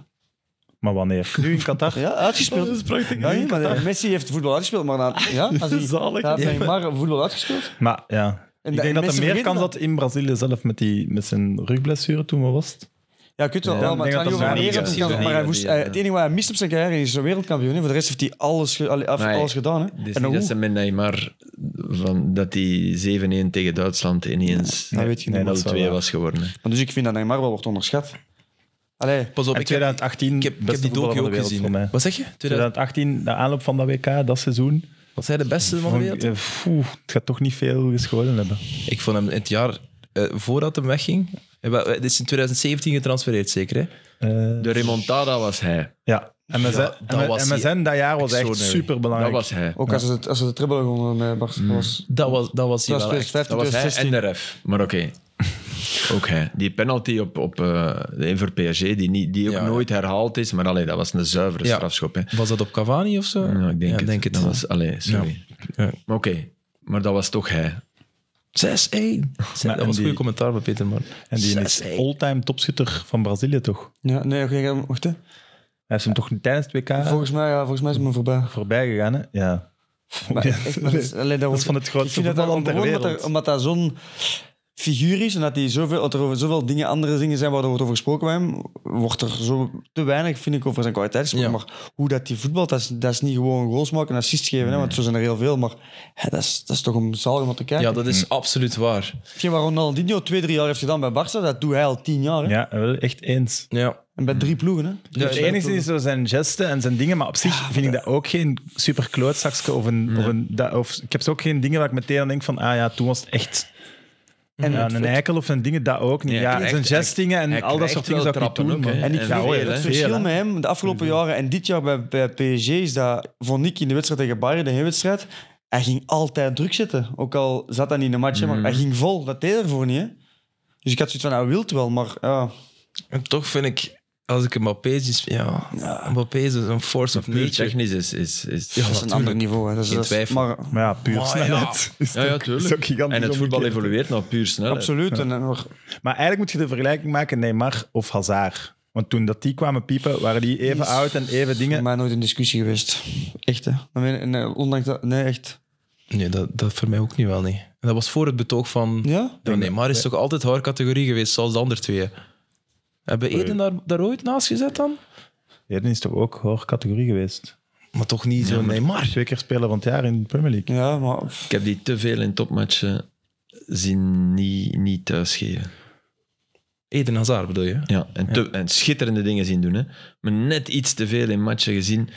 maar wanneer? Nu in Qatar?
Ja, uitgespeeld.
is prachtig.
Ja, maar, eh, Messi heeft voetbal uitgespeeld, maar na, ja, als hij,
Zalig.
had Neymar voetbal uitgespeeld.
Maar ja,
En
ik
dat-
denk dat
mensen
hij meer
vergeten
kans
dat.
had in Brazilië zelf met, die, met zijn rugblessure toen, wat was het?
Ja, je kunt wel,
Ja,
wel,
ik
maar het
denk
gaat niet
dat
over
dat
meer
zo
op zijn
is.
kans. Maar hij moest,
Ja.
hij- het enige wat hij mist op zijn carrière is een wereldkampioen. hè. Voor de rest heeft hij alles, ge- allee, af-
Maar hij-
alles gedaan. Hè.
Dus niet
en hoe?
dat ze met Neymar, van, dat die 7-1 tegen Duitsland ineens
dat weet je
nee,
niet.
dat is
0-2
wel waar.
was geworden. hè.
Maar Dus ik vind dat Neymar wel wordt onderschat. Allee,
Pas op,
En
ik heb,
2018,
ik heb, ik heb
beste
die docu
voetballer van
ook
de wereld voor mij.
gezien. Wat zeg je? 2000
2018, de aanloop van dat WK, dat seizoen,
Was hij de beste van de
vond
wereld?
ik, eh, foeh, het gaat toch niet veel gescholen hebben.
Ik vond hem in het jaar eh, voordat hem wegging. eh, wel, eh, Dit is in 2017 getransfereerd, zeker. Hè?
Eh,
De remontada was hij.
ja, MSN,
dat was hij.
MSN dat jaar was echt
Extraordinary.
Dat
superbelangrijk.
was hij.
ook als ze het, als ze de triple gewonnen met
Mm.
Barcelona. was.
Dat was, dat was hij
Dat was
wel echt.
2015,
Dat was hij
2016.
en de ref. Maar oké. Ook hij. Die penalty op, op eh, de voor PSG, die, niet, die ook
Ja, ja.
nooit herhaald is, maar allee, dat was een zuivere
Ja.
strafschop. Hè.
Was dat op Cavani of zo?
Ja, ik denk het.
Denk het.
Dat was, allee, sorry.
Ja.
Maar oké, maar dat was toch hij.
6-1. Dat was
en
een
die-
goede commentaar bij Peter Mar.
En die is
6-1.
all-time topschutter van Brazilië, toch?
Ja, nee, oké, wacht hè.
Hij is hem toch tijdens het WK
Volgens mij, ja, volgens mij is het me voorbij.
voorbij gegaan, hè? Ja.
Maar echt, maar dat is- allee, dat
Dat
wordt-
is van het
Ik
grootste
vind dat dat
voetballand ter
onbehoorlijk,
wereld.
omdat, er- omdat dat zo'n figuur is en dat, die zoveel, dat er over zoveel dingen, andere dingen zijn waar er wordt over gesproken bij hem, wordt er zo te weinig, vind ik, over zijn kwaliteit gesproken.
Ja.
Maar hoe dat die voetbalt, dat is, dat is niet gewoon goals maken en assists geven, hè, want zo zijn er heel veel. Maar hè, dat, is, dat is toch om zalig om te kijken.
Ja, dat is absoluut waar.
Hetgeen waar Ronaldinho twee, drie jaar heeft gedaan bij Barça, dat doet hij al tien jaar. hè.
Ja, wel echt eens.
Ja.
En bij drie ploegen. Hè.
Dus het enige is zo zijn gesten en zijn dingen, maar op zich vind ik dat ook geen super klootzakske of een, of een dat, of, ik heb zo ook geen dingen waar ik meteen aan denk van, ah ja, toen was het echt
En
ja,
het-
een eikel of zijn dingen, dat ook niet.
Nee,
ja,
hij
zijn
krijgt-
gestingen en
hij
al dat
krijgt
soort dingen
wel
zou ik niet
trappen
doen,
ook,
man.
hè.
En ik
En
vind
veel,
het
hè.
verschil
Veel, hè.
met hem de afgelopen jaren en dit jaar bij, bij PSG is dat, vond ik in de wedstrijd tegen Bayern, de heenwedstrijd, hij ging altijd druk zitten. Ook al zat hij niet in de match, hè, maar hij ging vol. Dat deed hij ervoor niet. Hè? Dus ik had zoiets van, hij wilt wel, maar ja.
En toch vind ik, als ik Mbappé zie... Ja, Mbappé is een force of
Puur
nature.
technisch is... is, is
dat is een ander niveau. Hè. Dat is,
Geen
dat is-
twijfel.
Maar,
Maar ja, puur
Maar
snelheid. Is
ja, ja,
ook- is ook
tuurlijk.
gigantisch
En het voetbal
omgekeerd.
evolueert naar puur snelheid.
absoluut. En, en- maar,
Maar eigenlijk moet je de vergelijking maken Neymar of Hazard. Want toen dat die kwamen piepen, waren die even
Is-
oud en even dingen.
voor mij nooit een discussie geweest. Echt, hè. Dan weet ik- nee, ondanks dat... Nee, echt.
Nee, dat, dat voor mij ook niet wel, nee. En dat was voor het betoog van...
Ja?
Ja, nee, maar is toch altijd haar categorie geweest, zoals de andere twee. Hebben Eden daar, daar ooit naast gezet dan?
Eden is toch ook hoor categorie geweest.
Maar toch niet zo Neymar.
Twee keer speler van het jaar in de Premier League.
Ja, maar... pff,
Ik heb die te veel in topmatchen zien niet, niet thuisgeven.
Eden Hazard bedoel je?
Ja, en, te- en schitterende dingen zien doen. Hè. Maar net iets te veel in matchen gezien.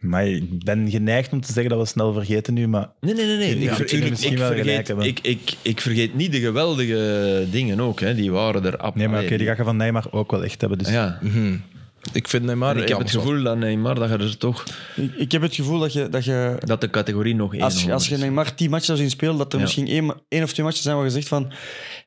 Maar ik ben geneigd om te zeggen dat we snel vergeten nu, maar
Nee, nee, nee. nee. Ik,
Ja,
ver-
natuurlijk
ik,
misschien
ik
wel gelijk
vergeet,
hebben.
ik, ik, ik vergeet niet de geweldige dingen ook. Hè. Die waren er absoluut.
Nee, maar oké, die ga je van Neymar ook wel echt hebben. Dus
Ah, Ja.
Ik vind Neymar...
En
ja,
ik heb het
maar zo-
gevoel dat Neymar, dat je er toch...
ik, ik heb het gevoel dat je... Dat je
Dat de categorie nog één
Als, je- als
honderd
je
is.
Neymar 10 matchen zou zien spelen, dat er
Ja.
misschien één, één of twee matchen zijn waar je zegt van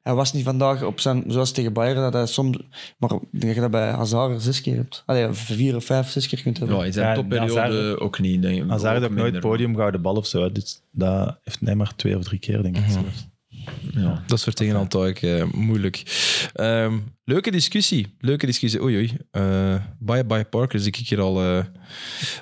hij was niet vandaag op zijn, zoals tegen Bayern, dat hij soms, maar ik denk dat je dat bij Hazard zes keer hebt. Allee, vier of vijf, zes keer kunt hebben.
Ja, in zijn
Ja, en
topperiode
Hazard-
ook niet. Denk ik.
Hazard heeft ook nooit
minder. Mhm.
podiumgouden bal of zo. hè. Dus dat heeft Neymar twee of drie keer, denk ik. zelfs.
Ja.
Dat is voor tegen Antwerpen eh, moeilijk. Ehm, leuke discussie. Leuke discussie. Oei, oei. Eh, bye bye Parker zie ik hier al eh,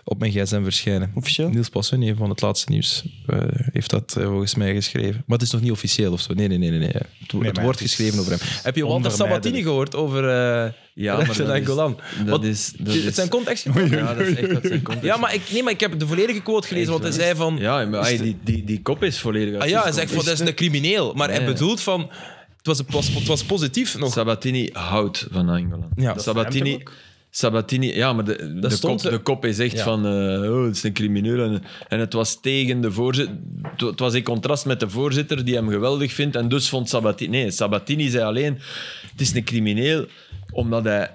op mijn gsm verschijnen.
Officieel?
Niels Passun van het laatste nieuws eh, heeft dat eh, volgens mij geschreven. Maar het is nog niet officieel of zo. Nee, nee, nee. nee, nee. Het, wo-
Nee,
het
maar
wordt
het is
geschreven over hem. Heb je Walter
onvermijdelijk.
Sabatini gehoord over eh
Ja,
ja,
maar dat
en
is-
Golan?
dat
Wat-
is- dat
het
is-
zijn context.
Ja, dat is echt wat zijn context.
Ja, maar ik, nee, maar ik heb de volledige quote gelezen, want hij zei van...
Ja, maar hey, die, die, die kop is volledig Dus uit
Ah
zijn
ja, hij zegt van,
context.
dat is een crimineel. Maar
Ja,
hij
ja.
bedoelt van... Het was, het was, het was positief nog.
Sabatini houdt van Angola.
Ja.
hem
Sabatini,
toch
Sabatini, ja, maar de, de,
stond
kop,
er-
de kop is echt
Ja.
van, eh, oh, het is een crimineel. En, en het was tegen de voorzitter, het wa- het was in contrast met de voorzitter die hem geweldig vindt. En dus vond Sabatini, nee, Sabatini zei alleen, het is een crimineel, omdat hij,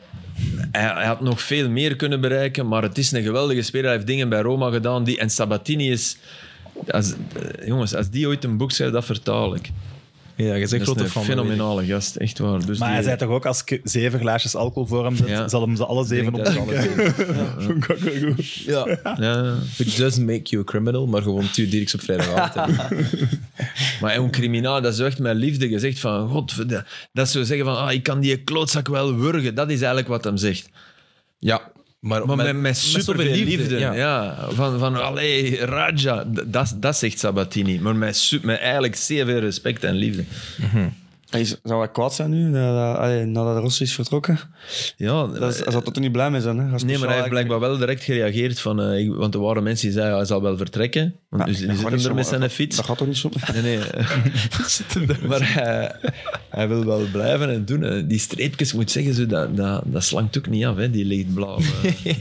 hij, hij had nog veel meer kunnen bereiken, maar het is een geweldige speler. Hij heeft dingen bij Roma gedaan. Die, en Sabatini is, als, eh, jongens, als die ooit een boek schrijft, dat vertaal ik.
Ja, je
Dat
zegt
is
grote
een
fan.
fenomenale gast, echt waar. Dus
Maar
die-
hij zei toch ook, als ik zeven glaasjes alcohol voor hem zet,
Ja.
zal hem ze alle zeven
denk dat is
opdrinken.
Ja.
Ja.
Which doesn't make you a criminal, maar gewoon Tuur Dirks op vrijdagavond. hè.
Maar een criminaal, dat is echt met liefde gezegd van... God, dat is zo zeggen van... Ah, ik kan die klootzak wel wurgen. Dat is eigenlijk wat hem zegt.
ja. Maar,
Maar met, met, superveel
zoveel
liefde. ja.
Ja.
Van, van allee, Raja. D- Dat, dat zegt Sabatini. Maar met, su- met eigenlijk zeer veel respect en liefde.
Hij is- zou hij kwaad zijn nu, nadat, allee, nadat Rossi is vertrokken?
Ja,
Dat is, hij zou toch niet blij mee zijn, hè? Als
nee, maar hij heeft
speciaal-
blijkbaar wel direct gereageerd van... eh, ik- want er waren mensen die zeiden, "Ah, hij zal wel vertrekken. Want dus, die
Dat gaat
zitten
niet
er met
zomaar.
zijn fiets.
Dat gaat toch niet zo?
Nee, nee. maar hij, hij wil wel blijven en doen. hè. Die streepjes, moet zeggen, zo, dat, dat, dat slankt ook niet af. Hè. Die lichtblauw. eh,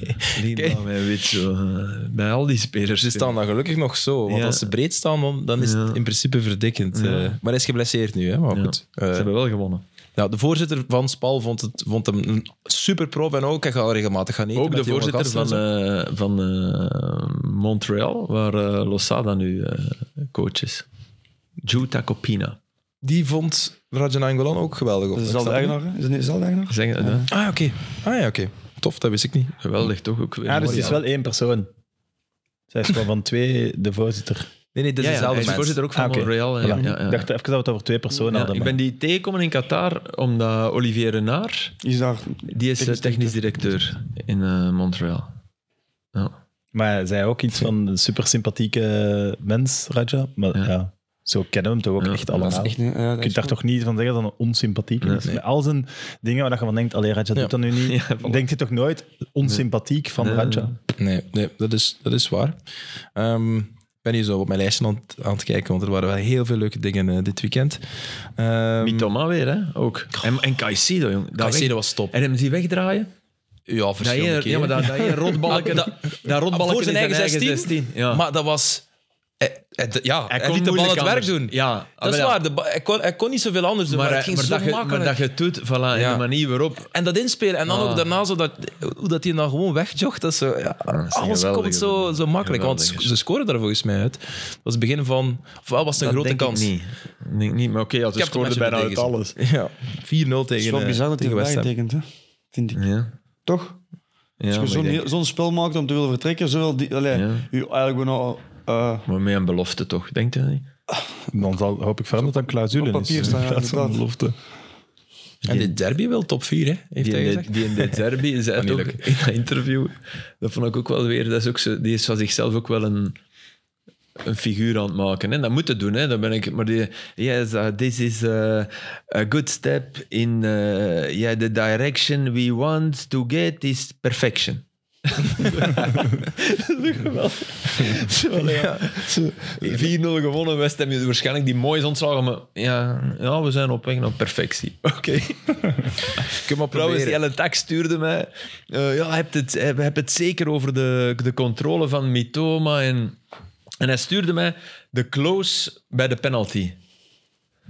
lichtblauw en wit. Zo, eh, bij al die spelers.
Ze staan dan gelukkig nog zo, want
Ja.
als ze breed staan, dan, dan is
Ja.
het in principe verdikkend. eh. maar hij is geblesseerd nu, hè? maar
Ja.
goed.
Ze
Eh,
hebben wel gewonnen.
nou, de voorzitter van Spal vond, het, vond hem een superprof en ook, hij gaat regelmatig gaan eten
Ook
met
de
die jonge
voorzitter van,
gasten en
eh, van eh, Montreal, waar eh, Losada nu eh, coach is. Juta Copina.
zo. Die vond Rajan Angolan ook geweldig. Op.
Dat is
Ik
dezelfde
snap het
eigenaar, hè? Is het niet dezelfde eigenaar?
Zeg, eh,
niet. Ah, oké. Ah ja, oké. Tof, dat wist ik niet.
Geweldig toch ook weer.
Ja, dus het is
Mooi,
wel één persoon. Zij is gewoon van twee, de voorzitter.
Nee, nee, dat
ja,
is
ja, hij
dezelfde
is
mens.
voorzitter ook van
Ah, oké.
Montreal. hè.
Voilà.
Ja, ja, ja.
Ik dacht even dat we het over twee personen
Ja,
hadden.
ik
maar-
ben die tegengekomen in Qatar omdat Olivier Renard,
Die is daar...
die is eh, technisch directeur in eh, Montreal. Ja.
Maar hij zei ook iets van een super sympathieke mens, Raja. Maar
Ja.
ja, zo kennen we hem toch ook
Ja,
echt
dat
allemaal.
Dat is echt niet... Ja,
je
dat
kunt
is
daar
wel-
toch niet van zeggen dat hij een onsympathiek is.
Nee.
Met al zijn dingen waar je van denkt, allee, Raja doet dat nu niet.
Ja, voilà.
Denkt je toch nooit onsympathiek van
Nee.
Raja?
Nee, nee dat, is, dat is waar. Ehm, ik ben hier zo op mijn lijstje aan, het- aan het kijken, want er waren wel heel veel leuke dingen eh, dit weekend. Ehm,
Mitoma weer, hè? Ook. En, en Caicedo, jong. Dat
Caicedo
weg-
was top.
En hem zien wegdraaien.
Ja,
Dat
verschillende
ene,
keren.
ja, maar dat, dat ene rotbalken.
Maar
dat, dat rotbalken
voor zijn
in
eigen 16.
Ja.
Maar dat was... Hij, hij- ja, hij,
kon
liet de bal
moeilijk
het werk
anders.
doen.
Ja,
dat is
maar ja.
waar. dus De ba- hij, kon, hij kon niet zoveel anders doen, maar,
maar,
het
eh,
ging
maar
zo
dat je, maar
makkelijk.
dat je het doet, voilà, en
Ja.
de manier waarop.
En dat inspelen. En dan
Ah.
ook daarna, zo dat, hoe dat hij dan gewoon wegjogt. Dat is zo, ja,
is een
alles
geweldige
komt zo,
doelman.
zo makkelijk. Want
Geweldig.
ze scoren daar volgens mij uit. Dat was het begin van... Ofwel was het een
dat
grote
denk
kans.
Ik niet. Ik denk niet, maar oké, als
Ik
ja, ze
heb het match
scoorden bijna uit
tegen
alles.
Ja, 4-0 tegen,
Het is wel
eh,
bizar dat hij
tegen West
erbij
Ham.
tekent, hè? Vind ik.
Ja.
Toch?
Ja, maar
Als
ik
je zo'n
denk-
heel- zo'n spel maakt om te willen vertrekken, zowel die... Allee,
Ja.
u eigenlijk bijna... eh,
maar met een belofte toch, denkt u dat niet?
Dan zal, hoop ik veranderd aan clausule
Op papier staan, ja, inderdaad.
belofte.
En dit derby wel top 4, hè? Heeft
Die
hij
in,
gezegd.
de, die in de derby zei het
niet
ook in dat interview. Dat vond ik ook wel weer. Dat is ook zo, die is van zichzelf ook wel een, een figuur aan het maken. En dat moet het doen. Hè. Dan ben ik, maar die, yes, uh, this is uh, a good step in uh, yeah, the direction we want to get is perfection. Ja. 4-0 gewonnen, West Ham waarschijnlijk die mooi is ontslagen, maar ja, ja, we zijn op weg naar perfectie. Oké.
Kun maar
Trouwens,
proberen.
Jelle Tak stuurde mij. eh, ja, heb het, heb, heb het zeker over de, de controle van Mitoma. En, en hij stuurde mij de close bij de penalty.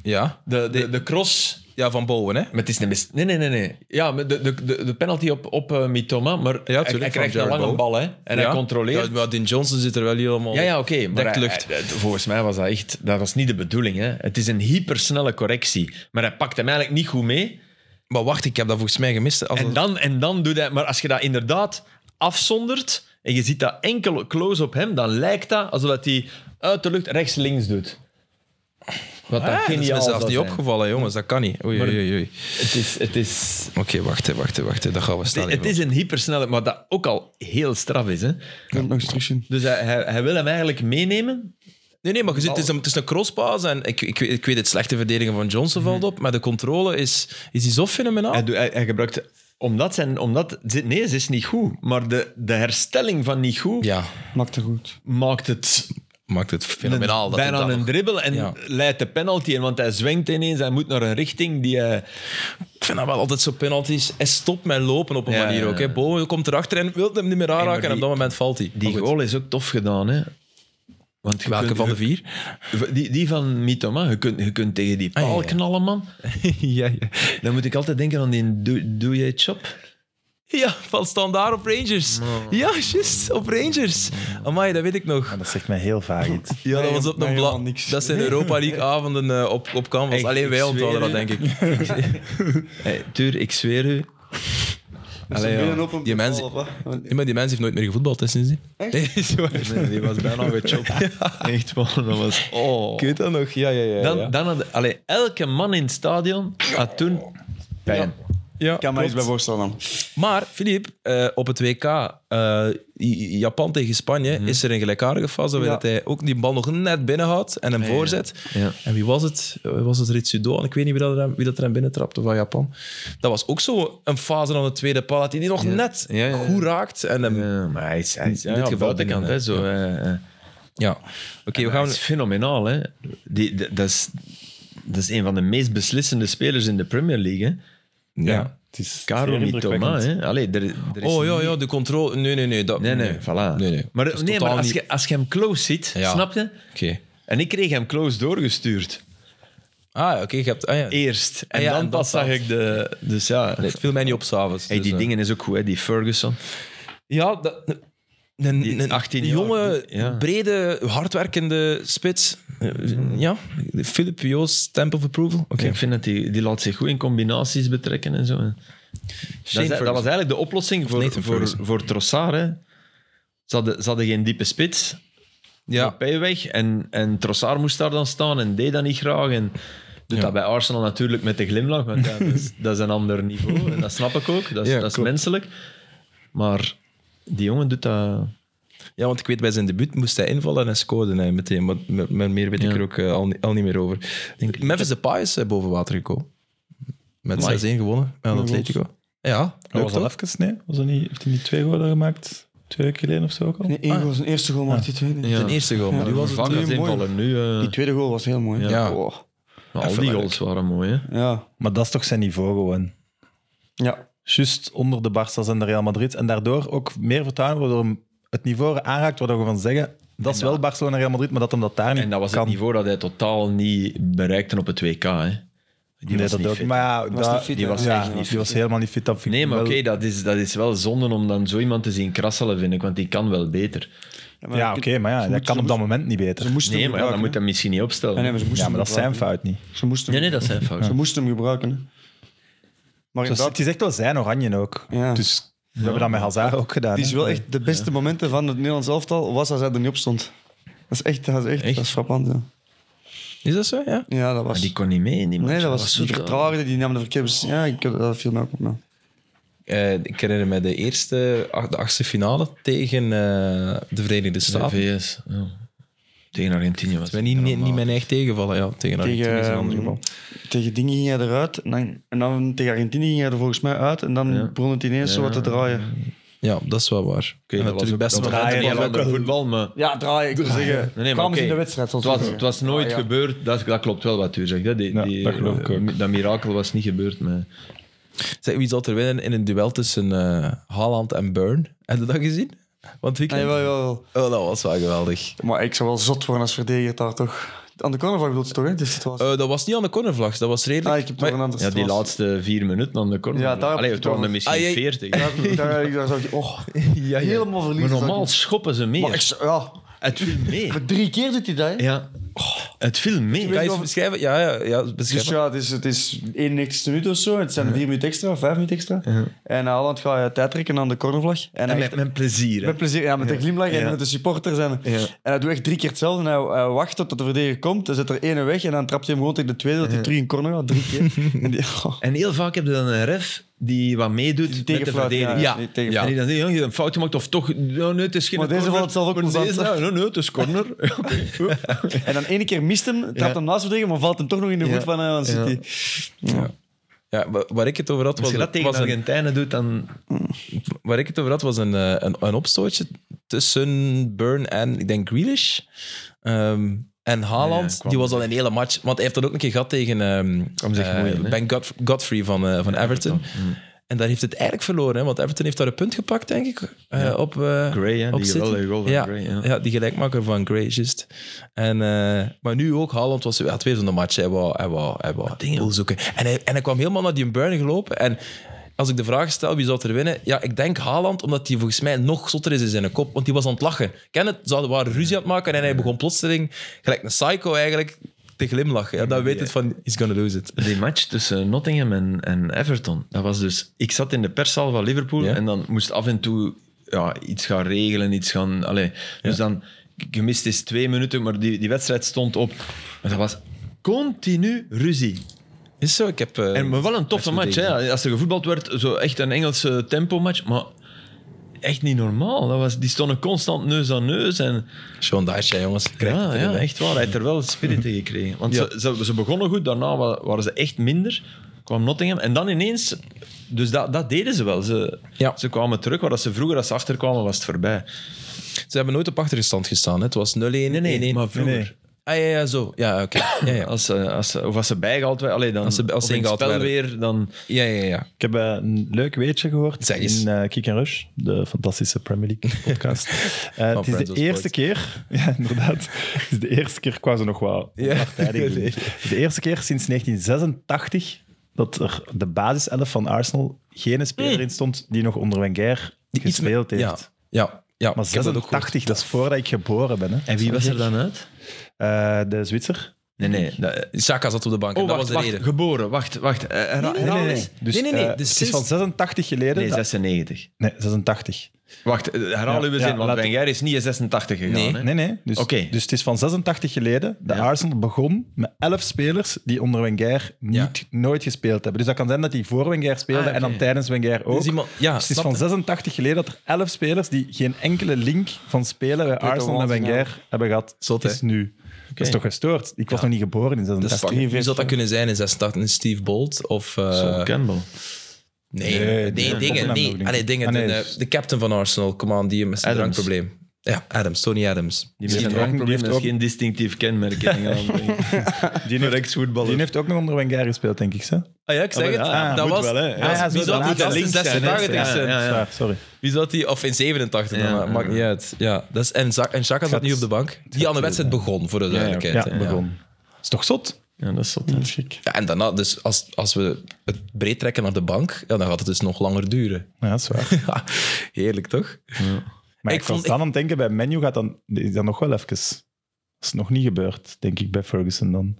Ja.
De, de, de cross.
ja, van Bowen, hè?
Maar het is een mis- Nee, nee, nee. nee. Ja, maar de, de, de, de penalty op, op eh, Mitoma. Maar hij,
tuurlijk,
hij
van
krijgt een
Jared
lange
Bowen.
bal, hè? En
Ja.
hij controleert.
Ja, maar Dean Johnson zit er wel hier allemaal.
Ja, ja, oké. maar
Dekt
hij-
lucht.
hij- het- volgens mij was dat echt... Dat was niet de bedoeling, hè. Het is een hypersnelle correctie. Maar hij pakt hem eigenlijk niet goed mee.
Maar wacht, ik heb dat volgens mij gemist. Als
En
dat-
dan, en dan doet hij... Maar als je dat inderdaad afzondert en je ziet dat enkel close op hem, dan lijkt dat alsof dat hij uit de lucht rechts-links doet. Wat dan
Ah, dat is
geniaal
me zelfs
zou
niet
zijn.
opgevallen, jongens. Dat kan niet. Oei, oei, oei, oei.
Het is, het is,
Oké, wacht, hè, wacht, hè, wacht. hè. Dat gaan we
het,
staan.
het is een hypersnelheid, maar dat ook al heel straf is. Hè?
Ik kan het nog eens terugzien.
Dus hij, hij, hij wil hem eigenlijk meenemen.
Nee, nee, maar je ziet, het, is een, het is een crosspaas. En ik, ik, weet- ik weet het slechte verdedigen van Johnson
Mhm.
valt op, maar de controle is, is die zo fenomenaal.
Hij, doet- hij, hij gebruikt... Omdat zijn... Omdat, ze- nee, ze is niet goed. Maar de, de herstelling van niet goed
ja,
Maakt het goed.
maakt het
maakt het fenomenaal. dat hij
bijna
dat
een
nog-
dribbel en
Ja.
leidt de penalty in. Want hij zwengt ineens, hij moet naar een richting die eh, hij...
Ik vind dat wel altijd zo penalties. Hij stopt met lopen op een
Ja,
manier
ja,
ook.
ja.
Hè. Bowen komt erachter en wil hem niet meer aanraken.
maar die-
en op dat moment valt hij.
Die
Maar goed.
goal is ook tof gedaan, hè. Want je
Welke
kunt-
van de
je-
vier?
Die, die van Mitoma, je kunt, je kunt tegen die paal
Ah, ja, ja.
knallen, man.
ja, ja.
Dan moet ik altijd denken aan die Do- Doe Je Chop.
Ja, van standaard op Rangers. Ja, juist, op Rangers. Amai, dat weet ik nog.
dat zegt mij heel vaag iets.
Ja, dat
Nee,
was op
nee,
een blad.
helemaal niks.
Dat zijn Europa League avonden eh, op, op canvas.
Echt,
Alleen wij
ik
onthouden dat,
zweer
denk
u.
ik.
Hey, Tuur, ik zweer u.
Allee, ja. Die mensen- Ja, maar die mens heeft nooit meer gevoetbald, hè, sindsdien.
Echt?
Nee, is waar.
Nee, die was bijna gechopt. Echt man, dat was... Oh.
Ik weet dat nog. Ja, ja, ja. ja.
Dan, dan had, allee, elke man in het stadion had toen pijn.
ja.
Ik kan me iets bij voorstellen. dan.
Maar, Filip, eh, op het WK eh, I- Japan tegen Spanje
Mhm.
is er een gelijkaardige fase waarbij
Ja.
dat hij ook die bal nog net binnenhoudt en hem voorzet.
Ja.
En wie was het? Eh, Was het Ritsudo? En ik weet niet wie dat, er, wie dat er hem binnentrapte van Japan. Dat was ook zo een fase aan de tweede paal, dat hij die nog net
Ja, ja, ja.
goed raakt. En hem, ja.
Ja, maar hij is, hij is
In dit geval
buitenkant,
binnen,
hè, zo. eh, eh.
Oké, we
Dat
gaan...
is fenomenaal, hè. Die, d- dat, is, dat is een van de meest beslissende spelers in de Premier League, hè.
Ja.
Het is
Caro
zeer
Mitoma,
indrukwekkend.
hè. Allee, er, er is
Oh ja, ja, de controle... Nee, nee, nee. Dat,
Nee, nee, voilà.
Nee, nee. Dat
Maar,
is
nee, maar
totaal
als,
niet-
je, als je hem close ziet,
Ja.
snap je?
Oké.
En ik kreeg hem close doorgestuurd.
Ah, oké, je hebt... Ah, ja.
Eerst. En
Ah ja,
dan
en dan
pas zag
pas.
ik de... Dus ja.
Nee, eh, het viel mij niet op s'avonds. dus,
Hey, die dingen is ook goed, hè. die Ferguson.
Ja, dat, een,
Die
een
18 jaar,
jonge,
die- ja.
brede, hardwerkende spits. Eh, Ja, Philip Joost, stamp of approval. Oké.
Ik vind dat die, die laat zich goed in combinaties betrekken en zo. hè. Dat, is- dat was eigenlijk de oplossing voor,
Nathan
voor,
Ferguson.
voor Trossard. Hè. Ze, hadden, ze hadden geen diepe spits.
Ja.
Mbappé weg en, en Trossard moest daar dan staan en deed dat niet graag. En doet
Ja.
dat bij Arsenal natuurlijk met de glimlach, want ja, dat, is, dat is een ander niveau. En dat snap ik ook, dat is,
Ja,
dat is
klopt.
menselijk. Maar die jongen doet dat...
ja, want ik weet, bij zijn debuut moest hij invallen en hij scoorde hij meteen. Maar, maar- maar meer weet ik
Ja.
er ook eh, al, niet- al niet meer over. Memphis Depay is eh, boven water gekomen. Met 6-1
Amai.
gewonnen met Atletico. Ja,
Dat
leuk
was al
toch?
even, nee? Was dat niet, heeft hij niet twee goden gemaakt? Twee weken geleden of zo ook al?
Nee, één goal. Zijn eerste goal maakt die tweede.
Ah. Ja.
De eerste goal, maar die was het...
Vervangers
heel mooi.
invallen nu. eh,
Die tweede goal was heel mooi.
Ja.
Ja.
Oh,
maar al die
Even
goals waren mooi, hè.
ja.
Maar dat is toch zijn niveau gewoon.
ja.
Juist onder de Barca's en de Real Madrid. En daardoor ook meer vertrouwen, waardoor hem het niveau aanraakt, waardoor we van zeggen, dat is wel Barcelona en Real Madrid, maar dat hem dat daar niet
En dat was
kan.
het niveau dat hij totaal niet bereikte op het WK, hè. Die
Nee,
was
dat
niet
ook.
fit.
Maar ja,
was
dat-
niet fit,
die
hè?
was,
Ja,
echt
die
niet
was
die was helemaal niet fit. Dat vind ik
Nee, maar
wel-
oké, dat, is, dat is wel zonde om dan zo iemand te zien krasselen, vind ik. Want die kan wel beter.
maar
Ja,
ik-
oké, maar ja,
ze
dat
moeten-
kan
ze
op dat
moesten-
moment niet beter.
Ze moesten
Nee,
hem
maar ja, dan moet
gebruiken,
hij misschien niet
hè.
opstellen.
Nee, nee, maar ze moesten
Ja, maar dat
hem
is zijn
gebruiken.
fout niet.
Ze moesten
Nee,
hem
nee, dat zijn fouten.
Ze moesten hem gebruiken. hè. Maar
Het, was-
inderdaad,
het is echt wel zijn oranje ook.
Ja.
Dus we hebben dat met Hazard ook gedaan.
die is
hè.
wel echt de beste momenten van het Nederlands elftal was als hij er niet op stond. Dat is echt, dat is echt,
Echt?
Dat is frappant. Ja,
Is dat zo? Ja.
ja dat
Maar
was.
die kon niet mee in die match.
nee, dat was die
zo-
vertraagde, die nam de verkeerde. bes- Ja, ik, dat viel mij ook op. ja.
Eh, ik herinner me de eerste, ach- de achtste finale tegen eh, de Verenigde
De
Staten.
VS. ja. Tegen Argentinië was
Het is mij niet, niet, niet mijn eigen tegenvallen. Ja, tegen Argentinië is een ander
ehm,
geval.
tegen dingen ging hij eruit. En dan, en dan tegen Argentinië ging hij er volgens mij uit. En dan begon het ineens zo wat te draaien.
Ja, dat is wel waar.
Oké, dat was
best
ook best
wel
wel
draaien was
een
ook
ander
wel-
voetbal, maar...
Ja, draaien, ik wil zeggen.
Nee, nee, maar
kwamen ze
oké.
in de wedstrijd.
Het
zoals
was,
we Ah,
het was nooit
Ja, ja.
gebeurd, dat, dat klopt wel wat u zegt. Hè? Die,
Ja,
die- eh,
dat geloof ik ook.
dat mirakel was niet gebeurd. Maar...
Zeg, wie zal er winnen in een duel tussen eh Haaland en Burn? Heb je dat gezien? Want weekend?
Nee, wel, wel, wel.
Oh, dat was wel geweldig.
Maar ik zou wel zot worden als verdediger daar toch. Aan de cornervlak bedoelt ze toch, hè? Die situatie.
Eh, dat was niet aan de cornervlag, dat was redelijk.
ah, ik heb
Maar-
nog een andere
Eh, Ja, die
situatie.
laatste vier minuten aan de corner.
Ja, daar heb
Allee,
ik
het
het
waren er
over.
misschien
Ah, jij-
veertig.
Daar, daar, daar zou ik, oh, helemaal verliezen.
Maar
zou ik
normaal
niet.
schoppen ze mee.
Maar ik zou- ja,
Het viel mee.
maar drie keer doet hij dat, hè?
Ja. Het viel mee.
Kan je eens beschrijven? Ja, ja, ja
Dus
beschrijven.
ja, het is, het is 91 minuut of zo. Het zijn vier minuten extra, vijf minuten extra. En Haaland gaat eh, tijd trekken aan de cornervlag. En,
En
hij-
met, met plezier. hè.
Met plezier, ja, met de glimlach en
Ja.
met de supporters. En,
Ja.
en hij doet echt drie keer hetzelfde. En hij, hij wacht tot de verdediger komt, dan zet er ene weg en dan trapt hij hem gewoon tegen de tweede, dat hij terug in corner gaat, drie keer. en die, oh,
En heel vaak heb je dan een ref die wat meedoet met de
tegenfluit,
verdediging.
ja,
Ja,
die
ja. En
tegenfluit.
die dan zegt, "Ja, je hebt een fout gemaakt of toch... "Ja, nee, het is geen
Maar deze
corner."
vond het zelf ook
Maar
plezant,
deze,
hè?
"Ja, nee, nee, het is corner. Ja, oké.
en dan ene keer mist hem, trapt
Ja.
hem naast de verdediger, maar valt hem toch nog in de voet
Ja.
van, eh,
Ja.
van City.
Ja, wa- waar ik het over had,
Als
was,
je dat tegen
was, een,
Argentijnen doet, dan...
waar ik het over had, was een, eh, een, een opstootje tussen Burn en, ik denk, Grealish. Ehm, en
Ja,
Haaland,
ja, kwam
die was al een hele match. Want hij heeft dat ook een keer gehad tegen ehm,
Kwam zich
eh,
moeilijk, hè? Mm.
Ben Godf- Godfrey van, eh, van Everton. En daar heeft het eigenlijk verloren, hè, want Everton heeft daar een punt gepakt, denk ik. eh, op, eh,
Gray, hè,
op
die
City.
geweldige goal van
ja,
Gray, ja.
ja, die gelijkmaker van Gray, juist. En, eh, maar nu ook, Haaland was, had weer zo'n match. Hij wou, hij wou, hij wou dingen zoeken. En hij, en hij kwam helemaal naar die Burn gelopen. En als ik de vraag stel, wie zou er winnen? Ja, ik denk Haaland, omdat hij volgens mij nog zotter is in zijn kop. Want die was aan het lachen. Ken het? Ze hadden- waren ruzie aan het maken en hij begon plotseling, gelijk een psycho eigenlijk, te glimlachen. Ja, dan weet het van, he's gonna lose it.
Die match tussen Nottingham en, en Everton, dat was dus... Ik zat in de perszaal van Liverpool
Ja.
en dan moest af en toe ja, iets gaan regelen, iets gaan... Allee, dus dan, gemist is twee minuten, maar die, die wedstrijd stond op. Maar dat was continu ruzie.
Is zo, ik heb... eh,
En maar wel een toffe match, hè. Als er gevoetbald werd, zo echt een Engelse tempo-match, maar echt niet normaal. Dat was, die stonden constant neus aan neus en...
Sean Dyche, jongens. Krijgt
Ja,
het
ja,
erin, hè.
echt waar. Hij heeft er wel spirit in gekregen. Want ze, ze, ze begonnen goed, daarna wa- waren ze echt minder. Kwam Nottingham. En dan ineens... Dus dat, dat deden ze wel. Ze,
Ja.
ze kwamen terug, waar dat ze vroeger als ze achterkwamen, was het voorbij.
Ze hebben nooit op achterstand gestaan. Hè. Het was 0-1, 1-1.
maar vroeger.
Nee, nee.
Ah, ja, ja, zo. Ja, oké. Ja, ja.
Als ze, als ze, of als ze bijgehaald werden, allee, dan,
Als ze- als ze
of in het spel
ingehaald
weer, dan...
ja, ja, ja.
Ik heb eh, een leuk weetje gehoord
Zeg eens.
in eh Kick and Rush, de fantastische Premier League podcast. Eh, het is
Friends of
de eerste
Sports.
keer, ja inderdaad, het is de eerste keer, ik wou ze nog wat
Ja.
partijdig doen.
Nee.
Het is de eerste keer sinds 1986 dat er de basiself van Arsenal geen speler in stond die nog onder Wenger
Mm. iets meer-
gespeeld heeft.
Ja, ja. ja.
Maar
Ik heb dat ook gehoord.
86, dat is voordat ik geboren ben. Hè.
En wie was er dan uit?
Eh, de Zwitser.
Nee, nee. dat-
Saka zat op de bank. en
Oh,
dat
wacht,
was de
wacht,
reden.
geboren. Wacht, wacht. Eh, eh,
nee,
herhaal
nee, nee.
eens.
Dus,
nee, nee, nee.
eh,
dus
het is
sinds-
van 86 geleden.
Nee,
dat-
96.
nee 86.
Wacht, eh, herhaal
Ja,
uw
ja,
zin, want
laat-
Wenger is niet in 86 gegaan.
Nee.
hè?
Nee, nee. Dus,
Oké.
dus het is van 86 geleden. De
Ja.
Arsenal begon met 11 spelers die onder Wenger niet, nooit gespeeld hebben. Dus dat kan zijn dat die voor Wenger speelden
Ah, oké.
en dan tijdens Wenger ook.
Dus iemand- ja,
Dus het is
snap
van
je.
86 geleden dat er 11 spelers die geen enkele link van spelen bij Arsenal en
waanzin,
Wenger hebben gehad.
Zot,
is
hè?
nu. Dat is toch gestoord? Ik was nog niet geboren in
Dat is
86.
fucking- Wie zou dat kunnen zijn in 86? Steve Bolt of... eh,
Sol Campbell.
nee, nee,
Nee, nee,
dingen.
Tottenham
Nee.
ook niet.
Allee, dingen
Ah, nee,
de,
dus-
de captain van Arsenal, come on, die met zijn
Adams.
drankprobleem. Ja, Adams, Tony Adams.
Die met
Die
een
heeft ook- die
drankprobleem
heeft
dat is
ook-
geen distinctief kenmerk. Die een
Die
ex-voetballer.
heeft ook nog onder Wenger gespeeld, denk ik. Ze?
Ah ja, ik zeg
Ah,
het.
maar ja,
dat
moet
was...
wel, hè. Ja,
dat eh, is-
ja,
wie
zo
zou die
laat
gast
links
in
zijn, hè.
86
Ja,
zijn?
ja.
Zwaar, sorry.
Wie zat die? Of in 87 dan,
Ja,
maar
ja,
maakt
ja.
niet uit. Ja, dat is, en, Zak, en Saka zat
Gaat-
niet op de bank. Die aan de wedstrijd begon, voor de duidelijkheid.
Ja,
hè.
begon. Is toch zot?
Ja, dat is zot.
Ja, en daarna, dus als, als we het breed trekken naar de bank, ja, dan gaat het dus nog langer duren.
Ja, dat is waar.
Ja, Heerlijk, toch?
Maar
Ik
ik,
vond-
was dan aan het denken, bij menu gaat dan, is dat nog wel even. Dat is nog niet gebeurd, denk ik, bij Ferguson dan.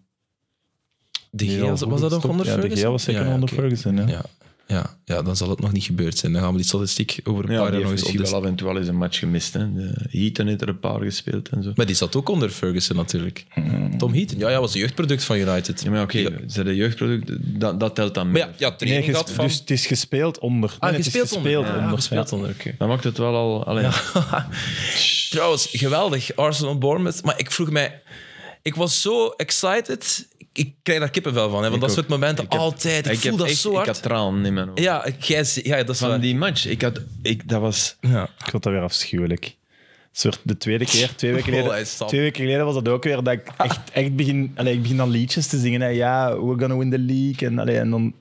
De
Die
Gea,
al
was
goed
was dat nog
gestopt.
onder
ja,
Ferguson?
De Gea was zeker
ja,
onder
oké.
Ferguson, ja.
Ja, ja, ja, dan zal het nog niet gebeurd zijn. Dan gaan we die statistiek over een
Ja,
paar
die
jaar
heeft
nog eens
misschien wel
opdelen.
af en toe wel eens een match gemist. Hè. De Heaton heeft er een paar gespeeld en zo.
Maar die zat ook onder Ferguson natuurlijk.
Hmm.
Tom Heaton, ja, ja, was een jeugdproduct van United.
Ja, maar oké, zijn de jeugdproducten, dat, dat telt dan
Maar
mee.
ja, ja
Nee,
training
ges-
gehad van...
Dus het is gespeeld onder.
ah,
Nee,
gespeeld
het is
onder.
gespeeld
Ah,
onder.
gespeeld
ja.
onder, oké.
Dan maakt het wel al... Allee,
Trouwens, geweldig. Arsenal Bournemouth. Maar ik vroeg mij... Ik was zo excited. Ik, ik krijg daar kippenvel van. Hè, want dat soort momenten altijd. Ik, voel
heb
dat
echt-
zo hard.
Ik had tranen in mijn ogen.
Ja, ik- jij, zie- ja, dat is
Van
waar.
die match, ik had, ik, dat was...
Ja.
Ik vond dat weer afschuwelijk. Een soort De tweede keer, twee
Oh,
weken
hij
geleden,
is sap.
twee weken geleden was dat ook weer dat ik echt, echt begin, allee, ik begin dan liedjes te zingen. Hè. Ja, we're gonna win the league. En, allee, en dan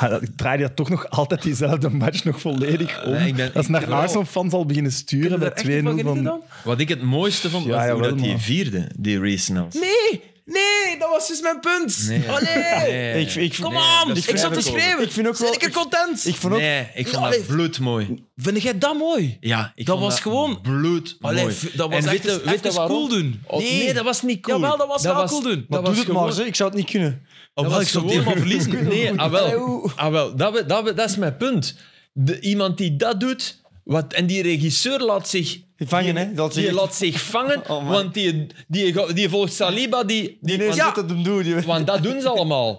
ja, dat- draai je dat toch nog altijd diezelfde match nog volledig om.
Nee, ik ben-
dat is
ik
naar
ben wel-
Arsenal-fans al beginnen sturen bij 2-0.
van
van-
dan?
Wat ik het mooiste vond, was
Ja,
hoe
jawel,
dat die
maar.
vierde, die Reece Nelson.
Nee! Nee, dat was dus mijn punt.
Nee.
Oh nee.
Nee.
Ik, ik,
Kom
Nee,
aan,
dat is
ik zat te
verder komen.
schreeuwen.
Ik vind ook
Zijn
wel-
ik er content?
ik vond ook...
Nee, Eh, ik vond
Allee.
dat bloedmooi.
Vind jij dat mooi?
Ja, ik
Dat
vond
was gewoon-
bloedmooi.
Allee, v- dat was
En
echt
weet je-
eens
weet je
even
waarom?
cool doen.
Oh, nee.
Nee.
dat was niet cool.
Jawel, dat was wel cool doen.
dat
Maar doe
was
het maar,
gewoon-
zeg. ik zou het niet kunnen.
Oh,
Dat was gewoon helemaal verliezen.
Nee, ah wel.
Allee,
Ah, wel. Dat, we- dat, we- dat is mijn punt. De, iemand die dat doet, wat, en die regisseur laat zich...
Vangen,
die,
hè? Dat
die
is-
laat zich vangen,
Oh, man.
want die, die, ga- die volgt Saliba, die... die
Nee,
want,
zit dat hem doen. die-
want dat doen ze allemaal.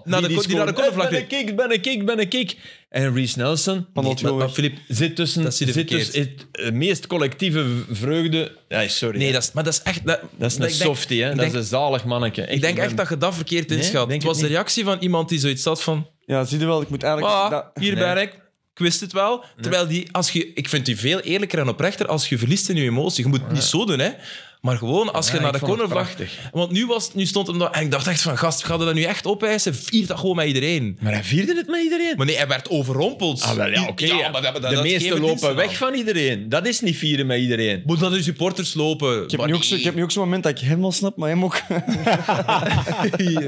Naar de ko- die naar de
scoren,
cornervlak
"Eh, Ben ik, ben ik, ben ik, ben ik, ik. En Reece Nelson...
Wandelt
die-
gewoon
maar-
weg.
Filip, zit tussen,
Dat zie je
zit
verkeerd.
tussen het, eh, meest collectieve v- vreugde... Nee, sorry.
Nee,
hè.
dat is, maar dat is echt... Dat,
dat is een
ik denk-
softie, hè.
ik
Dat
denk-
is een zalig manneke.
Ik denk
ben-
echt dat je dat verkeerd
Nee,
inschat.
denk
het
het
was de
niet.
reactie van iemand die zoiets had van...
Ja, zie je wel. Ik moet eigenlijk...
"Ah,
dat-
hier
Nee.
ben ik. Ik wist het wel. Terwijl die... Als je, ik vind die veel eerlijker en oprechter als je verliest in je emotie. Je moet het niet zo doen, hè. Maar gewoon als je
Ja,
naar de
ik vond het
cornervlag...
prachtig.
Want nu, was, het- nu stond hem dat... En ik dacht echt van, gast, ga je dat nu echt opeisen? Vier dat gewoon met iedereen.
Maar hij vierde het met iedereen.
Maar nee, hij werd overrompeld.
Ah, wel, ja, oké.
Ja, maar dat- dat- dus-
de
dat
meesten
geven
lopen
diensten aan.
weg van iedereen. Dat is niet vieren met iedereen.
Moet dat de supporters lopen?
Ik heb, nu ook zo, ik heb nu ook zo'n moment dat ik hem wel snap, maar hem ook.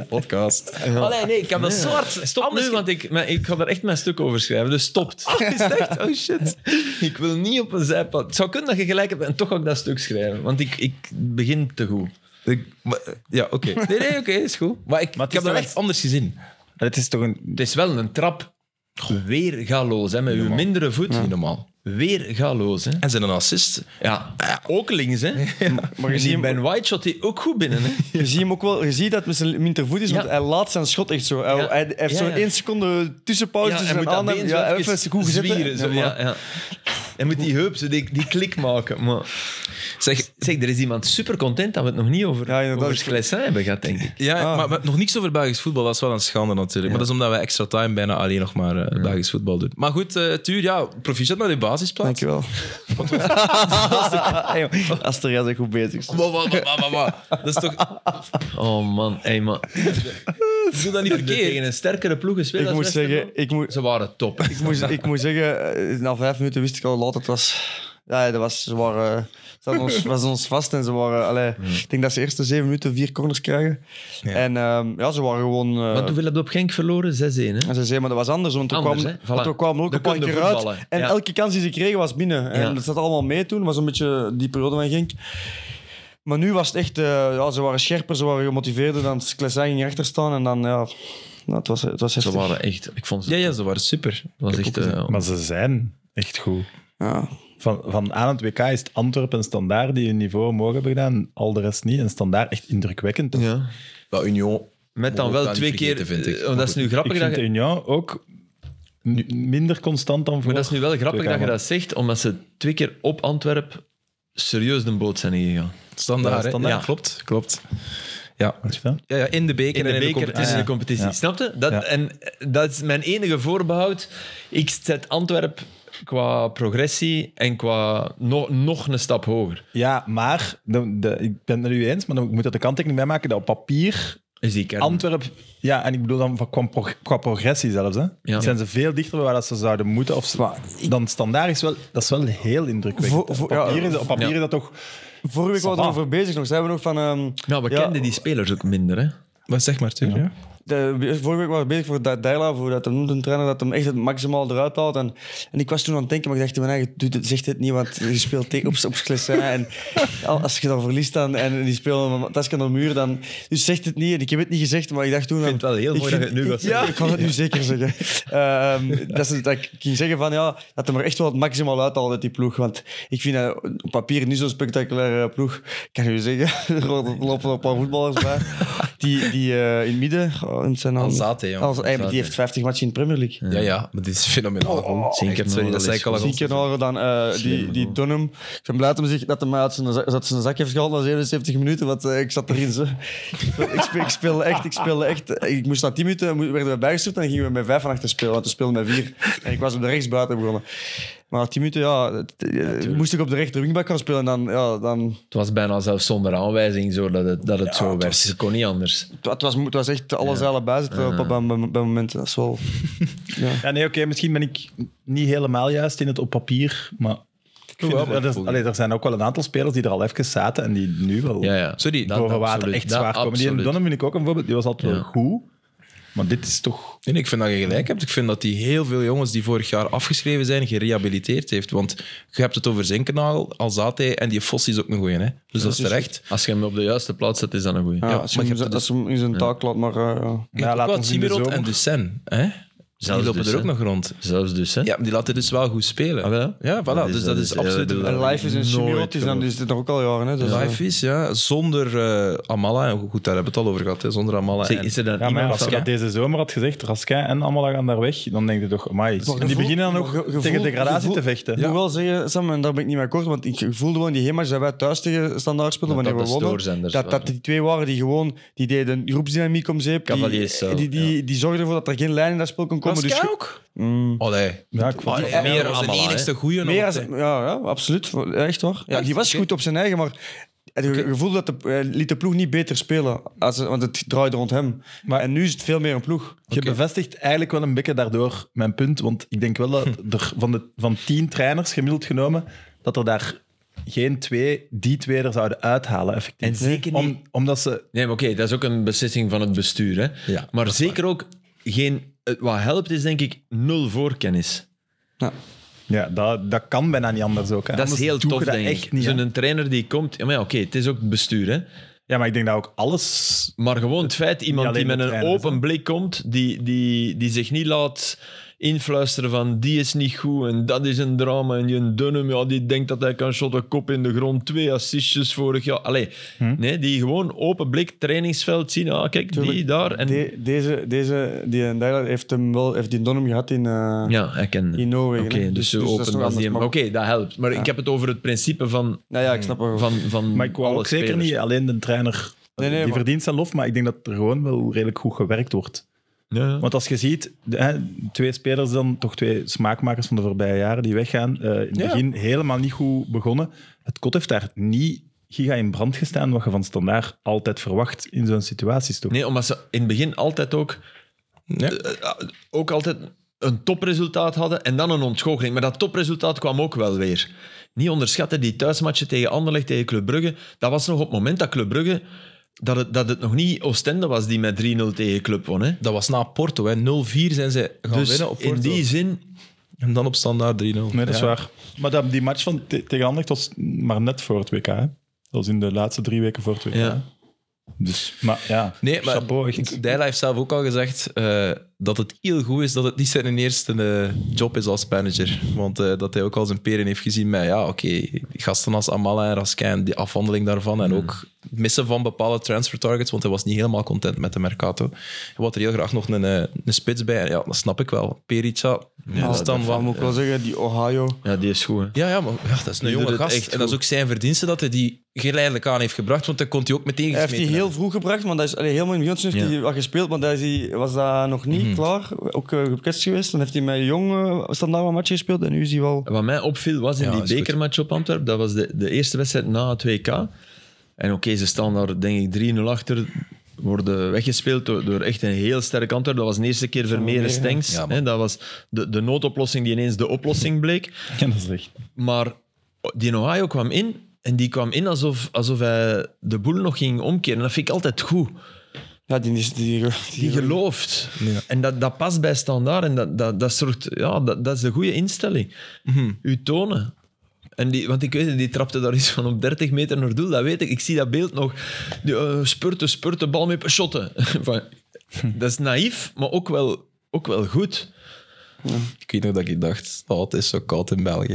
podcast. Allee, nee, ik heb dat zwart.
Stop
Anders-
nu, want ik, maar ik ga daar echt mijn stuk over schrijven. Dus stopt.
Is het echt? Oh shit.
ik wil niet op een zijpad. Het zou kunnen dat je gelijk hebt en toch ga ik dat stuk schrijven. Want ik, ik begin te goed.
Ik- maar- ja, oké. Nee, nee, oké, is goed. Maar ik, ik
Maar het
heb
is
dat
wel-
echt anders gezien.
Het is toch een...
Het is wel een trap. Weer galoos, hè, met uw mindere voet.
Niet normaal.
Weer galoos, hè.
En zijn een assist.
Ja, ook links, hè.
Maar Oh, je
En
ziet
die
hem,
Ben White shot die ook goed binnen, hè.
je ziet hem ook wel. Je ziet dat het met zijn mintervoet is, want
Ja.
hij laat zijn schot echt zo. Hij,
Ja.
hij heeft
Ja,
zo'n
ja.
één seconde tussenpauze. tussen
hij moet
zijn
dat
aanname.
been
Ja,
zo
even,
even
goed gezet.
zwieren,
hè.
zo,
Ja,
ja, ja. Hij moet die heup zo die, die klik maken. Maar...
Zeg,
Zeg, er is iemand super content dat we het nog niet over,
Ja, inderdaad.
over Sclessin hebben gehad, denk ik.
ja,
Ah.
maar, maar nog niks over Belgisch voetbal. Dat is wel een schande natuurlijk. Maar dat is omdat wij extra time bijna alleen nog maar eh, Belgisch voetbal doen. Maar goed, eh Tuur, ja, proficiat met je basisplaats.
Dankjewel. Hey, joh, Aster, jij bent goed bezig.
Wa, wa, wa, wa, wa, wa. Dat is toch...
Oh man, hey man.
Doe dat niet
Tegen
verkeerd.
een sterkere ploeg gespeeld
Ik
als
moet
Westerlo.
zeggen, ik moet,
Ze waren top.
ik, moet, ik moet zeggen, eh, na vijf minuten wist ik al hoe laat het was. Ja, dat was, ze waren, ze hadden ons, was ons vast en ze waren... Allee,
Hmm.
Ik denk dat ze eerst de zeven minuten vier corners krijgen. En ehm, ja, ze waren gewoon... eh,
Want hoeveel heb je op Genk verloren? 6-1, hè?
en ze zeiden, maar dat was anders, want toen
Anders,
kwamen
hè? Voilà.
want we kwamen ook
Dan
een paar
kun je
keer uit.
voetballen.
En
Ja.
elke kans die ze kregen was binnen. En
Ja.
dat zat allemaal mee toen, was een beetje die periode van Genk. Maar nu was het echt... eh, ja, ze waren scherper, ze waren gemotiveerder. Dan Klessin ging achter staan en dan... Ja, nou, het was, het was
Ze
heftig.
waren echt... Ik vond ze...
Ja, ja, ze waren super.
was echt... eh,
Maar ze zijn echt goed.
Ja.
Van, van aan het WK is het Antwerpen en Standaard die een niveau omhoog hebben gedaan, al de rest niet. En Standaard echt indrukwekkend. Ik
ja.
Ja, Union.
Met dan
Moet
wel
dat
twee
niet
keer...
vergeten, vind ik.
eh, want dat is nu grappig
vind
dat
de
je...
Union ook nu- minder constant dan voor.
Maar dat is nu wel grappig
WK,
dat je
man.
dat zegt, omdat ze twee keer op Antwerp serieus de boot zijn ingegaan.
Standaard,
Ja,
hè?
standaard.
Ja, klopt, klopt. Ja.
Weet je wel?
Ja, ja, in de beker
in de
en in de
beker en
competitie.
in de
Ah, ja.
competitie.
Ja.
Snap je? Dat,
Ja.
En eh, dat is mijn enige voorbehoud. Ik zet Antwerp qua progressie en qua no- nog een stap hoger.
Ja, maar de, de- ik ben het er nu eens, maar dan moet dat de kanttekening bij maken dat op papier
Is die kern.
Antwerp, ja, en ik bedoel dan van, qua, prog- qua progressie zelfs, hè,
Ja.
zijn ze veel dichter bij waar dat ze zouden moeten. Of, ze- dan standaard is wel, dat is wel heel indrukwekkend.
Voor- voor-
op papier,
ja.
is, dat- op papier
Ja.
is dat toch
Vorige week
Ça
waren we
va.
erover bezig nog. Zijn we nog van... ehm,
nou, we
Ja.
kenden die spelers ook minder. Hè?
Wat zeg maar, Tuur? Ja.
De, vorige week waren we bezig voor dat Daila, voor dat hem een trainer, dat hem echt het maximaal eruit haalt. En, en ik was toen aan het denken, maar ik dacht in mijn eigen, doet het, zegt dit niet, want je speelt tegen op, op Sclessin. En al- als je dan verliest dan, en die spelen met Taskan aan de muur, dan dus zegt het niet. En ik heb het niet gezegd, maar ik dacht toen... Ik
vind het wel heel mooi dat je het nu gaat
Ja, ik kan het nu zeker zeggen. Ehm, dat, is, dat ik ging zeggen van, ja, dat hem er echt wel het maximaal uit haalt uit die ploeg. Want ik vind dat op papier niet zo'n spectaculaire ploeg. Ik kan u zeggen, er lopen een paar voetballers bij. Die, die eh, in het midden... Oh, in zijn naam-
Alzate, jongen.
Als- hey, maar die heeft 50 matchen in de Premier League.
Ja, ja, maar dit is fenomenaal. goed.
Zinker
Echt, sorry, dat zei ik al.
Tien
lang.
keer hoger dan eh, die, die Dunham. Ik ben blij dat hem zich- dat hij mij uit zijn, zak- uit zijn zak heeft gehaald na 77 minuten, want eh, ik zat erin. Zo. ik, speel, ik speelde echt, ik speelde echt. Ik moest na 10 minuten, mo- werden we bijgestuurd en dan gingen we met 5 van achter spelen, want we speelden met 4. En ik was op de rechtsbuiten begonnen. Maar na 10 minuten, ja, het- eh, moest ik op de rechter wingback gaan spelen en dan, ja, dan
Het was bijna zelfs zonder aanwijzing zo dat het, dat het zo
het
werd.
was-
Het kon niet anders.
het, wa- het was, mo- het was echt alle zeilen bijzetten op, op, bij- bij- bij momenten. Dat is wel...
Ja, nee, oké, misschien ben ik niet helemaal juist in het op papier, maar vind
Jawel,
het-
maar
dat is-
goed.
allee, er zijn ook wel een aantal spelers die er al even zaten en die nu wel
Ja, ja.
Sorry,
Dat
boven water
absoluut.
echt
Dat
zwaar komen. Die
absoluut.
Donovan vind ik ook een voorbeeld. Die was altijd
Ja.
wel goed. Maar dit is toch...
Nee, nee, ik vind dat je gelijk hebt. Ik vind dat hij heel veel jongens die vorig jaar afgeschreven zijn, gerehabiliteerd heeft. Want je hebt het over Zinkenagel, Alzate en die Fossi is ook een goeie. Hè? Dus dat is terecht.
Als je hem op de juiste plaats zet, is dat een goeie.
Ja,
Ja,
als,
maar
je
je
hem,
hebt dus-
als je hem in zijn taak laat, maar... eh, ja.
Je hebt ook
laat
wel
ons in de
Cimerot
zomer.
en Dussen. Hè? Die
Zelfs
lopen er
Dussen.
ook nog rond.
Zelfs dus, hè?
Ja, die laten dus wel goed spelen.
Ah, wel?
Ja, voilà.
Dat is-
dus dat
dat
is
is-
absoluut
ja, dat
een
bedoel-
Life is een
nooit
Simirot, die zijn-
geloofd.
die zitten er ook al jaren. Hè, dus, eh,
Life is, ja. Zonder eh, Amala, en goed, daar hebben we het al over gehad, hè, zonder Amala.
Zeg,
en-
is er dan
Ja, maar
iemand
als je
van...
dat deze zomer had gezegd, Raskin en Amala gaan daar weg, dan denk je toch, amai. en die
gevoel-
beginnen dan
maar
ook
ge- gevoel-
tegen degradatie
gevoel-
te vechten.
Ik moet wel zeggen, Sam, en daar ben ik niet mee akkoord, want ik voelde gewoon die hema's dat wij thuis tegen standaard speelden
Dat
wanneer we
dat de
wonnen.
stoorzenders
Dat, dat
waren.
die twee waren die gewoon, die deden groepsdynamiek om zeep. Die,
Cavaliers zelf,
die, die, die zorgden ervoor dat er geen lijn in dat spel kon komen. Dus
Raskin
ge-
ook?
Mm.
Allee.
Ja, ik vond-
Die meer
was
als de
Amala,
enigste
hè.
goeie. nog
Meer als,
altijd.
ja, ja, absoluut. Echt waar. Ja,
Echt?
die was
Oké.
goed op zijn eigen, maar het ge- gevoel dat de, eh, liet de ploeg niet beter spelen. Als, want het draaide rond hem.
Maar-
en nu is het veel meer een ploeg.
Je bevestigt eigenlijk wel een beetje daardoor mijn punt. Want ik denk wel dat er van, de, van tien trainers gemiddeld genomen, dat er daar geen twee, die twee er zouden uithalen. Effectief.
En zeker niet-
Om, omdat ze...
Nee, maar oké, dat is ook een beslissing van het bestuur. Hè?
Ja,
maar zeker ook geen... eh, Wat helpt is denk ik nul voorkennis.
Ja.
Ja, dat, dat kan bijna niet anders ook. Hè.
Dat is
Anders
heel
doe je
tof,
dat
denk
echt
ik.
niet, hè.
Zo'n trainer die komt... Ja, maar ja, oké, het is ook het bestuur, hè.
Ja, maar ik denk dat ook alles...
Maar gewoon het feit, iemand die
alleen
met
de
een
trainers,
open blik komt, die, die, die zich niet laat influisteren van die is niet goed en dat is een drama. En Jen Dunham, ja, die denkt dat hij kan shotten, kop in de grond, twee assistjes vorig jaar. Allee, nee, die gewoon open blik, trainingsveld zien, ah, kijk, die
Tuurlijk.
daar. En,
De- deze, deze, die en Dylan heeft hem wel, heeft die Donham gehad in. eh,
ja, ik ken
In Noorwegen,
Oké,
hè.
dus,
Dus-
zo
dus dat is
open
nog
was die hem.
anders,
Oké,
maar-
dat helpt. Maar ik heb het over het principe van,
Nou ja, ik snap wel.
van, van
Maar ik wou
alle
ook zeker
spelers.
niet alleen de trainer...
Nee, nee,
die
maar-
verdient zijn lof, maar ik denk dat er gewoon wel redelijk goed gewerkt wordt.
Ja, ja.
Want als je ziet, de- hè, twee spelers dan, toch twee smaakmakers van de voorbije jaren die weggaan, eh, in het
Ja.
begin helemaal niet goed begonnen. Het kot heeft daar niet giga in brand gestaan, wat je van standaard altijd verwacht in zo'n situaties toch?
Nee, omdat ze in het begin altijd ook... eh,
Ja.
ook altijd een topresultaat hadden en dan een ontgoocheling. Maar dat topresultaat kwam ook wel weer. Niet onderschatten, die thuismatchen tegen Anderlecht, tegen Club Brugge, dat was nog op het moment dat Club Brugge... Dat het, dat het nog niet Oostende was die met 3-0 tegen Club won. Hè?
Dat was na Porto. hè. 0-4 zijn ze gaan
Dus
winnen op Porto.
in die zin...
En dan op standaard 3-0.
Nee, dat is
Ja.
waar. Maar dat, die match van te- tegen Anderlecht was maar net voor het WK. Hè? Dat was in de laatste drie weken voor het WK.
Ja.
Dus, maar ja,
Nee, maar
chapeau echt.
Dijla heeft zelf ook al gezegd eh, dat het heel goed is dat het niet zijn eerste eh, job is als manager. Want eh, dat hij ook al zijn peren heeft gezien met, ja, oké, gasten als Amala en Raskin, die afhandeling daarvan en ook het missen van bepaalde transfer targets, want hij was niet helemaal content met de Mercato. Hij had er heel graag nog een, eh, een spits bij. En ja, dat snap ik wel. Perica, ja,
Ja,
dat is dan
daarvan
van...
moet ik wel zeggen, die Ohio.
ja, die is goed. hè.
Ja, ja, maar ja, dat is een
Die
jonge
doet het
gast.
echt
En dat is ook zijn verdienste dat hij die geleidelijk aan heeft gebracht, want dan kon hij ook meteen
Hij heeft die
gesmeten
heel vroeg gebracht, want hij is allee, helemaal in het begin heeft hij wat gespeeld, maar hij is die- was daar nog niet
Mhm.
klaar. Ook eh gekwetst geweest. Dan heeft hij met Jong eh, standaard een match gespeeld en nu is hij wel...
Wat mij opviel was in
Ja,
die
is goed.
bekermatch op Antwerpen, dat was de, de eerste wedstrijd na het WK. En oké, ze staan daar denk ik 3-0 achter, worden weggespeeld door, door echt een heel sterk Antwerpen. Dat was de eerste keer Vermeeren Stengs.
Ja, man.
hè, dat was de, de noodoplossing die ineens de oplossing bleek.
Ja, dat is echt.
Maar die Ohio kwam in en die kwam in alsof, alsof hij de boel nog ging omkeren. Dat vind ik altijd goed.
Ja, die is... Die,
Die gelooft. En dat, dat past bij standaard. En dat, dat, dat, zorgt, ja, dat, dat is de goede instelling. U tonen. En die, want ik weet het, die trapte daar iets van op 30 meter naar doel. Dat weet ik. Ik zie dat beeld nog. Die, eh, spurten, spurten, bal mee, shotten. Van, dat is naïef, maar ook wel, ook wel goed.
Ik weet nog dat ik dacht, oh, het is zo koud in België.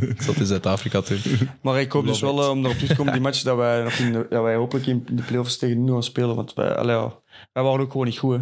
ik zat in Zuid-Afrika toen.
Maar ik hoop dus wel, eh, om erop terug te komen, die match, dat wij, nog in de- dat wij hopelijk in de playoffs tegen nu gaan spelen. Want wij, allee, ja, wij waren ook gewoon niet goed. hè.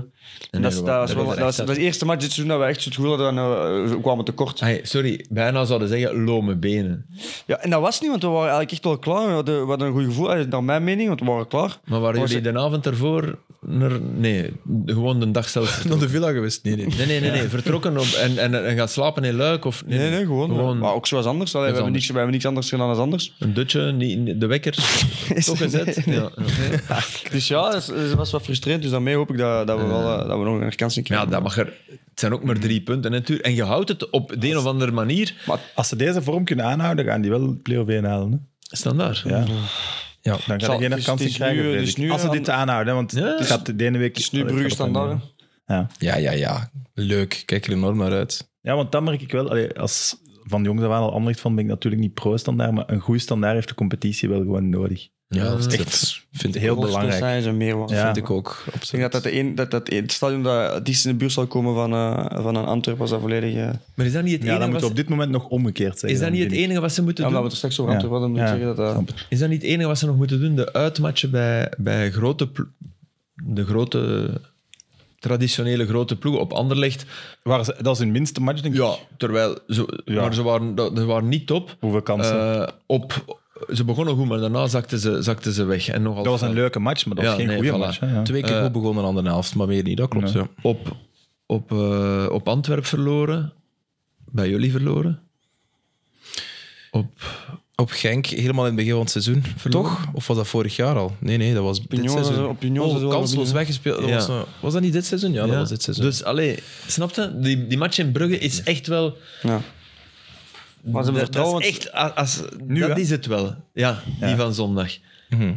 En dat, is-
we
dat,
waren-
was
we
wel,
waren
dat,
echt
was, dat was de eerste match dit seizoen dat we echt zo het gevoel hadden, en, we kwamen tekort.
Ai, sorry, bijna zouden zeggen lome benen.
Ja, en dat was niet, want we waren eigenlijk echt wel klaar. We hadden, we hadden een goed gevoel, allee, naar mijn mening, want we waren klaar.
Maar waren
Was-
jullie de avond ervoor... naar- nee, gewoon de dag zelf.
Naar de villa geweest? Nee, nee.
Nee, nee, nee, nee. vertrokken op, en, en, en gaan slapen in Luik. Of,
Nee, nee, gewoon.
gewoon
Maar ook zoals anders. Allee, we,
Dat is
hebben niks, we hebben niks anders gedaan dan anders.
Een dutje, niet- niet- de wekker, toch gezet. Ja, ja.
Dus ja, dat is- dat was wat frustrerend. Dus daarmee hoop ik dat, dat, we, wel, eh, dat we nog een herkansing
ja,
krijgen.
dat mag er... Het zijn ook maar drie punten. hè, Tuur. En je houdt het op de een of andere manier
Als ze deze vorm kunnen aanhouden, gaan die wel play-off 1 halen. Hè?
standaard.
Ja.
Ja.
Dan gaan
Zal- dus
ze geen
het is-
kansen
het is
krijgen.
nu-
weet
het is
ik.
nu
Als ze
aan-
dit aanhouden, hè, want
Ja.
het gaat de ene week...
Het is nu
Allee,
Brugge
gaat op en neer.
standaard.
ja, ja, ja. Leuk. Ik Kijk er enorm naar uit.
Ja, want dan merk ik wel, allee, als van jongs af aan al Anderlecht van ben ik natuurlijk niet pro-standaard, maar een goede standaard heeft de competitie wel gewoon nodig.
Ja,
dat
dat
is
echt, vind ik
heel
ook.
belangrijk.
zijn ze meer waard.
Ja.
Vind ik ook.
Ik denk
Absoluut.
dat dat, de een, dat, dat het stadion dat het dichtst in de buurt zal komen van, eh, van een Antwerp was dat volledig... eh
Maar is dat niet het
Ja, dat
enige
moet
wat
op
ze-
dit moment nog omgekeerd zijn.
is dat niet het enige wat ze moeten
ja, omdat
doen?
we het er straks over
Ja.
Antwerp hadden, moet ik
Ja.
zeggen dat eh, dat...
Is dat niet het enige wat ze nog moeten doen? De uitmatchen bij, bij grote, plo- de grote, traditionele grote ploegen op Anderlecht.
Waar ze- dat is hun minste match, denk ik.
Ja, terwijl ze,
Ja.
Maar ze, waren, dat- ze waren niet top.
Hoeveel kansen?
Eh, op, ze begonnen goed, maar daarna zakten ze, zakten ze weg. En nogal
dat was een
snel.
leuke match, maar dat
Ja,
was geen
nee,
goede
voilà.
match. hè, ja.
Twee keer
Eh,
goed begonnen aan de helft, maar meer niet. Dat klopt,
Nee.
ja.
Op, op, eh, op Antwerp verloren. Bij jullie verloren. Op,
Op Genk, helemaal in het begin van het seizoen.
Verloren?
Toch? Of was dat vorig jaar al? Nee, nee, dat was dit
Pignon was
seizoen.
er- op Pignon was
oh,
er wel
kansloos
wat
weggespeeld. Dat
Ja.
Was, eh, was dat niet dit seizoen? Ja, dat
ja.
was dit seizoen.
Dus allee, snapte? Die, die match in Brugge is echt wel.
Ja. Maar ze hebben
Dat, dat
vertrouwen.
is echt, a- als,
Nu,
dat
hè?
is het wel. Ja, die
Ja.
van zondag.
Mhm.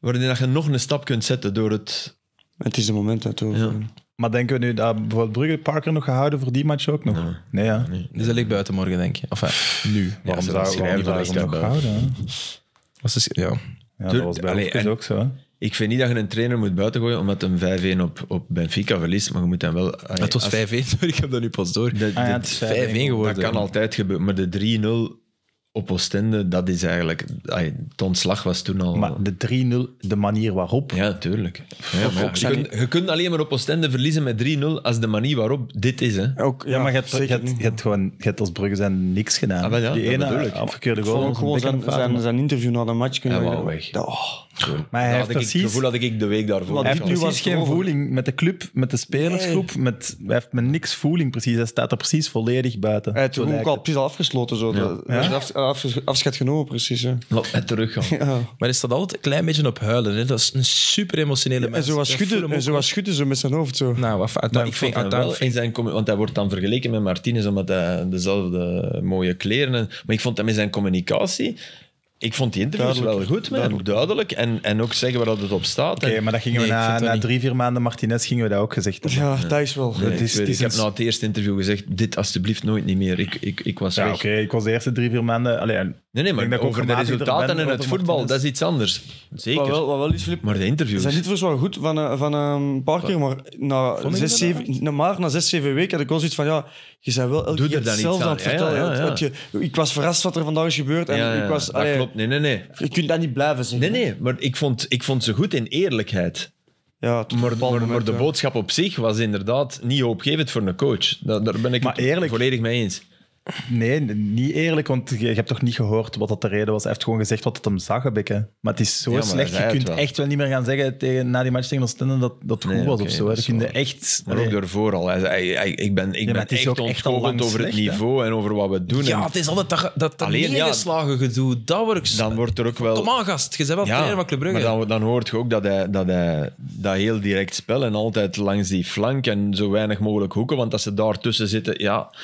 Waarin dat je nog een stap kunt zetten door het...
Het is de moment, hè, toch?
Ja.
Maar denken we nu dat bijvoorbeeld Brugge Parker nog gehouden voor die match ook nog? Nee, ja.
Dus dat ligt buiten morgen, denk je. Enfin, nu.
Waarom
ze
zou-
schrijven
waarom zouden
dat
ze
niet
hem nog
bij.
houden? hè?
Was dus- ja.
Ja,
Tuur-
dat was bij
Allee,
Hopkins
en-
ook zo. hè.
Ik vind niet dat je een trainer moet buitengooien omdat hem 5-1 op, op Benfica verliest, maar je moet hem wel... allee,
Het was
als-
5-1, sorry, ik heb dat nu pas door.
de-
Ah ja,
dit-
het is 5-1
5-1 geworden.
dat kan altijd gebeuren, maar de 3-0 op Oostende, dat is eigenlijk... Ay, het ontslag was toen al...
Maar de 3-0, de manier waarop.
Ja, tuurlijk. Ja, maar
ook
je,
zijn-
kunt, je kunt alleen maar op Oostende verliezen met 3-0 als de manier waarop dit is. Hè.
Ook,
Ja, maar je hebt, je, hebt, je hebt gewoon, je hebt als Brugge zijn niks gedaan.
Ah, wel ja,
die
dat bedoel
ene
ik.
afgekeurde
Ik
goal.
vond
was
ook
een
gewoon zijn,
bekkenvader.
zijn, zijn interview na de match kunnen
Ja,
we-
wel weg.
Dat- oh.
maar hij
Dat
heeft
had ik het
precies
gevoel dat ik de week daarvoor
Wat
Hij
had.
heeft
nu
precies
was het
geen
over.
voeling met de club, met de spelersgroep. Met, hij heeft met niks voeling precies. Hij staat er precies volledig buiten.
Hij heeft
Zo
ook
lijkt
al
het.
precies al afgesloten. Zo. Dat-
Ja?
dat is af- afges- afscheid genomen, precies. Hè.
Laat mij teruggaan.
Ja.
Maar is dat altijd een klein beetje op huilen? Hè? Dat is een super emotionele
En
mens.
zo was
Dat
schudden,
voel hem
en
ook.
zo was schudden zo met zijn hoofd. Zo.
Nou, wat, fa-
Maar
dat, ik vind
vond hem wel
uiteindelijk
in zijn commu- want hij wordt dan vergeleken met Martinez omdat hij dezelfde mooie kleren. En, maar ik vond hem in zijn communicatie. Ik vond die interviews
Duidelijk.
wel goed, maar duidelijk. En, en ook zeggen waar dat het op staat.
Oké,
En-
maar dat gingen we
Nee, ik
na,
vind dat
na
niet.
drie, vier maanden Martinez gingen we dat ook gezegd hebben.
Ja, dat is wel.
Nee,
het
ik
is-
weet-
het is
ik heb
een-
na het eerste interview gezegd: dit alsjeblieft nooit niet meer. Ik, ik, ik was
Ja,
weg.
oké. ik was de eerste drie, vier maanden... Allee,
Nee, nee,
Ik
maar
denk dat ik ook
over de
gematigder
resultaten
ben
en het
over
voetbal,
Martinez.
dat is iets anders. Zeker.
Wat wel, wat wel is, Filip,
maar de interviews.
Zijn interviews waren goed van, eh, van eh, een paar keer, maar na
Vond je
zes,
dat
zeven, na maar na zes, zeven weken had ik wel zoiets van, ja, je bent wel elke
Doe
keer
er dan iets
hetzelfde
aan.
aan het
Ja, ja,
vertellen.
ja, ja.
Het- het- je- ik was verrast wat er vandaag is gebeurd en
ja, ja,
ik was...
dat
allee,
klopt. Nee, nee, nee.
Je kunt dat niet blijven zeggen.
Nee, nee, maar ik vond, ik vond ze goed in eerlijkheid.
Ja, tot een
Maar,
bepaald
maar, maar
moment,
de
ja.
boodschap op zich was inderdaad niet hoopgevend voor een coach. Daar, daar ben ik
Maar
het
eerlijk-
volledig mee eens.
nee, niet eerlijk, want je, je hebt toch niet gehoord wat dat de reden was. Hij heeft gewoon gezegd wat het hem zag, een beetje. Maar het is zo
Ja, maar
slecht.
hij
Je
zei
kunt
het wel.
echt wel niet meer gaan zeggen tegen, na die match tegen Oostende dat dat goed
Nee,
was
oké,
of zo.
dat
hè.
is
Dat kun je
waar.
echt...
Maar
allee,
ook daarvoor al. Hij zei, "Ey, ey, ik ben, ik
maar
ben
het is
echt
ook echt al
ontgoocheld
lang
over het
slecht, hè?
niveau en over wat we doen.
Ja,
En
het is altijd dat, dat, dat
Alleen, ja.
neergeslagen gedoe. Dat wordt...
dan wordt er ook wel...
Kom aan, gast. Je bent wel trainer van Club Brugge.
maar dan, dan hoort je ook dat hij, dat hij dat heel direct spel en altijd langs die flank en zo weinig mogelijk hoeken, want als ze daar tussen zitten, ja,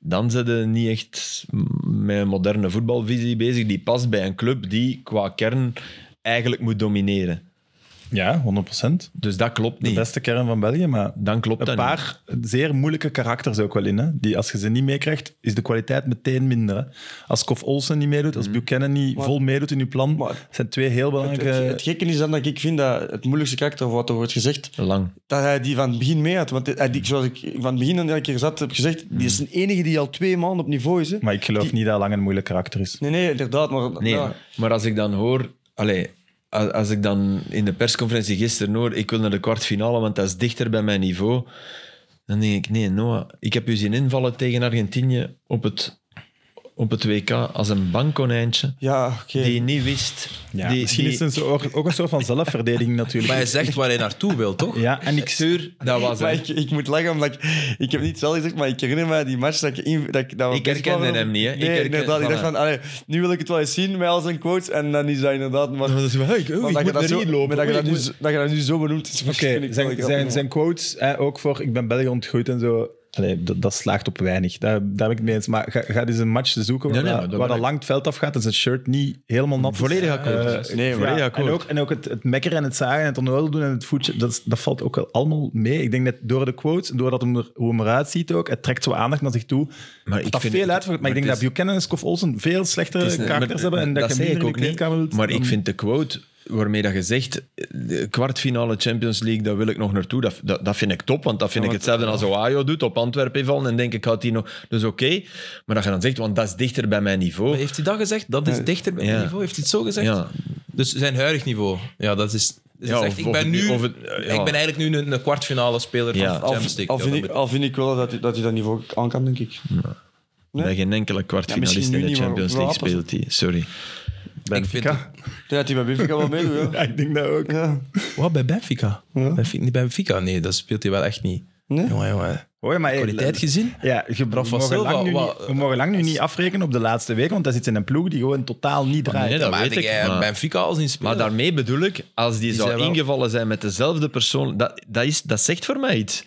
dan zijn ze niet echt met een moderne voetbalvisie bezig die past bij een club die qua kern eigenlijk moet domineren.
Ja, 100%.
Dus dat klopt
De
niet.
beste kern van België, maar...
Dan klopt dat
een
niet.
paar zeer moeilijke karakters ook wel in. Hè? Die, als je ze niet meekrijgt, is de kwaliteit meteen minder. Hè? Als Kof Olsen niet meedoet,
Mhm.
als Buchanan niet
Maar-
vol meedoet in je plan,
maar-
zijn twee heel belangrijke...
Het, het gekke is dan dat ik vind dat het moeilijkste karakter, of wat er wordt gezegd,
Lang.
dat hij die van het begin mee had. Want hij,
Hmm.
die, zoals ik van het begin aan elke keer zat, heb gezegd, die is de enige die al twee maanden op niveau is. Hè.
maar ik geloof niet dat Lang een moeilijk karakter is.
Nee, nee, inderdaad. Maar,
Nee,
Ah.
ja.
maar als ik dan hoor... Allee, als, als ik dan in de persconferentie gisteren hoor... Ik wil naar de kwartfinale, want dat is dichter bij mijn niveau. Dan denk ik, nee, Noah. Ik heb u zien invallen tegen Argentinië op het, op het WK als een bankkonijntje.
ja, oké.
Die niet wist...
Ja,
die,
misschien
die-
is het een zo- ook, ook een soort van zelfverdediging natuurlijk.
Maar hij zegt waar hij naartoe wil, toch?
ja, en ik
Tuur, dat was
Maar
hij.
ik, ik moet lachen, omdat ik, ik heb niet zelf gezegd, maar ik herinner me die match dat ik... In, dat ik, dat we
Ik
bezig
herkende
waren.
hem niet, hè. Ik eh,
Nee,
herken-
inderdaad. Ik dacht
voilà.
van, allee, nu wil ik het wel eens zien met al zijn quotes. En dan is dat inderdaad... Maar,
Dat is wel, hey, ik-
maar
ik
dat je
moet
dat
naar
zo-
hier lopen.
maar dat je
Oei,
dat
ik
nu
moet-
zo- dat je dat nu zo benoemt, is
Oké,
vind ik wel
eh, zijn,
grappig.
zijn, zijn quotes, hè, ook voor ik ben België ontgroeid en zo. allee, dat, dat slaagt op weinig. Daar, daar ben ik het mee eens. Maar ga, ga dus een match zoeken waar,
Nee, nee, maar
dat,
dat
waar
ben
dat lang het veld afgaat en zijn shirt niet helemaal nat is.
Volledig akkoord.
Eh,
Nee,
ja,
volledig
en
akkoord.
ook, en ook het, het mekkeren en het zagen en het onnozel doen en het voetje, dat, is- dat valt ook wel allemaal mee. Ik denk dat door de quotes, doordat hem er, hoe hem eruit ziet ook, het trekt zo aandacht naar zich toe.
Maar
Maar
ik
dat
vind-
veel uit, maar,
maar
ik denk
het
dat Buchanan en Scoff Olsen veel slechtere
Het is een-
Eh, karakters
maar- eh,
hebben en dat, je
zei
minder
ik
in de
ook niet.
kleedkamer wilt.
Maar ik
dan-
vind de quote waarmee dat je zegt, eh, de kwartfinale Champions League, daar wil ik nog naartoe. Dat, dat, dat vind ik top, want dat vind ik hetzelfde als Ohio doet, op Antwerpen vallen en denk ik, had die nog... Dus oké. Maar dat je dan zegt, want dat is dichter bij mijn niveau.
Maar heeft hij dat gezegd? Dat is dichter bij
Ja.
het niveau. Heeft hij het zo gezegd?
Ja.
Dus zijn huidig niveau. Ja, dat is... dus
Ja,
hij zegt,
of-
ik,
of
ben
het
nu,
niet- of het- ja.
ik ben eigenlijk nu een, een kwartfinale speler
Ja. Hmm.
van de
Al-
Champions League.
Al
Ja,
vind,
dat
ik,
moet-
al vind ik wel dat hij dat, hij dat niveau aan kan, denk ik. Nee.
Bij geen enkele
Ja,
kwartfinalist
misschien
in de
nu niet, maar
Champions
wel
League
appels.
speelt hij. Sorry.
ik vind
Benfica.
het-
Ja, dat hij bij Benfica wel meedoet, ja.
Ja, ik denk dat ook.
ja.
Wat, bij Benfica? Benfica? Niet bij Benfica? Nee, dat speelt hij wel echt niet.
Nee?
Jongen, jongen.
Hoor je, maar hey,
Kwaliteit gezien?
Ja, je, we,
van
mogen
Silva,
lang nu
wat-
niet, we mogen lang nu niet afrekenen op de laatste week, want dat zit in een ploeg die gewoon totaal niet draait.
nee, dat
maar
weet
had
ik,
jij
maar-
Benfica al zien
Maar
spelen.
daarmee bedoel ik, als die, zou
zijn wel-
ingevallen zijn met dezelfde persoon, dat, dat, is, dat zegt voor mij iets.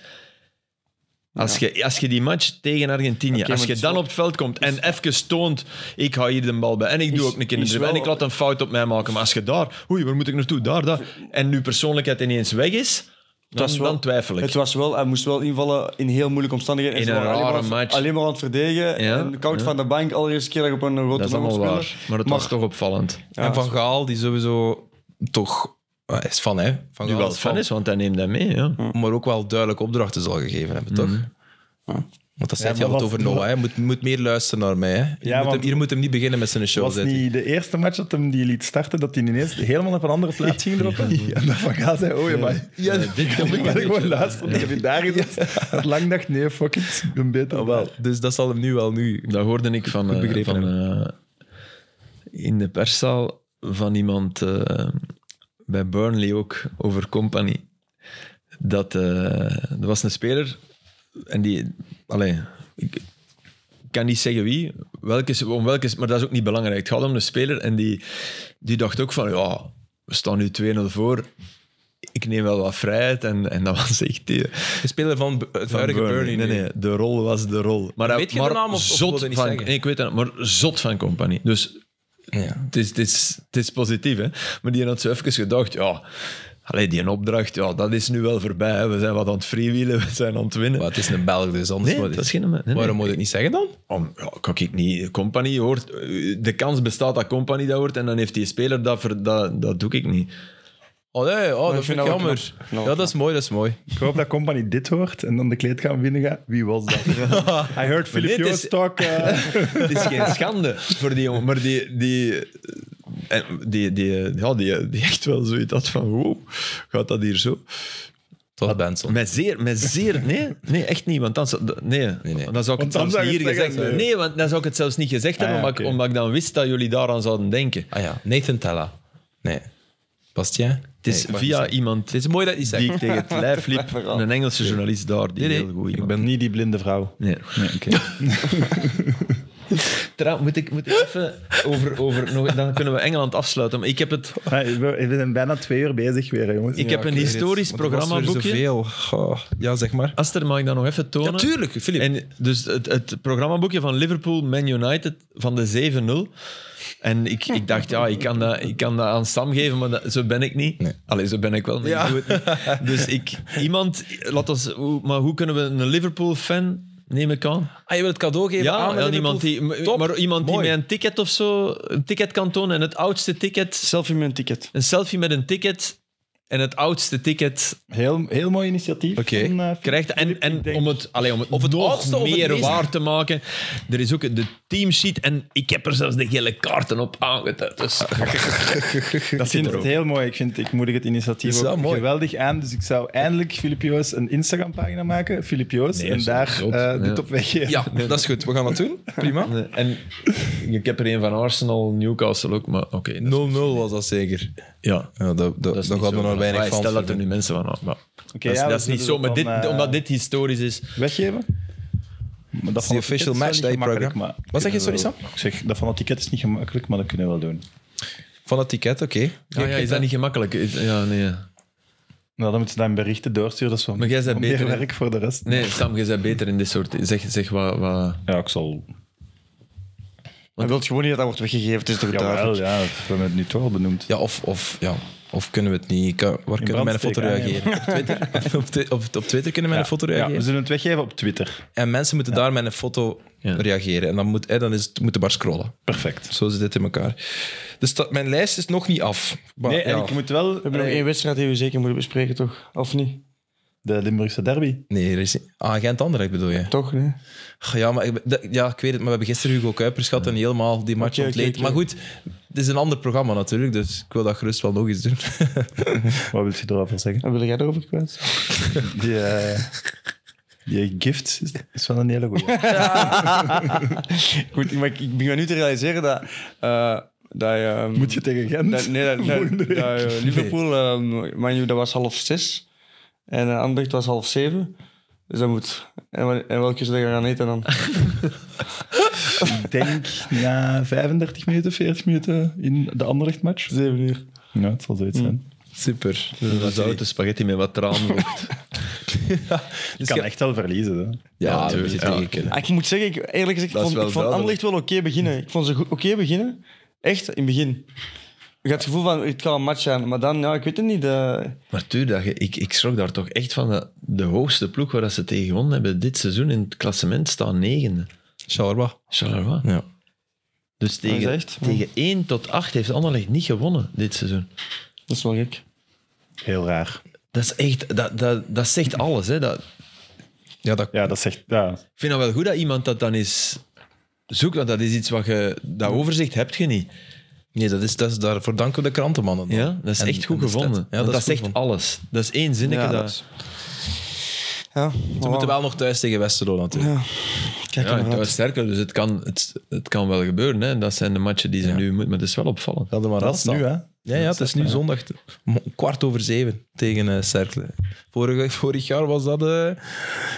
Als, je, als je die match tegen Argentinië,
maar
als je
het is
dan
wel-
op het veld komt en even toont, ik hou hier de bal bij en ik doe
Is-
ook een keer een
is
dribbel en
wel-
ik laat een fout op mij maken. Maar als je daar, oei, waar moet ik naartoe? Daar, daar. En nu persoonlijkheid ineens weg is, dan,
was wel-
dan twijfel ik.
Het was wel, hij moest wel invallen in heel moeilijke omstandigheden. En
In
ze
een
waren alleen
rare
maar, aan-
match.
Alleen maar aan het verdedigen.
Ja,
En koud
ja.
van de bank, allereerste keer dat je op een
dat
grote
is
man
allemaal
moet spelen.
waar, maar het was toch opvallend.
en Van Gaal, die sowieso toch... eh, Is van, hè? Van
Nu
Gaal
wel
is
fan
van.
is, want hij neemt dat mee. Ja.
maar ook wel duidelijke opdrachten zal gegeven hebben, toch?
Mhm.
Want dat zei
Ja,
hij
maar
altijd
wat-
over Noah. Hij moet, moet meer luisteren naar mij. Hè. Hier,
Ja,
moet
want-
hem, hier moet hem niet beginnen met zijn show.
was
zei hij.
niet de eerste match dat hem die liet starten, dat hij ineens helemaal op een andere plaats ging droppen. En dat Van Gaal zei, oh ja, maar
Ja, dit kan
ik
ik
ben
wel
gewoon luisteren. Ik heb je daar gezet. Dat Lang dacht, nee, fuck it, ik ben beter.
Ah, wel. Dus dat zal hem nu wel nu.
Dat hoorde ik van, eh,
begrepen
van eh, in de perszaal van iemand eh, bij Burnley ook over Company. Dat eh, er was een speler en die, allee, ik kan niet zeggen wie, welke, om welke, maar dat is ook niet belangrijk. Het gaat om een speler en die, die dacht ook van, ja, we staan nu 2-0 voor. Ik neem wel wat vrijheid en, en dat was echt eh, die,
De speler van B- het huidige
van
Burnley.
Nee,
nu.
nee, de rol was de rol. Maar,
Weet je
maar
de naam of- of wil je
zot
dat niet
van,
zeggen?
nee, ik weet het, maar zot van Company. Dus
Ja.
het is, het is, het is positief, hè. Maar die had zo even gedacht, ja... Allee, die opdracht, ja, dat is nu wel voorbij. Hè. We zijn wat aan het freewheelen, we zijn aan het winnen.
Maar het is een Belg, dus anders.
Nee,
moet-
dat is geen... nee, nee.
Waarom moet je het niet zeggen dan?
Om, ja, kan ik niet. Company hoort... De kans bestaat dat Company dat hoort en dan heeft die speler dat... Ver, dat, dat doe ik niet.
Oh nee, oh, dat
ik
vind
vind
ik
dat wel
jammer.
knap.
Ja, dat is mooi, dat is mooi.
Ik hoop dat Company dit hoort en dan de kleedkamer binnen gaat. Wie was dat? I heard Philip
nee, het is-
Joost talk. eh,
Het is geen schande voor die jongen, maar die... die eh, en die, die, ja, die, die echt wel zoiets had van, wow, gaat dat hier zo?
Tot Benson.
Met zeer, met zeer, nee, nee, echt niet, want dan, zou- d- nee,
nee.
dan zou ik het
dan
zelfs
zou
niet
je
hier
het
gezegd
zeggen, eh.
hebben.
nee.
Nee, want dan zou ik het zelfs niet gezegd hebben,
ja,
omdat, ik,
oké.
omdat ik dan wist dat jullie daaraan zouden denken.
Ah ja, Nathan Tella. Nee. Bastien?
Het is via iemand
Het is mooi dat je het zegt.
die ik tegen het lijf liep,
Verhaal.
een Engelse journalist daar, die
Nee, nee,
heel goed
Ik
iemand-
ben niet die blinde vrouw.
Nee.
Nee, oké.
Trouwens, moet ik, moet ik even over, over nog, dan kunnen we Engeland afsluiten. Maar ik heb het,
Maar We we zijn bijna twee uur bezig weer, jongens.
ik heb een historisch programmaboekje.
Zoveel. Goh, Ja, zeg maar.
Aster, mag ik dat nog even tonen?
Natuurlijk, Filip.
En dus het, het programmaboekje van Liverpool Man United van de 7-0. En ik, ik dacht, ja, ik kan, dat, ik kan dat aan Sam geven, maar dat- zo ben ik niet.
Nee.
Allee, zo ben ik wel, maar ik doe het niet. Dus ik, iemand, laat ons, hoe- maar hoe kunnen we een Liverpool-fan, neem ik aan?
Ah, je wil het cadeau geven
Ja,
aan
ja,
Liverpool?
iemand die, m-
Top.
maar iemand die
Mooi.
mij een ticket of zo, een ticket kan tonen. En het oudste ticket,
Selfie met een ticket.
een selfie met een ticket. En het oudste ticket
Heel, heel mooi initiatief.
Oké.
van, eh,
krijgt. En, en om het, allee, om het,
Of het
nog
oudste of het
meer
meeste.
waar te maken, er is ook de teamsheet. En ik heb er zelfs de gele kaarten op aangetuigd. Dus
Dat ik vind het heel mooi. Ik, vind, ik moedig het initiatief
Dat is wel
ook
mooi.
geweldig aan. Dus ik zou eindelijk Filip Joos een Instagram-pagina maken. Filip Joos.
Nee,
en
zo
daar
zot.
eh, de
Ja.
top weggeven.
Ja, dat is goed. We gaan dat doen. Prima. 0-0
en ik heb er een van Arsenal, Newcastle ook. Maar oké, dat is-
was dat zeker.
ja.
Ja, dat, dat,
Dat is
dan gaan
niet
er
zo
nog
van-
weinig
Ah,
van.
Stel dat er nu mensen van... Maar,
Oké,
dat is,
ja,
dat
we
is niet zo,
zullen
maar dit,
dan, eh,
omdat dit historisch is...
Weggeven? Maar dat
is die official matchday program.
Maar
Wat zeg je, sorry Sam?
ik zeg, dat van het ticket is niet gemakkelijk, maar dat kunnen we wel doen.
Van het ticket, oké.
Ah ja, is dat niet gemakkelijk? Is- Ja, nee.
Nou, dan moeten ze dan berichten doorsturen. Dat is wel
Maar jij bent
meer
beter, hè?
werk voor de rest.
Nee, Sam, je bent beter in dit soort... Zeg, zeg wat... wat...
Ja, ik zal...
Hij wil gewoon niet dat dat wordt weggegeven, het is toch
Jawel,
duidelijk.
ja. We hebben het nu toch al benoemd.
Ja, of, of, ja, of kunnen we het niet? Kan- waar kunnen we met een
brand
foto
steken, hè,
reageren? Op Twitter, op, twi- op, op Twitter kunnen we met een foto
Ja, we
reageren.
zullen het weggeven op Twitter.
En mensen moeten daar met een foto
Ja.
reageren. En dan, moet, hè, dan is het, moeten we maar scrollen.
Perfect.
Zo zit dit in elkaar. Dus dat, mijn lijst is nog niet af. Maar,
Nee, en
ja.
ik moet wel... Eh,
We hebben nog één wedstrijd die we zeker moeten bespreken, toch? Of niet?
De Limburgse derby.
nee, er is ah, Gent-Anderlecht bedoel je?
Toch? Nee?
Ach, Ja, maar ik, ben- dat- ja, ik weet het, maar we hebben gisteren Hugo Kuipers gehad en helemaal die match
Oké, oké,
ontleed.
oké.
Maar goed, het is een ander programma natuurlijk, dus ik wil dat gerust wel nog eens doen.
Wat wil je erover zeggen?
Wat wil jij daarover kwijt?
Die, eh, die gift is, is wel een hele goeie.
Goed, maar ik, ik begin nu te realiseren dat... eh, dat je, ehm,
Moet je tegen Gent?
dat- nee, dat, dat, dat, eh, Liverpool, ehm man, U, dat was half zes. En uh, Anderlecht was half zeven. Dus dat moet... En, wa- en welke zullen we gaan eten dan?
Ik denk na 35 minuten, 40 minuten in de Anderlecht-match.
Zeven uur.
Ja, het zal zoiets zijn.
Super.
Een zoute spaghetti met wat traanvocht.
Dus
kan
ja,
echt wel verliezen. Hè.
ja,
Ja,
dat moet je
ja.
tegen kunnen.
Ah, ik moet zeggen, ik, eerlijk gezegd, ik
Dat is
vond,
wel
ik vond Anderlecht
duidelijk.
wel oké beginnen. Ik vond ze goed- oké beginnen. Echt, in het begin. Ik had het gevoel van, het kan een match zijn. Maar dan, ja, ik weet het niet. eh,
Maar tuur, dat je- ik, ik schrok daar toch echt van. Dat de hoogste ploeg waar dat ze tegen gewonnen hebben dit seizoen in het klassement staan negende.
Shawarma.
Charleroi.
Ja.
Dus
Dat
tegen,
is echt, ja.
tegen 1 tot 8 heeft Anderlecht niet gewonnen dit seizoen.
dat is wel gek.
Heel raar.
Dat, is echt, dat, dat, dat zegt alles. Hè. Dat,
Ja, dat,
Ja, dat zegt... Ja,
ik vind het wel goed dat iemand dat dan eens zoekt, want dat is iets wat je... Dat overzicht heb je niet.
Nee, dat is, dat is daarvoor danken we de krantenmannen. dan.
Ja? Dat is
En-
echt goed
en de stad.
gevonden.
Ja,
Want
dat,
dat
is goed
zegt
gevonden.
alles. Dat is één zinnetje.
Ja,
dat...
dat is- Ja,
Ze moeten wel nog thuis tegen Westerlo natuurlijk.
Kijk
Ja,
ja,
en dat is sterker, dus het kan, het, het kan wel gebeuren. Hè. Dat zijn de matchen die ze
Ja.
nu moeten, maar het is wel opvallend.
Dat maar
dat is nu, hè.
Ja, ja, het is nu zondag om kwart over zeven tegen eh Cercle. Vorig, vorig jaar was dat eh, een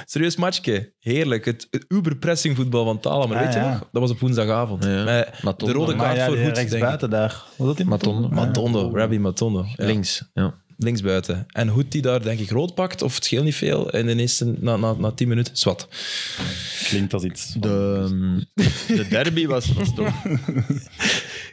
serieus matchje. Heerlijk. Het, het uberpressing voetbal van Talen. Maar
Ah,
weet je
ja.
nog? Dat was op woensdagavond.
Ja.
Met de
Matondo.
rode
Maar
kaart
ja,
voor
die
goed, denk ik.
rechtsbuiten daar. Was dat in
Matondo.
Matondo, Rabbi Matondo. Ja.
Links. Ja.
Linksbuiten. En Hoed die daar denk ik rood pakt, of het scheelt niet veel. En de eerste, na, na, na tien minuten, zwart.
Klinkt als iets.
De, ehm, de derby was, was toch...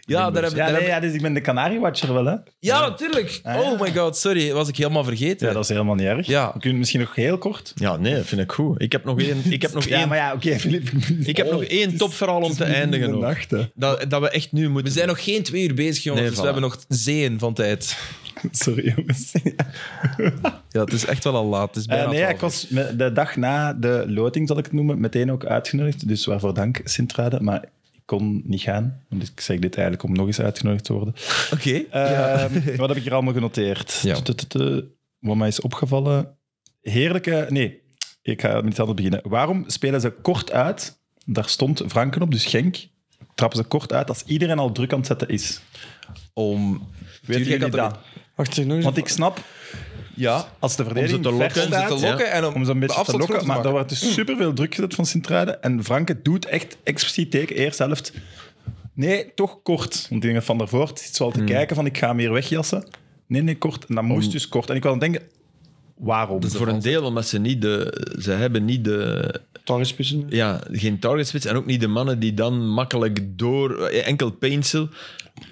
Ja, daar hebben
Ja,
daar
nee,
hebben-
ja, dus ik ben de Canarie-watcher wel, hè?
ja, natuurlijk. Oh my god, sorry. Dat was ik helemaal vergeten.
Ja, dat is helemaal niet erg.
Ja.
We kunnen het misschien nog heel kort.
Ja, nee, dat vind ik goed. Ik heb nog één, ik heb nog
Ja,
één,
maar ja, oké, Filip.
ik
oh,
heb nog één topverhaal om te eindigen.
de
nog.
nacht, hè.
Dat, dat we echt nu moeten...
We zijn nog geen twee uur bezig, jongens.
Nee,
dus
voilà.
we hebben nog zeeën van tijd.
Sorry, jongens.
Ja, het is echt wel al laat. Het is bijna
Eh, nee, ja,
twaalf
ik was me- de dag na de loting, zal ik het noemen, meteen ook uitgenodigd. Dus waarvoor dank, Sint-Truiden. Maar ik kon niet gaan. Dus ik zeg dit eigenlijk om nog eens uitgenodigd te worden.
uur. Oké.
Ehm, Wat heb ik hier allemaal genoteerd?
Ja.
Tutututu. Wat mij is opgevallen. Heerlijke. Nee, ik ga met iets anders beginnen. Waarom spelen ze kort uit? Daar stond Franken op, dus Genk. Trappen ze kort uit als iedereen al druk aan het zetten is.
Om...
Weet
Tuurlijk, ik
jullie
had er-
dat?
Wacht, zeg nog eens.
Want ik snap,
Ja,
als de
Om
verdediging
ze te
ver
lokken,
om ze te
staat,
lokken en om,
om ze een beetje te lokken. Maar
dat
daar werd dus superveel druk gezet van Sint-Truiden. En Franke doet echt expliciet tegen eerst helft. Nee, toch kort. Want ik denk dat Van der Voort zit zo al te
Hmm.
kijken van ik ga hem hier wegjassen. Nee, nee, kort. En dat moest dus kort. En ik wil dan denken, waarom?
Voor een deel, omdat ze niet de... Ze hebben niet de...
Torrespissen.
Ja, geen targetspits en ook niet de mannen die dan makkelijk door... eh, Enkel Painsel.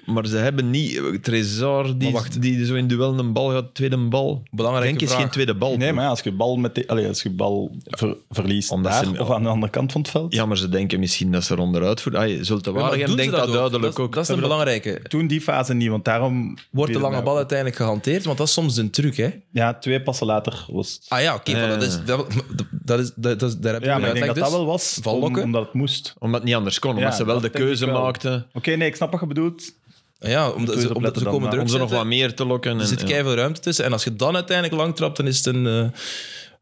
Maar ze hebben niet eh, Trezor die,
Maar wacht.
die zo in duel een bal gaat, tweede bal.
Belangrijke
Denk is
vraag.
geen tweede bal.
Nee, maar ja, als je bal, met de, allee, als je bal ver- verliest
Omdat
daar,
ze-
of aan de andere kant van het veld.
Ja, maar ze denken misschien dat ze ronderuit voeren. Ah, je zult de
maar
waarheid
doen ze
denkt dat,
ook?
duidelijk
dat,
ook.
Dat is een belangrijke.
Toen die fase niet, want daarom...
Wordt de
viel het
lange
mij
bal
op.
uiteindelijk gehanteerd? Want dat is soms een truc, hè?
Ja, twee passen later was het.
Ah ja, oké.
Ja,
voilà, dat
ja,
is,
ja.
dat, dat is, dat, dat is, daar heb je
Eh. Ja,
een
maar ik denk
uitleg
dat dat
dus.
wel was om-
Vallokken?
omdat het moest.
Omdat het niet anders kon, omdat
Ja,
ze wel
dat
de
denk ik
keuze
wel.
maakten.
Oké, nee, ik snap wat je bedoelt.
Ja, omdat
Moet je
ze, omdat ze
eens opletten dan,
komen
maar
druk
Om ze nog
zetten.
wat meer te lokken.
Er
En,
zit
ja.
keihard ruimte tussen. En als je dan uiteindelijk lang trapt, dan is het een... eh,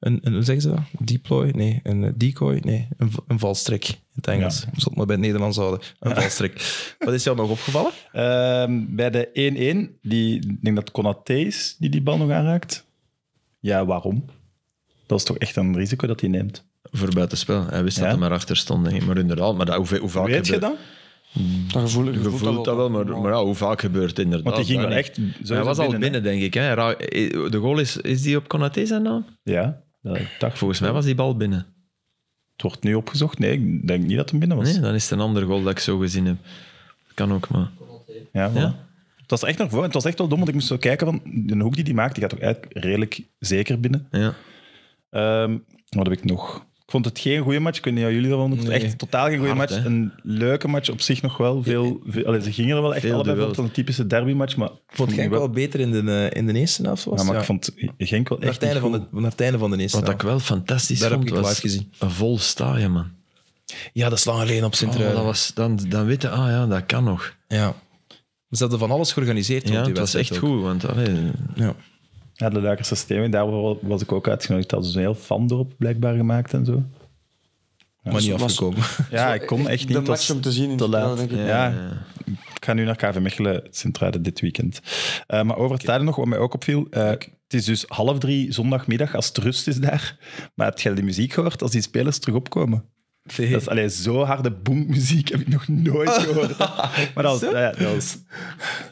een, een hoe zeggen ze dat? Deploy? Nee. Een eh, decoy? Nee. Een, v- een valstrik in het Engels. Ik zal het maar bij het Nederlands houden. Een valstrik. Wat is jou nog opgevallen?
Ehm, bij de 1-1, die, ik denk dat Konaté is die die bal nog aanraakt. Ja, waarom? Dat is toch echt een risico dat hij neemt.
Voor buitenspel. Hij wist
Ja.
dat hij maar achter stond. denk ik. Maar inderdaad, maar dat, hoe, hoe vaak
Weet je
hebben-
dat?
Dat gevoel,
Je voelt dat wel, maar, maar ja, hoe vaak gebeurt het inderdaad?
Want die ging
Oh, dat
wel
niet.
echt. sowieso
Hij was al
hè.
binnen, denk ik. Hè. Hij raak- De goal is, is die op Konaté zijn naam?
Ja, dat dacht
Volgens mij was die bal binnen.
Het wordt nu opgezocht. Nee, ik denk niet dat hem binnen was.
Nee, dan is het een ander goal dat ik zo gezien heb. Kan ook, maar...
Ja, voilà.
Ja.
Het was echt nog voor. Het was echt wel dom, want ik moest zo kijken van de hoek die die maakt, die gaat toch eigenlijk redelijk zeker binnen.
Ja.
Ehm, wat heb ik nog? Ik vond het geen goede match. Ik weet niet aan jullie ervan. Ik vond het
Nee.
echt totaal geen goede
Hard,
match.
hè?
Een leuke match op zich nog wel. Veel, veel, allee, ze gingen er wel echt
Veel
allebei voor.
duels.
Het was een typische derby-match, maar ik
vond
die
Genk wel beter in de, eh, in de eerste helft. Was.
Ja, maar
Ja.
ik vond Genk wel
naar,
echt
het einde
niet
van
goed.
de, naar het einde van de eerste
Wat ik
helft.
wel fantastisch
Daar heb
vond,
ik het
was
live gezien.
een vol stadion, man.
Ja, dat is lang geleden op sint
Oh, dat was, dan, dan weten ah ja, dat kan nog.
Ja. Ze hadden van alles georganiseerd.
Ja,
rond die
het was
wedstrijd
echt
ook.
goed, want allee,
Ja.
Ja, de Luikers systemen, daar was ik ook uitgenodigd. Dat was een heel fandorp blijkbaar gemaakt en zo.
Maar niet
was-
afgekomen.
Ja, ik kon echt niet.
De
Het was
match om te zien in
te
het
laat.
denk ik.
Ja, Ik ga nu naar KV Mechelen, Sint-Truiden dit weekend. Eh, maar over het tijden nog, wat mij ook opviel. eh, het is dus half drie zondagmiddag als het rust is daar. Maar heb jij de muziek gehoord als die spelers terug opkomen? Dat is alleen zo harde boommuziek heb ik nog nooit gehoord. Maar dat was, ja, dat was-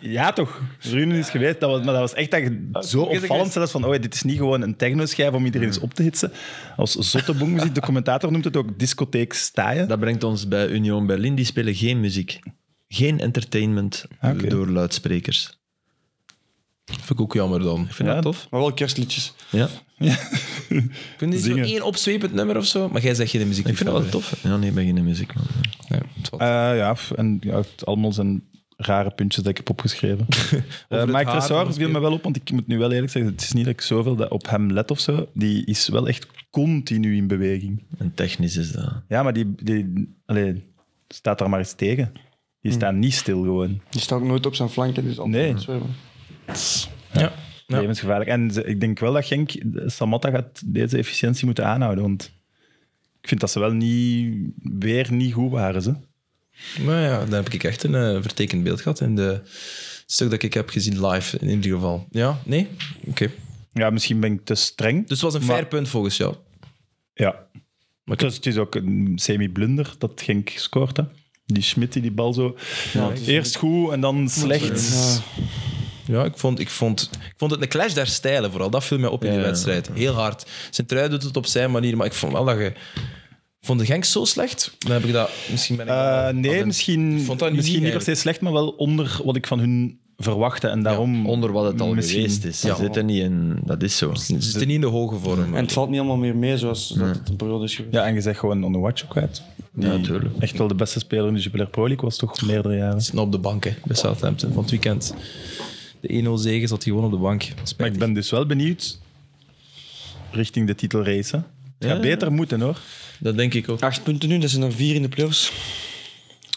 ja, toch? Runen is geweest, dat was, maar dat was echt dat je zo opvallend zelfs van, oh, dit is niet gewoon een technoschijf om iedereen eens op te hitsen. Als zotte boommuziek, de commentator noemt het ook discotheek staaien.
dat brengt ons bij Union Berlin. Die spelen geen muziek. Geen entertainment eh,
Oké.
door luidsprekers.
vind ik ook jammer dan.
Ik vind
Ja.
dat tof.
Maar wel kerstliedjes.
Ja,
Ik vind dit zo
Zingen.
één opzwepend nummer of zo. Maar jij zegt je de muziek
ik vind dat wel tof. Ja, nee, ik ben geen muziekman.
tof.
Eh, ja, f- en ja, het- allemaal zijn rare puntjes dat ik heb opgeschreven. Eh
het
Mike
haar van
Tressor
de
viel me wel op, want ik moet nu wel eerlijk zeggen, het is niet dat ik zoveel dat op hem let of zo. Die is wel echt continu in beweging.
En technisch is dat.
Ja, maar die, die allee, staat daar maar eens tegen. Die staat niet stil gewoon.
Die staat ook nooit op zijn flanken. Dus altijd
Nee.
aan het zwemmen.
Ja. Ja.
Levensgevaarlijk. En ze- ik denk wel dat Genk, eh, Samatta gaat deze efficiëntie moeten aanhouden, want ik vind dat ze wel niet, weer niet goed waren. Ze.
Maar Nou ja, daar heb ik echt een eh, vertekend beeld gehad in de stuk dat ik heb gezien live in ieder geval. Ja, nee? Oké.
Ja, misschien ben ik te streng.
Dus het was een
Maar-
fair punt volgens jou.
Ja. Maar dus het is ook een semi-blunder dat Genk scoort. Hè? Die Schmidt die die bal zo... Eerst goed en dan slecht.
Ja.
Ja, ik vond, ik, vond, ik vond het een clash der stijlen vooral. Dat viel mij op in die
Ja.
wedstrijd. Heel hard. Sint-Truiden doet het op zijn manier, maar ik vond wel dat je... Vond de Genk zo slecht? Dan heb ik dat... Misschien ben ik...
Eh,
Of
nee,
een-
misschien,
vond dat niet
misschien niet per
eigenlijk.
se slecht, maar wel onder wat ik van hun verwachtte. En daarom...
Onder wat het al
misschien-
geweest is.
Ja.
Ze zitten niet in... Dat is zo.
Ze zitten niet in de hoge vorm.
En het valt niet allemaal meer mee zoals dat het een periode is geweest.
Ja, en je zegt gewoon on the watch ook uit. Die
Ja, tuurlijk.
Echt wel de beste speler in de Jupiler Pro League was toch meerdere jaren.
zitten op de bank hè, bij Southampton van het weekend. De 1-0 zegen zat hij gewoon op de bank.
Maar ik
Spijtig.
ben dus wel benieuwd richting de titelrace. hè. Het gaat
Ja.
beter moeten hoor.
Dat denk ik ook.
Acht punten nu, dat zijn er vier in de playoffs.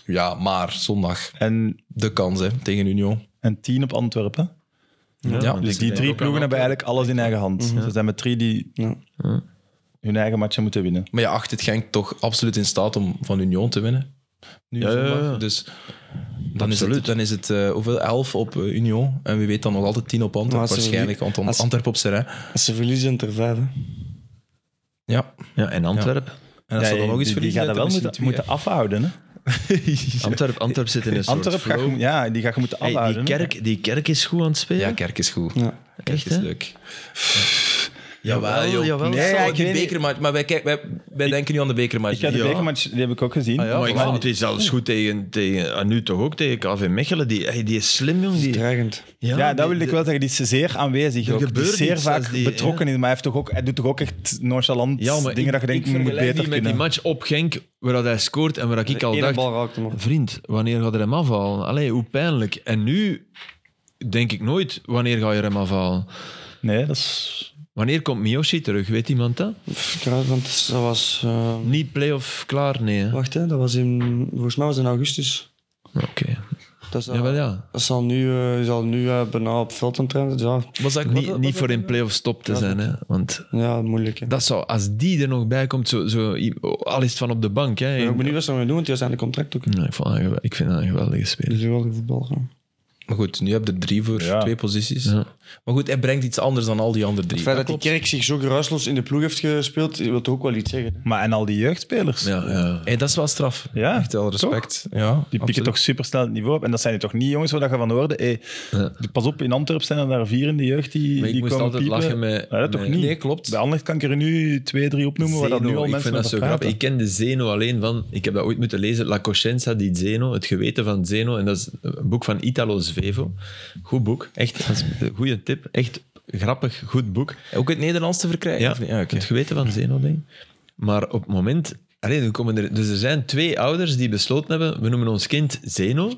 Ja, maar zondag
En,
de kans hè, tegen Union.
en tien op Antwerpen.
Ja,
Dus die drie ploegen hebben eigenlijk
eh,
alles in eigen
Mhm.
hand. Ze zijn met drie die
Ja.
hun eigen matchen moeten winnen.
Maar je acht het Genk toch absoluut in staat om van Union te winnen. Nu
Ja, ja, ja.
zondag. Dus dan is het,
Absoluut.
dan is het eh, hoeveel? 11 op eh, Union. En wie weet dan nog altijd 10 op
Maar
Antwerp
als ze
waarschijnlijk. Want dan
als-
Antwerp op Serrain.
Als ze verliezen, zijn het er vijf. hè.
Ja.
Ja, en Antwerpen.
En als ze
Ja,
dan nog iets
die, die
verliezen,
gaat dat wel
dan is
moeten,
het misschien
moeten afhouden. Hè?
Antwerp, Antwerp zit in een soort
Antwerp gaat,
flow.
je- ja, die gaat je moeten
Hey, die,
afhouden. hè.
kerk, die kerk is goed aan het spelen.
twee, hè? Ja, Kerk is goed.
Ja.
Kerk
Echt,
is
hè?
leuk.
Jawel,
Joop.
jawel.
Nee,
ja,
ja,
ik
die
weet niet.
bekermatch. Maar wij, kijk- wij, wij denken niet aan de bekermatch.
Ik ga de
Ja. Ah,
bekermatch, die heb ik ook gezien.
ja,
maar ik vond het zelfs goed tegen, tegen... en Nu toch ook tegen KV Mechelen. Die, hey, die is slim, jong. Die,
Dreigend.
Ja, dat
die-
wil ik wel zeggen. Die is zeer aanwezig. Ook. Die
gebeurt
is zeer
iets
vaak
als die-
betrokken in. Maar hij, heeft toch ook, hij doet toch ook echt nonchalant
Ja, maar
dingen
ik,
dat je denkt,
ik
je moet
vergelijk
beter
die met
kunnen.
die match op Genk, waar dat hij scoort en waar dat ik al
Eén
dacht...
bal raakte nog.
Vriend, wanneer gaat er hem afhalen? Allee, hoe pijnlijk. En nu denk ik nooit, wanneer ga je hem afhalen?
Nee, dat is...
Wanneer komt Miyoshi terug? Weet iemand dat?
Pff, kruid, want dat was... eh,
Niet play-off klaar, nee. hè?
Wacht, hè, dat was in... Volgens mij was het in augustus.
Oké.
Dat is, eh,
Jawel, ja.
Dat zal nu, eh, zal nu eh, bijna op veld aan het trainen. Dus ja,
Was dat, wat-
Niet,
wat-
niet
wat-
voor in play-off stop te zijn, hè. Want
ja, moeilijk. Hè.
dat zou, als die er nog bij komt, zo, zo, al is het van op de bank, hè.
Ik ben ook benieuwd wat ze gaan doen, want die zijn de contract ook.
Nee, ik, vond dat een gewel- ik vind dat een geweldige speler.
Dus wel voetbal gaan.
Maar goed, nu heb je er drie voor
Ja.
twee posities.
Ja.
Maar goed, hij brengt iets anders dan al die andere drie.
Het feit
Dat
dat die
klopt.
kerk zich zo geruisloos in de ploeg heeft gespeeld, wil toch ook wel iets zeggen. hè?
Maar en al die jeugdspelers,
Ja, ja.
Hey, dat is wel straf.
Ja,
Echt wel respect. Ja,
die pikken toch supersnel het niveau op. En dat zijn er toch niet jongens waar dat je van hoorde. Hey,
Ja.
Pas op, in Antwerpen zijn er daar vier in de jeugd die,
Maar ik
die
moest
komen
altijd
piepen.
lachen met...
Ja, dat toch
met-
niet?
Nee, klopt.
Bij Anderlecht kan ik er nu twee, drie opnoemen waar dat nu
Zeno,
al
ik
mensen
vind dat zo
over
grappig. Ik
praten.
ken de Zeno alleen van... Ik heb dat ooit moeten lezen. La Coscienza di Zeno. Het geweten van Zeno. En dat is een boek van Italo Svevo. Goed boek. Echt, dat is een goede tip. Echt grappig, goed boek.
Ook in het Nederlands te verkrijgen?
Ja,
of niet? oké.
het geweten van Zeno, denk ik. Maar op het moment... Allee, nu komen er, dus er zijn twee ouders die besloten hebben, we noemen ons kind Zeno.
En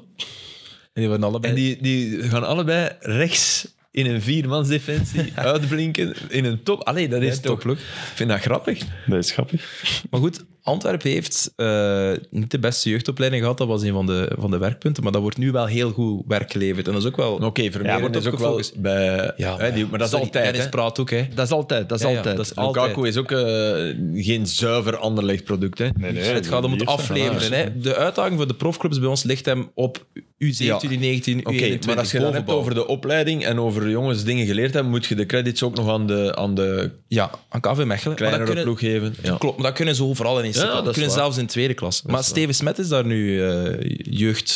die worden allebei...
En die, die gaan allebei rechts in een viermansdefensie uitblinken in een top. Allee, dat is
Ja,
toch...
topploeg.
Ik vind dat grappig.
Dat is grappig.
Maar goed, Antwerpen heeft eh, niet de beste jeugdopleiding gehad. Dat was een van de, van de werkpunten. Maar dat wordt nu wel heel goed werk geleverd. En dat is ook wel...
Maar Oké, Vermeeren
Ja, wordt
is
ook
ook wel
gefocust.
bij...
Ja,
hè, die, maar dat is altijd,
Dennis
hè.
Praat ook, hè.
Dat is altijd, dat is
Ja, ja,
altijd.
dat is
Lukaku
altijd.
is ook eh, geen zuiver anderleg product, hè.
Nee, nee,
het gaat om het
hier zijn
afleveren. Hè. De uitdaging voor de profclubs bij ons ligt hem op U17,
Ja.
19,
Oké,
U21.
maar als je het hebt
bovenbouw.
over de opleiding en over jongens dingen geleerd hebben, moet je de credits ook nog aan de, aan de
Ja, aan KV Mechelen. Maar dat
kleinere
kunnen,
ploeg geven. Ja.
Dus Klopt, maar dat kunnen ze overal in eerste
Ja,
klas.
dat
Dat
is
kunnen
waar.
zelfs in tweede klas. maar Steven Smet is daar nu eh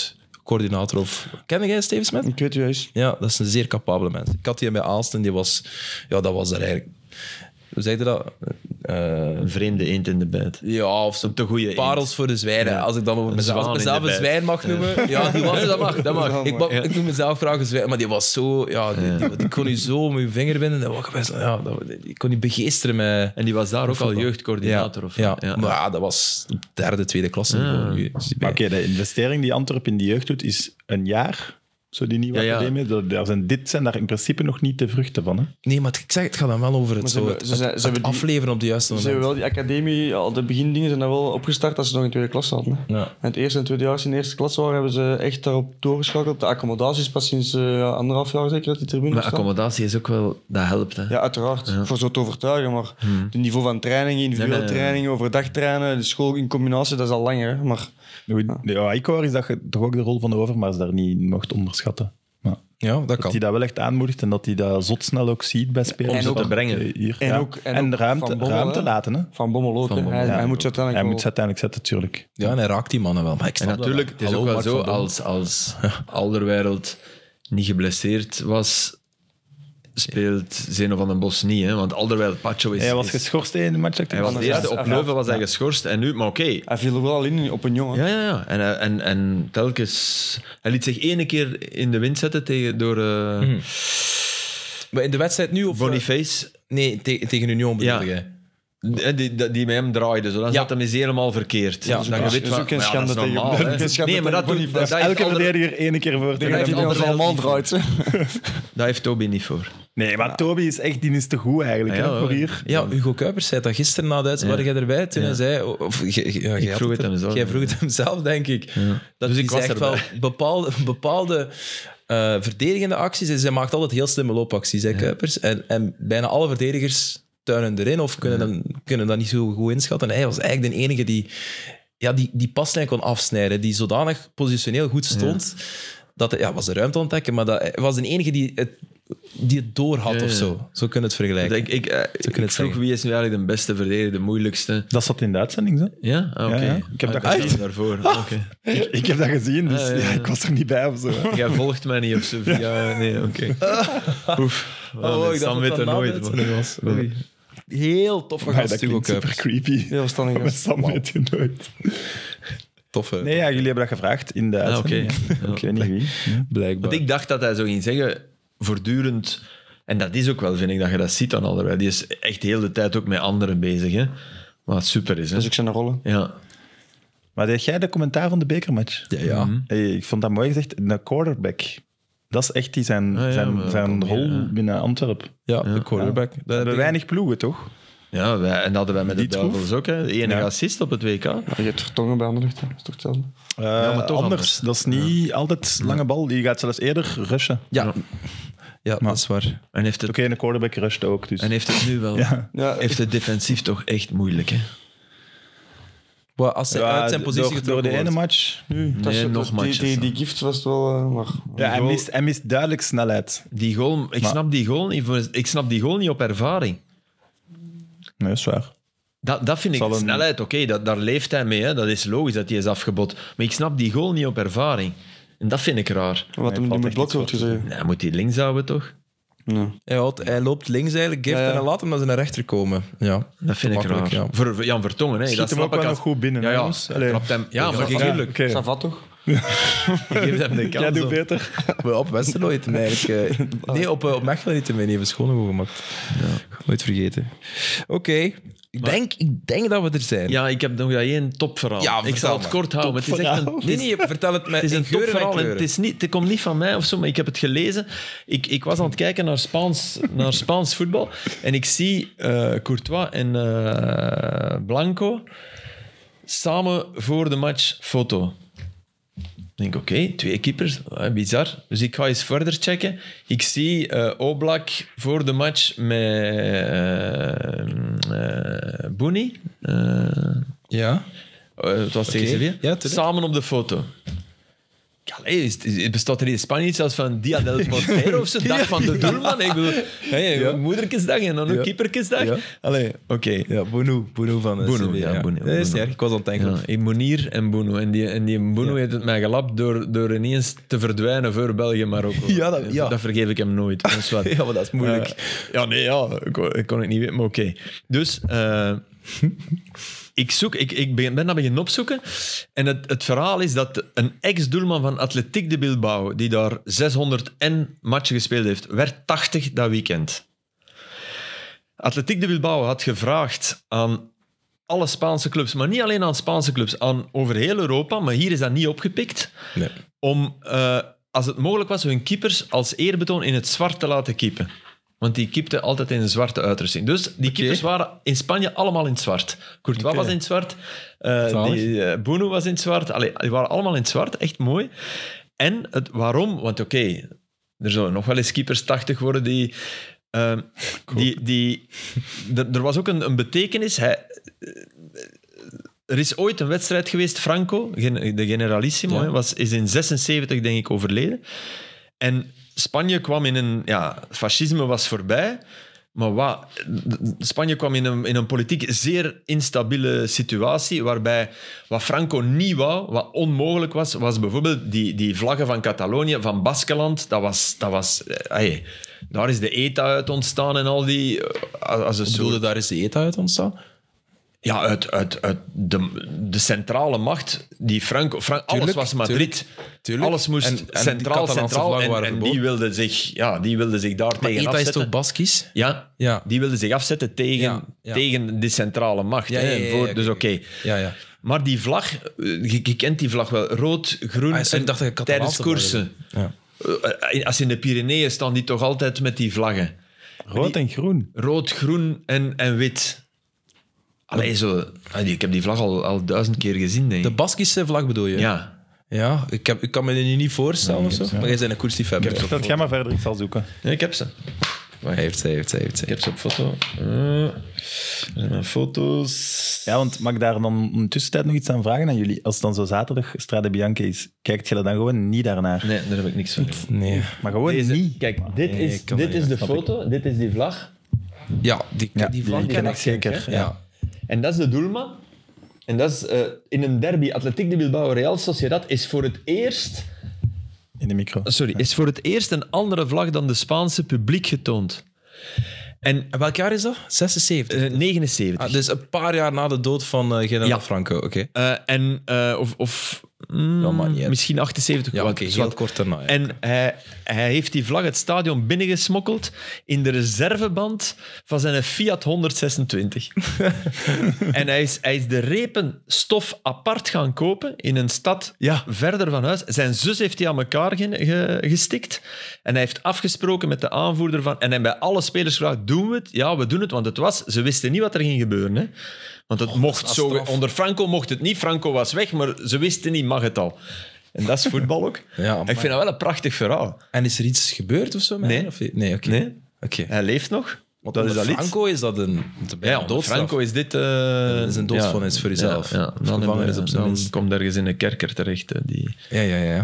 jeugdcoördinator of... Ken jij Steven Smet?
Ik weet wie hij is.
Ja, dat is een zeer capabele mens. Ik had die bij Aalst en die was... Ja, dat was er eigenlijk... Hoe zei je dat? Eh,
Een vreemde eend in de bijt.
ja, of zo.
Een te goede eend.
Parels voor de zwijnen.
Ja.
Als ik dan over
Een
mezelf,
zwaan in
mezelf
de
een
bijt.
zwijn mag noemen. Ja, die was, dat mag. Dat mag.
Ja,
Ik,
maar-
mag- ik noem mezelf graag een zwijn. Maar die was zo... Ja, die, die- die kon je zo met je vinger binden. Dat was best, ja, dat, ik kon je begeesteren met...
En die was daar ook al jeugdcoördinator.
ja,
of, Ah,
ja. maar ja, dat was derde, tweede klasse. niveau. Nu is die bij-
Maar oké, de investering die Antwerpen in die jeugd doet, is een jaar. Zo die nieuwe
Ja, ja.
academie. Dat- Daar zijn, dit zijn daar in principe nog niet de vruchten van. Hè?
Nee, maar het- ik zeg, het gaat dan wel over het,
Maar ze
zo,
hebben-
het,
ze zijn-
het-
ze
het
hebben die-
afleveren op de juiste
Ze
moment.
hebben wel die academie, al de begindingen zijn daar wel opgestart als ze nog in tweede klas zaten. hè.
Ja.
En het eerste en tweede jaar, als ze in de eerste klas waren, hebben ze echt daarop doorgeschakeld. De accommodatie is pas sinds eh, anderhalf jaar zeker dat die tribune
Maar
staat.
accommodatie is ook wel... Dat helpt, hè.
Ja, uiteraard. Voor zo te overtuigen. Maar het niveau van training, individuele
Hmm. Nee, nee, nee.
training, overdag trainen, de school in combinatie, dat is al langer. hè. Maar
Goed, ja. wat ik hoor is dat je toch ook de rol van de overmars daar niet mocht onderschatten. Maar
Ja, dat
dat
kan.
hij dat wel echt aanmoedigt en dat hij dat zotsnel ook ziet bij spelers.
En ook-
Van,
te brengen.
eh, Hier,
En
ja.
ook- en
en
ook
ruimte,
Van Bommel,
ruimte
hè?
laten. Hè?
Van Bommel ook.
Van
hè.
Bommel,
hij,
Ja.
hij moet ze
Hij
uiteindelijk
moet ze uiteindelijk zetten, natuurlijk.
Ja, en hij raakt die mannen wel. Maar ik
En
snap dat
natuurlijk,
wel.
het is
Hallo,
ook wel
Mark
zo,
van Bommel.
als, als Alderwereld niet geblesseerd was, speelt Zeno van den Bos niet. Hè? Want Alderwereld, Pacho is...
Hij was
is-
geschorst in de match.
hij was de
Anders
eerste,
is-
op Leuven was hij geschorst en nu... Maar oké.
Hij viel er wel al in op een jongen.
Ja, ja, ja. En, hij- en, en telkens... Hij liet zich ene keer in de wind zetten tegen, door eh,
Mhm. Maar in de wedstrijd nu of... eh,
Boniface.
Nee, te- tegen Union bedoel
Ja.
jij.
Die, die, die met hem draaide, zo. dan
Ja.
zat hem eens helemaal verkeerd.
Ja,
Dus
dat
je
is-
weet
dat is
van,
ook geen
maar ja, dat
schande tegen-
normaal, hè.
dat is geen schande
Nee, maar
tegen
dat doet...
Boniface.
Dat, dat heeft
Elke
Alder-
verdediger één keer voor.
Ik denk
heeft
dat hij
die
als een
andere
man
wel
draait. hè.
dat heeft Toby niet voor.
Nee, maar Toby is echt die is te goed eigenlijk
Ja,
hè, voor
hoor.
hier.
Ja, Hugo Kuipers zei dat gisteren na de uitzending.
Ja.
Waren jij erbij? Toen hij zei... oh, Of, jij- ja, jij had
vroeg het hem zelf.
Jij vroeg het hem zelf, denk ik. Dat
Dus
hij
ik was
zegt wel
erbij.
bepaalde, bepaalde eh, verdedigende acties. En zij maakt altijd heel slimme loopacties, hè, Kuipers. En, en bijna alle verdedigers tuinen erin of kunnen, dan, kunnen dat niet zo goed inschatten. En hij was eigenlijk de enige die ja, die, die paslijn kon afsnijden. Die zodanig positioneel goed stond. Dat hij- ja, was de ruimte ontdekken, maar dat hij was de enige die het, die het door had
Ja, ja.
of zo. Zo kunnen we het
Ik,
vergelijken.
ik, eh, ik
het
vroeg
zeggen.
wie is nu eigenlijk de beste verdediger, de moeilijkste.
Dat zat in de uitzending, hè?
Ja? Ah, oké.
Ja, ja. Ik heb dat
Ah,
gezien.
zie daarvoor. Oké.
Ik, ik heb dat gezien, dus
Ah, ja, ja.
ik was er niet bij of zo.
Jij volgt mij niet op zo via... Nee, oké. Oef.
Oh, ik
Dan
dacht
Sam
dat
weet
dat
er
na de
nooit
uitzending
van.
was. Oei. Heel toffe
Maar
gast,
dat
Hugo
klinkt super
Kuipers.
creepy.
Heel verstandig,
Maar
hè.
Sam weet je nooit.
Toffe,
Nee, ja, jullie hebben dat gevraagd in
Ah,
de uitzending.
oké.
ja. Ik weet niet wie. Ja.
blijkbaar.
Want ik dacht dat hij zou ging zeggen, voortdurend... En dat is ook wel, vind ik, dat je dat ziet aan Alderweireld. Die is echt heel de tijd ook met anderen bezig, hè. Wat super is, hè.
Dat is ook zijn rollen.
Ja.
Maar deed jij de commentaar van de bekermatch?
ja, ja.
Hey, ik vond dat mooi gezegd. Een quarterback. Dat is echt die zijn,
Ah, ja, maar
zijn,
dat
zijn
komt
rol
niet, ja.
binnen Antwerpen.
ja, de quarterback.
We hebben weinig ploegen, toch?
Ja, wij, en dat hadden wij met de
Die troef.
Duivels ook, hè. De enige
Ja.
assist op het WK.
Ja, je hebt vertongen bij Anderlecht, hè. dat is toch hetzelfde.
Eh,
maar toch anders.
anders. Dat is niet altijd lange bal. Die gaat zelfs eerder rushen. Oké,
Ja, ja dat is waar.
En heeft het,
een quarterback rusht ook. Dus.
en heeft het nu wel...
Ja.
Ja,
Heeft het defensief toch echt moeilijk, hè.
Wat als hij
Ja,
uit zijn positie
door, door
getrokken
de ene
wordt.
match.
Nu, dat
Nee,
is-
nog
dat is-
matches,
Die, die,
hè.
die gift was het wel... eh, maar,
Ja, hij
Goal-
mist, hij mist duidelijk snelheid.
Die goal, ik,
Maar-
snap die goal niet, voor- ik snap die goal niet op ervaring.
Nee, is waar.
Dat, dat vind ik
Zal een-
snelheid, oké, dat, daar leeft hij mee. Hè. Dat is logisch dat hij is afgebot. Maar ik snap die goal niet op ervaring. En dat vind ik raar.
Wat hem
valt
die
echt
moet blokken,
iets
wordt gezegd.
Nou, moet hij links houden, toch?
Nee.
Hij, houdt- hij loopt links eigenlijk, geeft
Ja, ja.
en hij laat hem naar zijn rechter komen. Ja.
Dat vind ik raar.
Makkelijk, ja.
Voor voor Jan Vertongen, hè.
Schiet
dat
hem
snap
ook wel
ik
nog goed binnen,
Ja,
hè,
ja.
jongens?
Hij
Allee.
trapt hem. ja maar
Ja,
natuurlijk.
oké.
Savat toch?
Geef hem de
Jij
kans.
doet
om-
beter.
Maar op Westerlo heeft hem eigenlijk... eh, nee, op, eh, op Mechelen heeft hem een even schoon gemaakt. Nooit vergeten. Oké, ik, denk, ik denk dat we er zijn.
Ja, ik heb nog dat één topverhaal.
Ja,
ik
vertel
zal het
maar.
kort houden. maar Het is echt een, Oh, het
Nee,
is-
nee, vertel het met
het is
in
een
geuren en
topverhaal. En het,
kleuren.
is niet, het komt niet van mij of zo, maar ik heb het gelezen. Ik, ik was aan het kijken naar Spaans, naar Spaans voetbal. En ik zie eh, Courtois en eh, Blanco samen voor de match foto. Ik denk, oké, twee keepers, eh, bizar. Dus ik ga eens verder checken. Ik zie eh, Oblak voor de match met eh eh, Bouni. Eh,
Ja.
eh, het was tegen
Oké,
Sevilla.
ja, tuurlijk.
Samen op de foto. Ja, allee, is- is- bestaat er in Spanje iets als van Dia del Montero of zo? Dag van de doelman. Ik bedoel, hey, moederkesdag en dan een
Ja.
keeperkesdag.
Ja.
Allee, oké.
Ja, Bono. Bono van eh,
Bono,
Sevilla,
ja, Bono,
Nee, is
Bono.
niet erg. Ik was aan het denken.
Ja, in Monier en Bono. En die, en die Bono heeft het mij gelapt door, door ineens te verdwijnen voor België Marokko.
Ja, dat- ja.
Dus dat vergeef ik hem nooit. Dat is wat.
Ja, maar dat is moeilijk.
Eh, ja, nee, ja, ik kon, ik kon het niet weten, maar oké. Dus eh, ik, zoek, ik, ik ben, ben dat beginnen opzoeken. En het, het verhaal is dat een ex-doelman van Atletiek de Bilbao, die daar 600 en matchen gespeeld heeft, werd 80 dat weekend. Atletiek de Bilbao had gevraagd aan alle Spaanse clubs, maar niet alleen aan Spaanse clubs, aan over heel Europa, maar hier is dat niet opgepikt,
Nee.
om, eh, als het mogelijk was, hun keepers als eerbetoon in het zwart te laten keepen. Want die keepten altijd in een zwarte uitrusting. Dus die keepers waren in Spanje allemaal in het zwart. Courtois was in het zwart, eh
Zalig.
die, eh, Bono was in het zwart. Allee, die waren allemaal in het zwart, echt mooi. En het waarom, want oké, er zullen nog wel eens keepers 80 worden die... ehm, die, die, d- er was ook een, een betekenis. Hij, er is ooit een wedstrijd geweest, Franco, gen- de Generalissimo,
Ja.
hè, was, is in 76 denk ik overleden. En Spanje kwam in een... Ja, fascisme was voorbij. Maar wat, Spanje kwam in een, in een politiek zeer instabiele situatie, waarbij wat Franco niet wou, wat onmogelijk was, was bijvoorbeeld die, die vlaggen van Catalonië, van Baskeland. Dat was... Dat was eh, hey, daar is de ETA uit ontstaan en al die... eh, Als een soort-
Zullen daar is de ETA uit ontstaan?
ja, uit, uit, uit de, de centrale macht die Franco... Frank, alles
Tuurlijk,
was Madrid.
tuurlijk.
Alles moest
En- en die
centraal,
Catalaanse
centraal.
vlaggen
En,
waren
en die,
verboden.
wilde zich, ja, die wilde zich daar
Maar
tegen
ETA is
afzetten.
toch Baskisch?
ja,
Ja.
die wilde zich afzetten tegen,
Ja, ja.
tegen die centrale macht.
Ja,
hè,
ja, ja,
voor-
ja,
dus oké.
Ja, ja.
Maar die vlag, eh, je, je kent die vlag wel. Rood, groen.
Ah, sorry,
en
ik dacht dat je
tijdens
Catalaanse
koersen.
ja.
Eh, eh, Als in de Pyreneeën staan die toch altijd met die vlaggen.
Rood en groen.
Rood, groen en, en wit. Allee, zo, ah, die- ik heb die vlag al, al duizend keer gezien, denk
De
ik.
Baskische vlag bedoel je?
Ja.
Ja, ik, heb, ik kan me die nu niet voorstellen of zo. Maar jij bent een koersliefhebber.
Vertel jij maar verder, ik zal zoeken.
Ja, ik heb ze.
Hij heeft ze, hij heeft ze, hij heeft ze.
Ik heb ze op foto. Eh, er zijn mijn foto's.
Ja, want mag ik daar dan ondertussen tijd nog iets aan vragen aan jullie? Als het dan zo zaterdag Strade Bianca is, kijkt je er dan gewoon niet daarnaar?
Nee, daar heb ik niks van.
Nee.
Maar gewoon niet.
Kijk, dit
Nee,
is,
ik kan
dit
dat
is
niet,
de
snap ik.
foto, dit is die vlag.
Ja, die,
Ja,
die
die
vlag
ken
ken
ik zeker,
Ja.
En dat is de doelman. En dat is eh, in een derby, Atletiek de Bilbao, Real Sociedad, is voor het eerst...
In de micro.
Sorry, is voor het eerst een andere vlag dan de Spaanse publiek getoond. En
En welk jaar is dat? 76.
eh, 79.
Ah, dus een paar jaar na de dood van eh generaal
Ja.
Franco, oké.
Eh, en, eh, of of mm,
Ja, maakt niet uit.
misschien 78.
Ja,
wat-
oké, heel
zwart.
kort daarna, ja.
En hij, hij heeft die vlag het stadion binnengesmokkeld in de reserveband van zijn Fiat 126. en hij is, hij is de repen stof apart gaan kopen in een stad
Ja.
verder van huis. Zijn zus heeft die aan elkaar ge- ge- gestikt. En hij heeft afgesproken met de aanvoerder van... En hij bij alle spelers gevraagd, doen we het? Ja, we doen het. Want het was... Ze wisten niet wat er ging gebeuren. Hè? Want het mocht
is
zo...
straf.
Onder Franco mocht het niet. Franco was weg, maar ze wisten niet, mag het al. En dat is voetbal ook.
Ja, maar-
ik vind dat wel een prachtig verhaal.
En is er iets gebeurd of zo? met
Nee.
haar, Of, nee, oké.
Nee.
Oké.
Hij leeft nog.
Want
Dat is
onder
dat lied.
Franco is dat een, dat is bijna
Ja,
doodstraf.
Franco is dit... eh,
Dat is een doodvonnis voor jezelf.
Ja, ja.
Of
Dan,
gevangenis
eh,
op zijn
dan
minst.
komt ergens in een kerker terecht. hè, die...
Ja, ja, ja.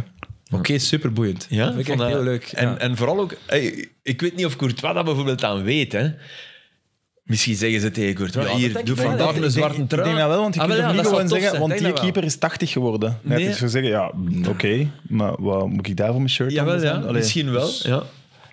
eh, Oké, superboeiend.
Ja,
Vind ik echt
vond dat-
heel leuk.
En,
ja.
en vooral ook, hey, ik weet niet of Courtois dat bijvoorbeeld aan weet. Hè. Misschien zeggen ze tegen Courtois,
Ja, dat
hier,
denk
doe
ik wel.
vandaag
Ik
een
denk-
zwarte
Ik
trui.
denk dat wel, want je
Ah,
kunt
wel,
hem
ja, dat
niet
zou
gewoon
tof
zeggen,
zijn.
want
Denk
die
dat wel.
keeper is 80 geworden. Net
Nee.
is zo zeggen, ja, oké, maar wat moet ik daarvoor mijn shirt
Jawel,
anders
ja,
aan? Allee,
misschien wel.
dus
Ja.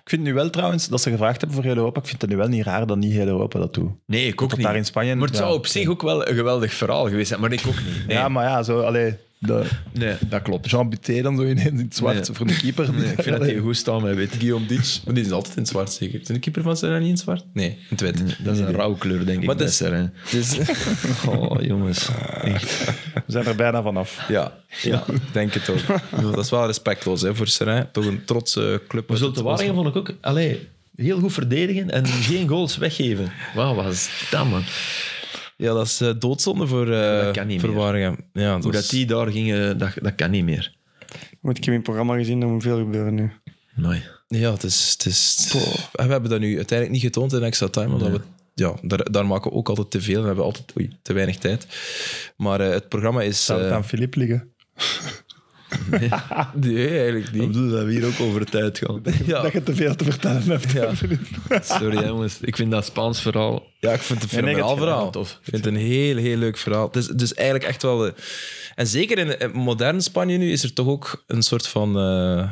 Ik vind nu wel trouwens, dat ze gevraagd hebben voor heel Europa, ik vind het nu wel niet raar dat niet heel Europa dat doet.
Nee, ik
Dat
ook niet.
daar in Spanje...
Maar het
ja.
zou op zich ook wel een geweldig verhaal geweest zijn, maar ik ook niet. Nee,
Ja, maar ja, zo, allee, de-
nee.
dat klopt. Jean Buté dan zo ineens in het zwart
Nee.
voor de keeper.
Nee, ik vind dat hij goed staan met wit.
Guillaume Ditch, maar die is altijd in het zwart zeker. Is de keeper van Serena niet in het zwart? Nee, in het wit.
Dat is een rouwkleur, denk
Maar
ik.
dat is-
Messer, hè.
Dus,
Oh, jongens.
We zijn er bijna vanaf.
ja, ja, denk het ook. Ik bedoel, Dat is wel respectloos hè, voor Serena. Toch een trotse club.
Maar Zulte Waregem vond ik ook allee, heel goed verdedigen en geen goals weggeven. Wauw, wat is dat, man?
Ja, dat is eh, doodzonde voor, eh
dat kan niet
voor
meer.
Waregem. Ja,
Hoe dat die daar gingen, dat, dat kan niet meer.
Want ik heb in het programma gezien, er moet veel gebeuren nu.
Mooi.
Ja, het is... Het is en we hebben dat nu uiteindelijk niet getoond in extra time, omdat we... Ja, daar, daar maken we ook altijd te veel en hebben we altijd oei, te weinig tijd. Maar eh, het programma is...
Zou het
eh,
aan Filip liggen?
Ah,
nee, eigenlijk niet.
bedoel dat we hier ook over tijd gaan.
Ja,
Dat je te veel te vertellen hebt.
Ja.
Sorry, hè, jongens. Ik vind dat Spaans verhaal...
ja, ik vind het een
nee, ik
fenomenaal verhaal.
heb het
gedaan, tof.
Ik vind het een heel, heel leuk verhaal. Het is, het is eigenlijk echt wel... eh, en zeker in eh, modern Spanje nu is er toch ook een soort van... eh,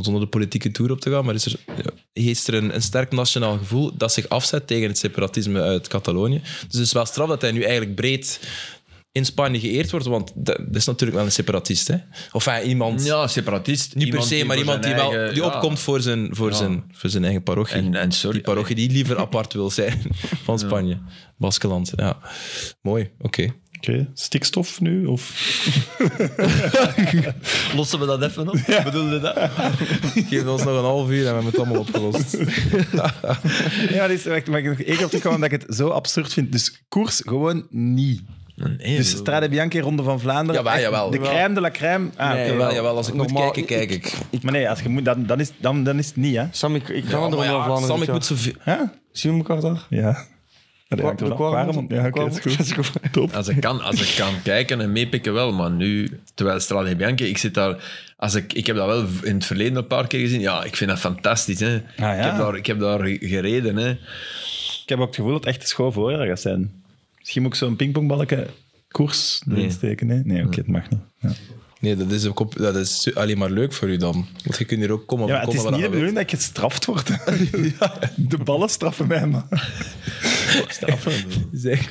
zonder de politieke toer op te gaan, maar is er, ja, heerst er een, een sterk nationaal gevoel dat zich afzet tegen het separatisme uit Catalonië. Dus het is wel straf dat hij nu eigenlijk breed in Spanje geëerd wordt, want dat, dat is natuurlijk wel een separatist. Hè? Of enfin, iemand...
Ja, separatist.
Niet per se, maar iemand die, wel, die opkomt voor zijn, voor,
Ja.
zijn, voor zijn eigen parochie.
En, en sorry.
Die parochie die liever apart wil zijn van Spanje. Baskeland, ja. Mooi, oké.
Oké, stikstof nu? Of?
Lossen we dat even op? Bedoelde dat?
Geef ons nog een half uur en we hebben het allemaal opgelost.
Ja, dat is echt, maar ik heb nog één keer op terugkomen omdat ik het zo absurd vind. Dus koers gewoon niet.
Nee,
Dus Strade Bianche, Ronde van Vlaanderen.
Jawel,
echt
jawel.
De crème de la crème. Ah, oké.
jawel, jawel, als ik
Normaal-
moet kijken, kijk ik.
Maar nee, als je moet, dan, dan, is, dan, dan is het niet, hè?
Sam, ik, ik ga
Ja,
er
maar
wel
ja,
van.
Sam, ik moet zoveel...
Huh?
Zien we elkaar daar?
Ja. Maar dat hangt er
De
vanaf.
Quaremont?
Waarom? Ja, oké,
De
dat is goed.
Quaremont. Dat is goed.
Top.
Als ik, kan, als ik kan kijken en meepikken wel, maar nu, terwijl Strade Bianche, ik zit daar, als ik, ik heb dat wel in het verleden een paar keer gezien, ja, ik vind dat fantastisch. Hè.
ja.
ik, heb daar, ik heb daar gereden. Hè.
Ik heb ook het gevoel dat het echt de school voor haar gaat zijn. Misschien moet ik zo'n pingpongbalken koers erin
Nee.
steken. Nee, nee oké, het mag niet. Ja.
Nee, dat is, ook op- dat is su- alleen maar leuk voor u dan. Want je kunt hier ook komen.
Ja, maar het
komen
is
wat
niet de
je wilt.
bedoeling dat ik gestraft word. Ja, de ballen straffen mij, man.
Zeg,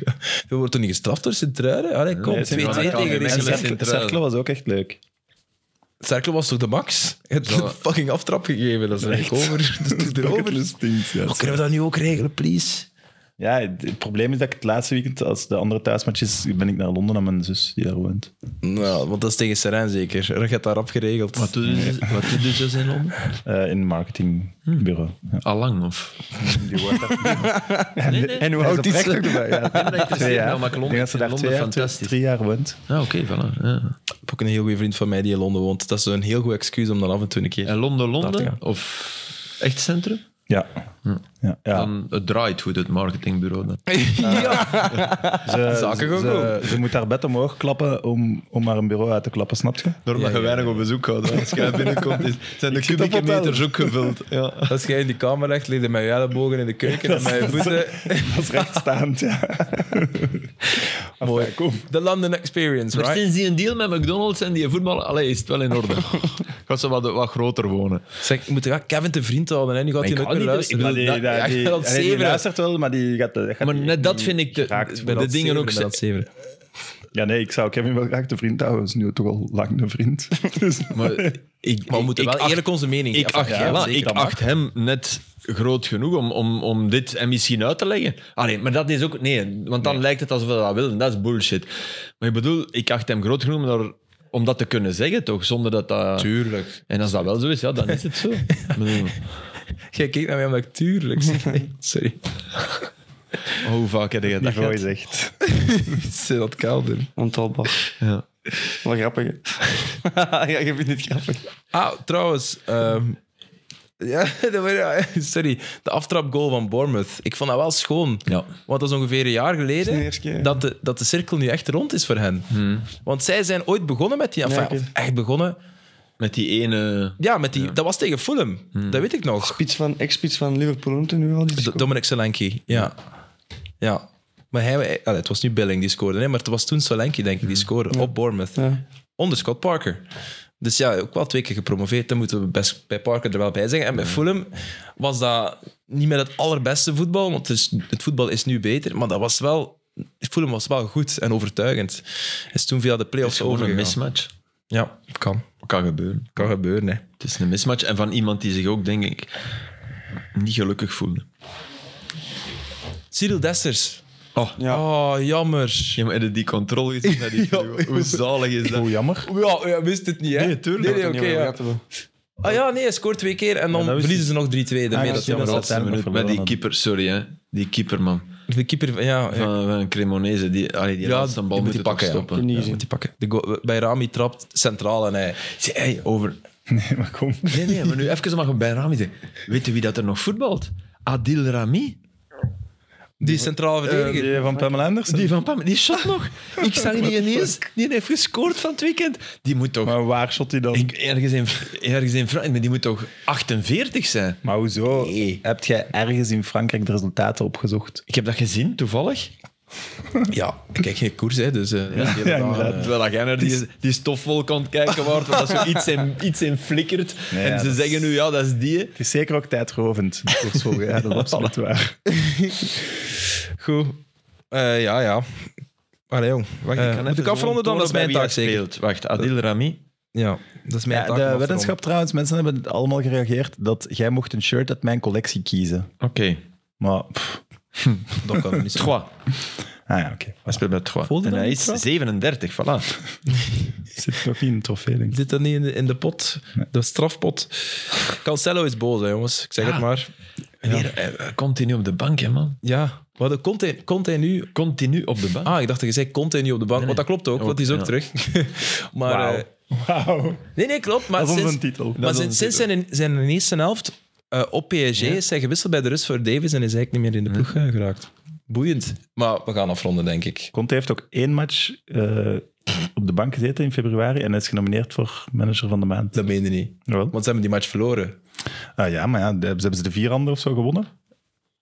je wordt toch niet gestraft door Sint-Truiden? Allee, kom, 2-2
Nee,
tegen
Sint-Truiden kan geen
Cercle.
enkele-
En
centraal.
Cercle was ook echt leuk.
Cercle was toch de max? Je hebt
Zo.
een fucking aftrap gegeven, dat is eigenlijk over. Dat is
Bucket
erover.
list things, ja.
Oh, kunnen we dat nu ook regelen, please?
Ja, het het probleem is dat ik het laatste weekend, als de andere thuismatch is, ben ik naar Londen aan mijn zus die daar woont.
Nou, want dat is tegen Serijn zeker. Er gaat daarop geregeld.
Wat doe je wat doe je dus in Londen?
Eh, in een marketingbureau. Ja.
Allang, of?
En hoe oud is ze?
dat interesseert
jaar.
me, maar ik
Ik
Londen-
denk dat ze daar
Londen
twee jaar, twee,
fantastisch.
drie jaar woont.
Ah, oké, voilà. Ja.
Ik heb ook een heel goede vriend van mij die in Londen woont. Dat is een heel goed excuus om dan af en toe een keer...
En Londen,
Daar te
Londen,
gaan.
of echt centrum?
Ja.
Hm.
ja, ja.
Dan, het draait goed, het marketingbureau. Dan.
ze,
zaken gaan
ze, ze moet haar bed omhoog klappen om, om haar een bureau uit te klappen, snap je?
Daarom dat je weinig op bezoek gaat. Als je binnenkomt, zijn de
op
kubieke
hotel.
meters ook gevuld. Ja.
Als jij in die kamer legt, lig je met je ellebogen in de keuken en met je voeten.
Dat is rechtstaand, ja. Mooi. Kom.
De London experience,
Maar
right?
sinds die een deal met McDonald's en die voetbal, allee, is het wel in orde. Gaat ze wat, wat groter wonen.
Zeg, ik moet ja, Kevin te vriend houden, hè. Nu gaat hij
ik ga
nooit meer
niet-
luisteren.
ik
Maar
bedoel,
die,
Ja,
die,
ja, ik
die,
ben aan het
allee, die
zeveren.
luistert wel, maar die gaat... dat gaat
Maar
niet-
net dat
niet
vind ik de-
geraakt
de-
Ik ben
worden.
aan
de
het
dingen
zeveren,
ook
ik ben aan het zeveren.
Ja, nee, ik zou Kevin wel graag de vriend houden. Hij is nu toch al lang de vriend. Dus,
Maar ik,
Maar we moeten
ik
wel
acht-
eerlijk onze mening
Ik acht,
afgeven,
ja,
zeker.
ik acht hem net groot genoeg om, om, om dit en misschien uit te leggen. Allee, maar dat is ook... Nee, want dan lijkt het alsof we dat willen. Dat is bullshit. Maar ik bedoel, ik acht hem groot genoeg om, daar- om dat te kunnen zeggen, toch? Zonder dat dat...
Tuurlijk.
En als dat wel zo is, ja, dan is het zo. Ik bedoel,
Jij kijkt naar mij omdat ik tuurlijk zeg. Sorry.
hoe vaak heb je dat
niveau
gehad?
is echt...
Ze dat kelder.
Ontelbaar.
Ja.
Wel grappig, hè? ja, je vindt het grappig.
Ah, trouwens. ehm, Ja, dat was- ja, sorry. De aftrapgoal van Bournemouth. Ik vond dat wel schoon.
Ja.
Want dat is ongeveer een jaar
Dat is
geleden
de eerste keer.
dat, de, dat de cirkel nu echt rond is voor hen. Want zij zijn ooit begonnen met die... Enfin,
Ja, oké.
of echt begonnen.
Met die ene...
Ja, met die, dat was tegen Fulham. Dat weet ik nog.
Spits van, ex-spits van Liverpool noemt hij nu al. Die
D-
scoort.
Dominic Solanke, ja. Ja. Maar hij, hij- allee, het was niet Billing die scoorde, hè, maar het was toen Solanke, denk ik, die scoorde op Bournemouth.
Ja.
Onder Scott Parker. Dus ja, ook wel twee keer gepromoveerd. Dat moeten we best bij Parker er wel bij zeggen. En bij Fulham was dat niet met het allerbeste voetbal, want het, is- het voetbal is nu beter. Maar dat was wel... Fulham was wel goed en overtuigend. Is toen via de
Dat is
play-offs
gewoon een
overgegaan.
mismatch.
Ja, kan.
Kan gebeuren.
Kan gebeuren, hè.
Het is een mismatch. En van iemand die zich ook, denk ik, niet gelukkig voelde.
Cyril Dessers.
Oh,
Ja.
Oh, jammer.
je hebt die controle gezien naar die vloer. Hoe zalig is dat?
Hoe jammer.
Ja, ja, wist het niet, hè?
Nee, tuurlijk.
Nee, nee,
Dat
oké,
we het niet over
ja.
gehad hebben.
Ah ja, nee, hij scoort twee keer en dan
Ja, dat wist
verliezen ze nog 3-2. daarmee.
Ah, ja,
dat
zie
jammer.
dat
Laatste
uiteindelijk
minuut.
nog
Met die keeper,
verloren
sorry hè. Die keeper, man.
De keeper, van- ja. ja.
Van, van Cremonese. Die, allee, die
Ja,
laatste bal
die
moet
moet
je
die pakken,
pakken,
ja.
stoppen.
Niet
Ja,
gezien.
moet die pakken. De goal- bij Rami trapt centraal en hij...
Zeg, hey, over...
Nee, maar kom.
Nee, nee, maar nu even mag bij Rami zeggen. Weet je wie dat er nog voetbalt? Adil Rami?
Die centraal verdediger.
Eh, Die van Pamela Anderson.
Die van Pam, die shot nog. Ik zag die ineens. Die heeft gescoord van het weekend. Die moet toch...
Maar waar shot hij dan?
Ik, ergens in, ergens in Frankrijk, maar die moet toch 48 zijn?
Maar hoezo?
Nee.
Heb jij ergens in Frankrijk de resultaten opgezocht?
Ik heb dat gezien, toevallig.
Ja, ik kijk geen koers, hè, dus... eh, die
Ja,
hebben daar-
inderdaad.
Terwijl dat jij naar die, die stofwolk aan het kijken wordt, waar dat zo iets in, iets in flikkert.
Nee,
en
ja,
ze
dat is-
zeggen nu, ja, dat is die.
Het is zeker ook tijdrovend. die koers volgen. Ja, dat is absoluut waar.
Goed. Eh, ja, ja. Allee, jong.
Wacht,
Eh, moet ik afronden dan? Dat is mijn taak, zeker.
Wacht, Adil Rami.
Ja, dat is mijn
Ja,
taak.
de
om af te
wetenschap trouwens, mensen hebben het allemaal gereageerd dat jij mocht een shirt uit mijn collectie kiezen.
Oké.
Maar, pff,
ronden. Dat kan niet zo.
Trois.
ah ja, oké.
Hij speelt bij Trois.
Voelde
en
dat
hij
niet,
is
Trois?
37, voilà.
Zit nog niet in een trofee, denk ik.
Zit dat niet in de, in de pot? De strafpot. Cancelo is boos, hè, jongens. Ik zeg
Ja.
het maar.
Meneer, hij- eh, hij Continu op de bank, hè, man.
Ja. Wat de- komt hij, komt hij nu
Continu op de bank.
Ah, ik dacht dat je zei continu op de bank.
Nee,
Want dat klopt ook,
Ook,
want die is ook
ja.
terug. maar, eh,
Wauw.
nee, nee, klopt. Maar
Dat is onze
sinds,
titel.
maar sinds, sinds zijn, zijn in de eerste helft eh, op PSG is hij gewisseld bij de rust voor Davis en is eigenlijk niet meer in de ploeg eh, geraakt. Boeiend. Maar we gaan afronden, denk ik.
Conte heeft ook één match eh, op de bank gezeten in februari en hij is genomineerd voor manager van de maand.
Dat meen je niet.
Jawel.
Want ze hebben die match verloren.
Ah, ja, maar ja, de- hebben ze de vier anderen of zo gewonnen?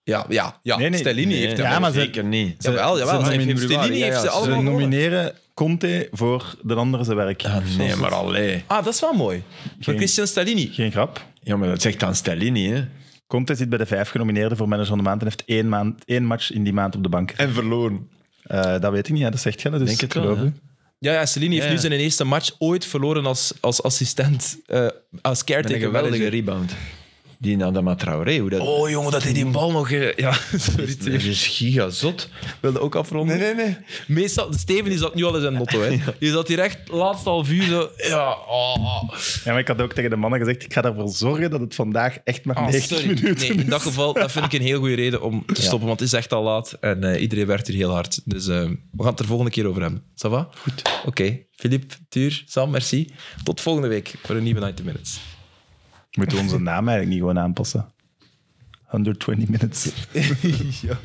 Ja, ja, ja.
Nee, nee.
Stellini
Nee,
heeft
Ja,
dat.
maar ze-
zeker niet.
jawel, jawel.
ze nomin-
Stellini
ja,
heeft ze
ja, ze
Ze
allemaal gewonnen.
nomineren Conte voor de andere zijn werk.
Ah, nee, maar allee.
Ah, dat is wel mooi. Voor
Geen-
Christian Stellini.
Geen grap.
Ja, maar dat zegt aan Stellini, hè.
Conte zit bij de vijf genomineerden voor manager van de maand en heeft één, maand, één match in die maand op de bank.
En verloren.
Eh, dat weet ik niet, ja, dat zegt jij. Dus
Denk het
ik geloof
wel,
u.
hè.
Ja, ja Stellini heeft
Ja,
nu
ja.
zijn eerste match ooit verloren als, als assistent. eh, als
Met een
caretaker.
geweldige
manager.
rebound. Die Nadama Traoré, hoe dat...
Oh jongen, dat hij die bal nog... eh, Ja, sorry.
dat is gigazot.
wilde ook afronden.
Nee, nee, nee.
Meestal, Steven die zat nu al in zijn motto. Hè. Die zat hier echt laatste half uur zo... Ja, oh.
Ja, maar ik had ook tegen de mannen gezegd, ik ga ervoor zorgen dat het vandaag echt maar
Ah,
90
sorry.
minuten
Nee, in dat
is.
geval dat vind ik een heel goede reden om te stoppen, want het is echt al laat en eh, iedereen werkt hier heel hard. Dus eh, we gaan het er volgende keer over hebben. Ça va? Goed. Oké. Philippe, Tuur, Sam, merci. Tot volgende week voor een nieuwe 90 Minutes.
Moeten we onze naam eigenlijk niet gewoon aanpassen? 120 minutes.
ja.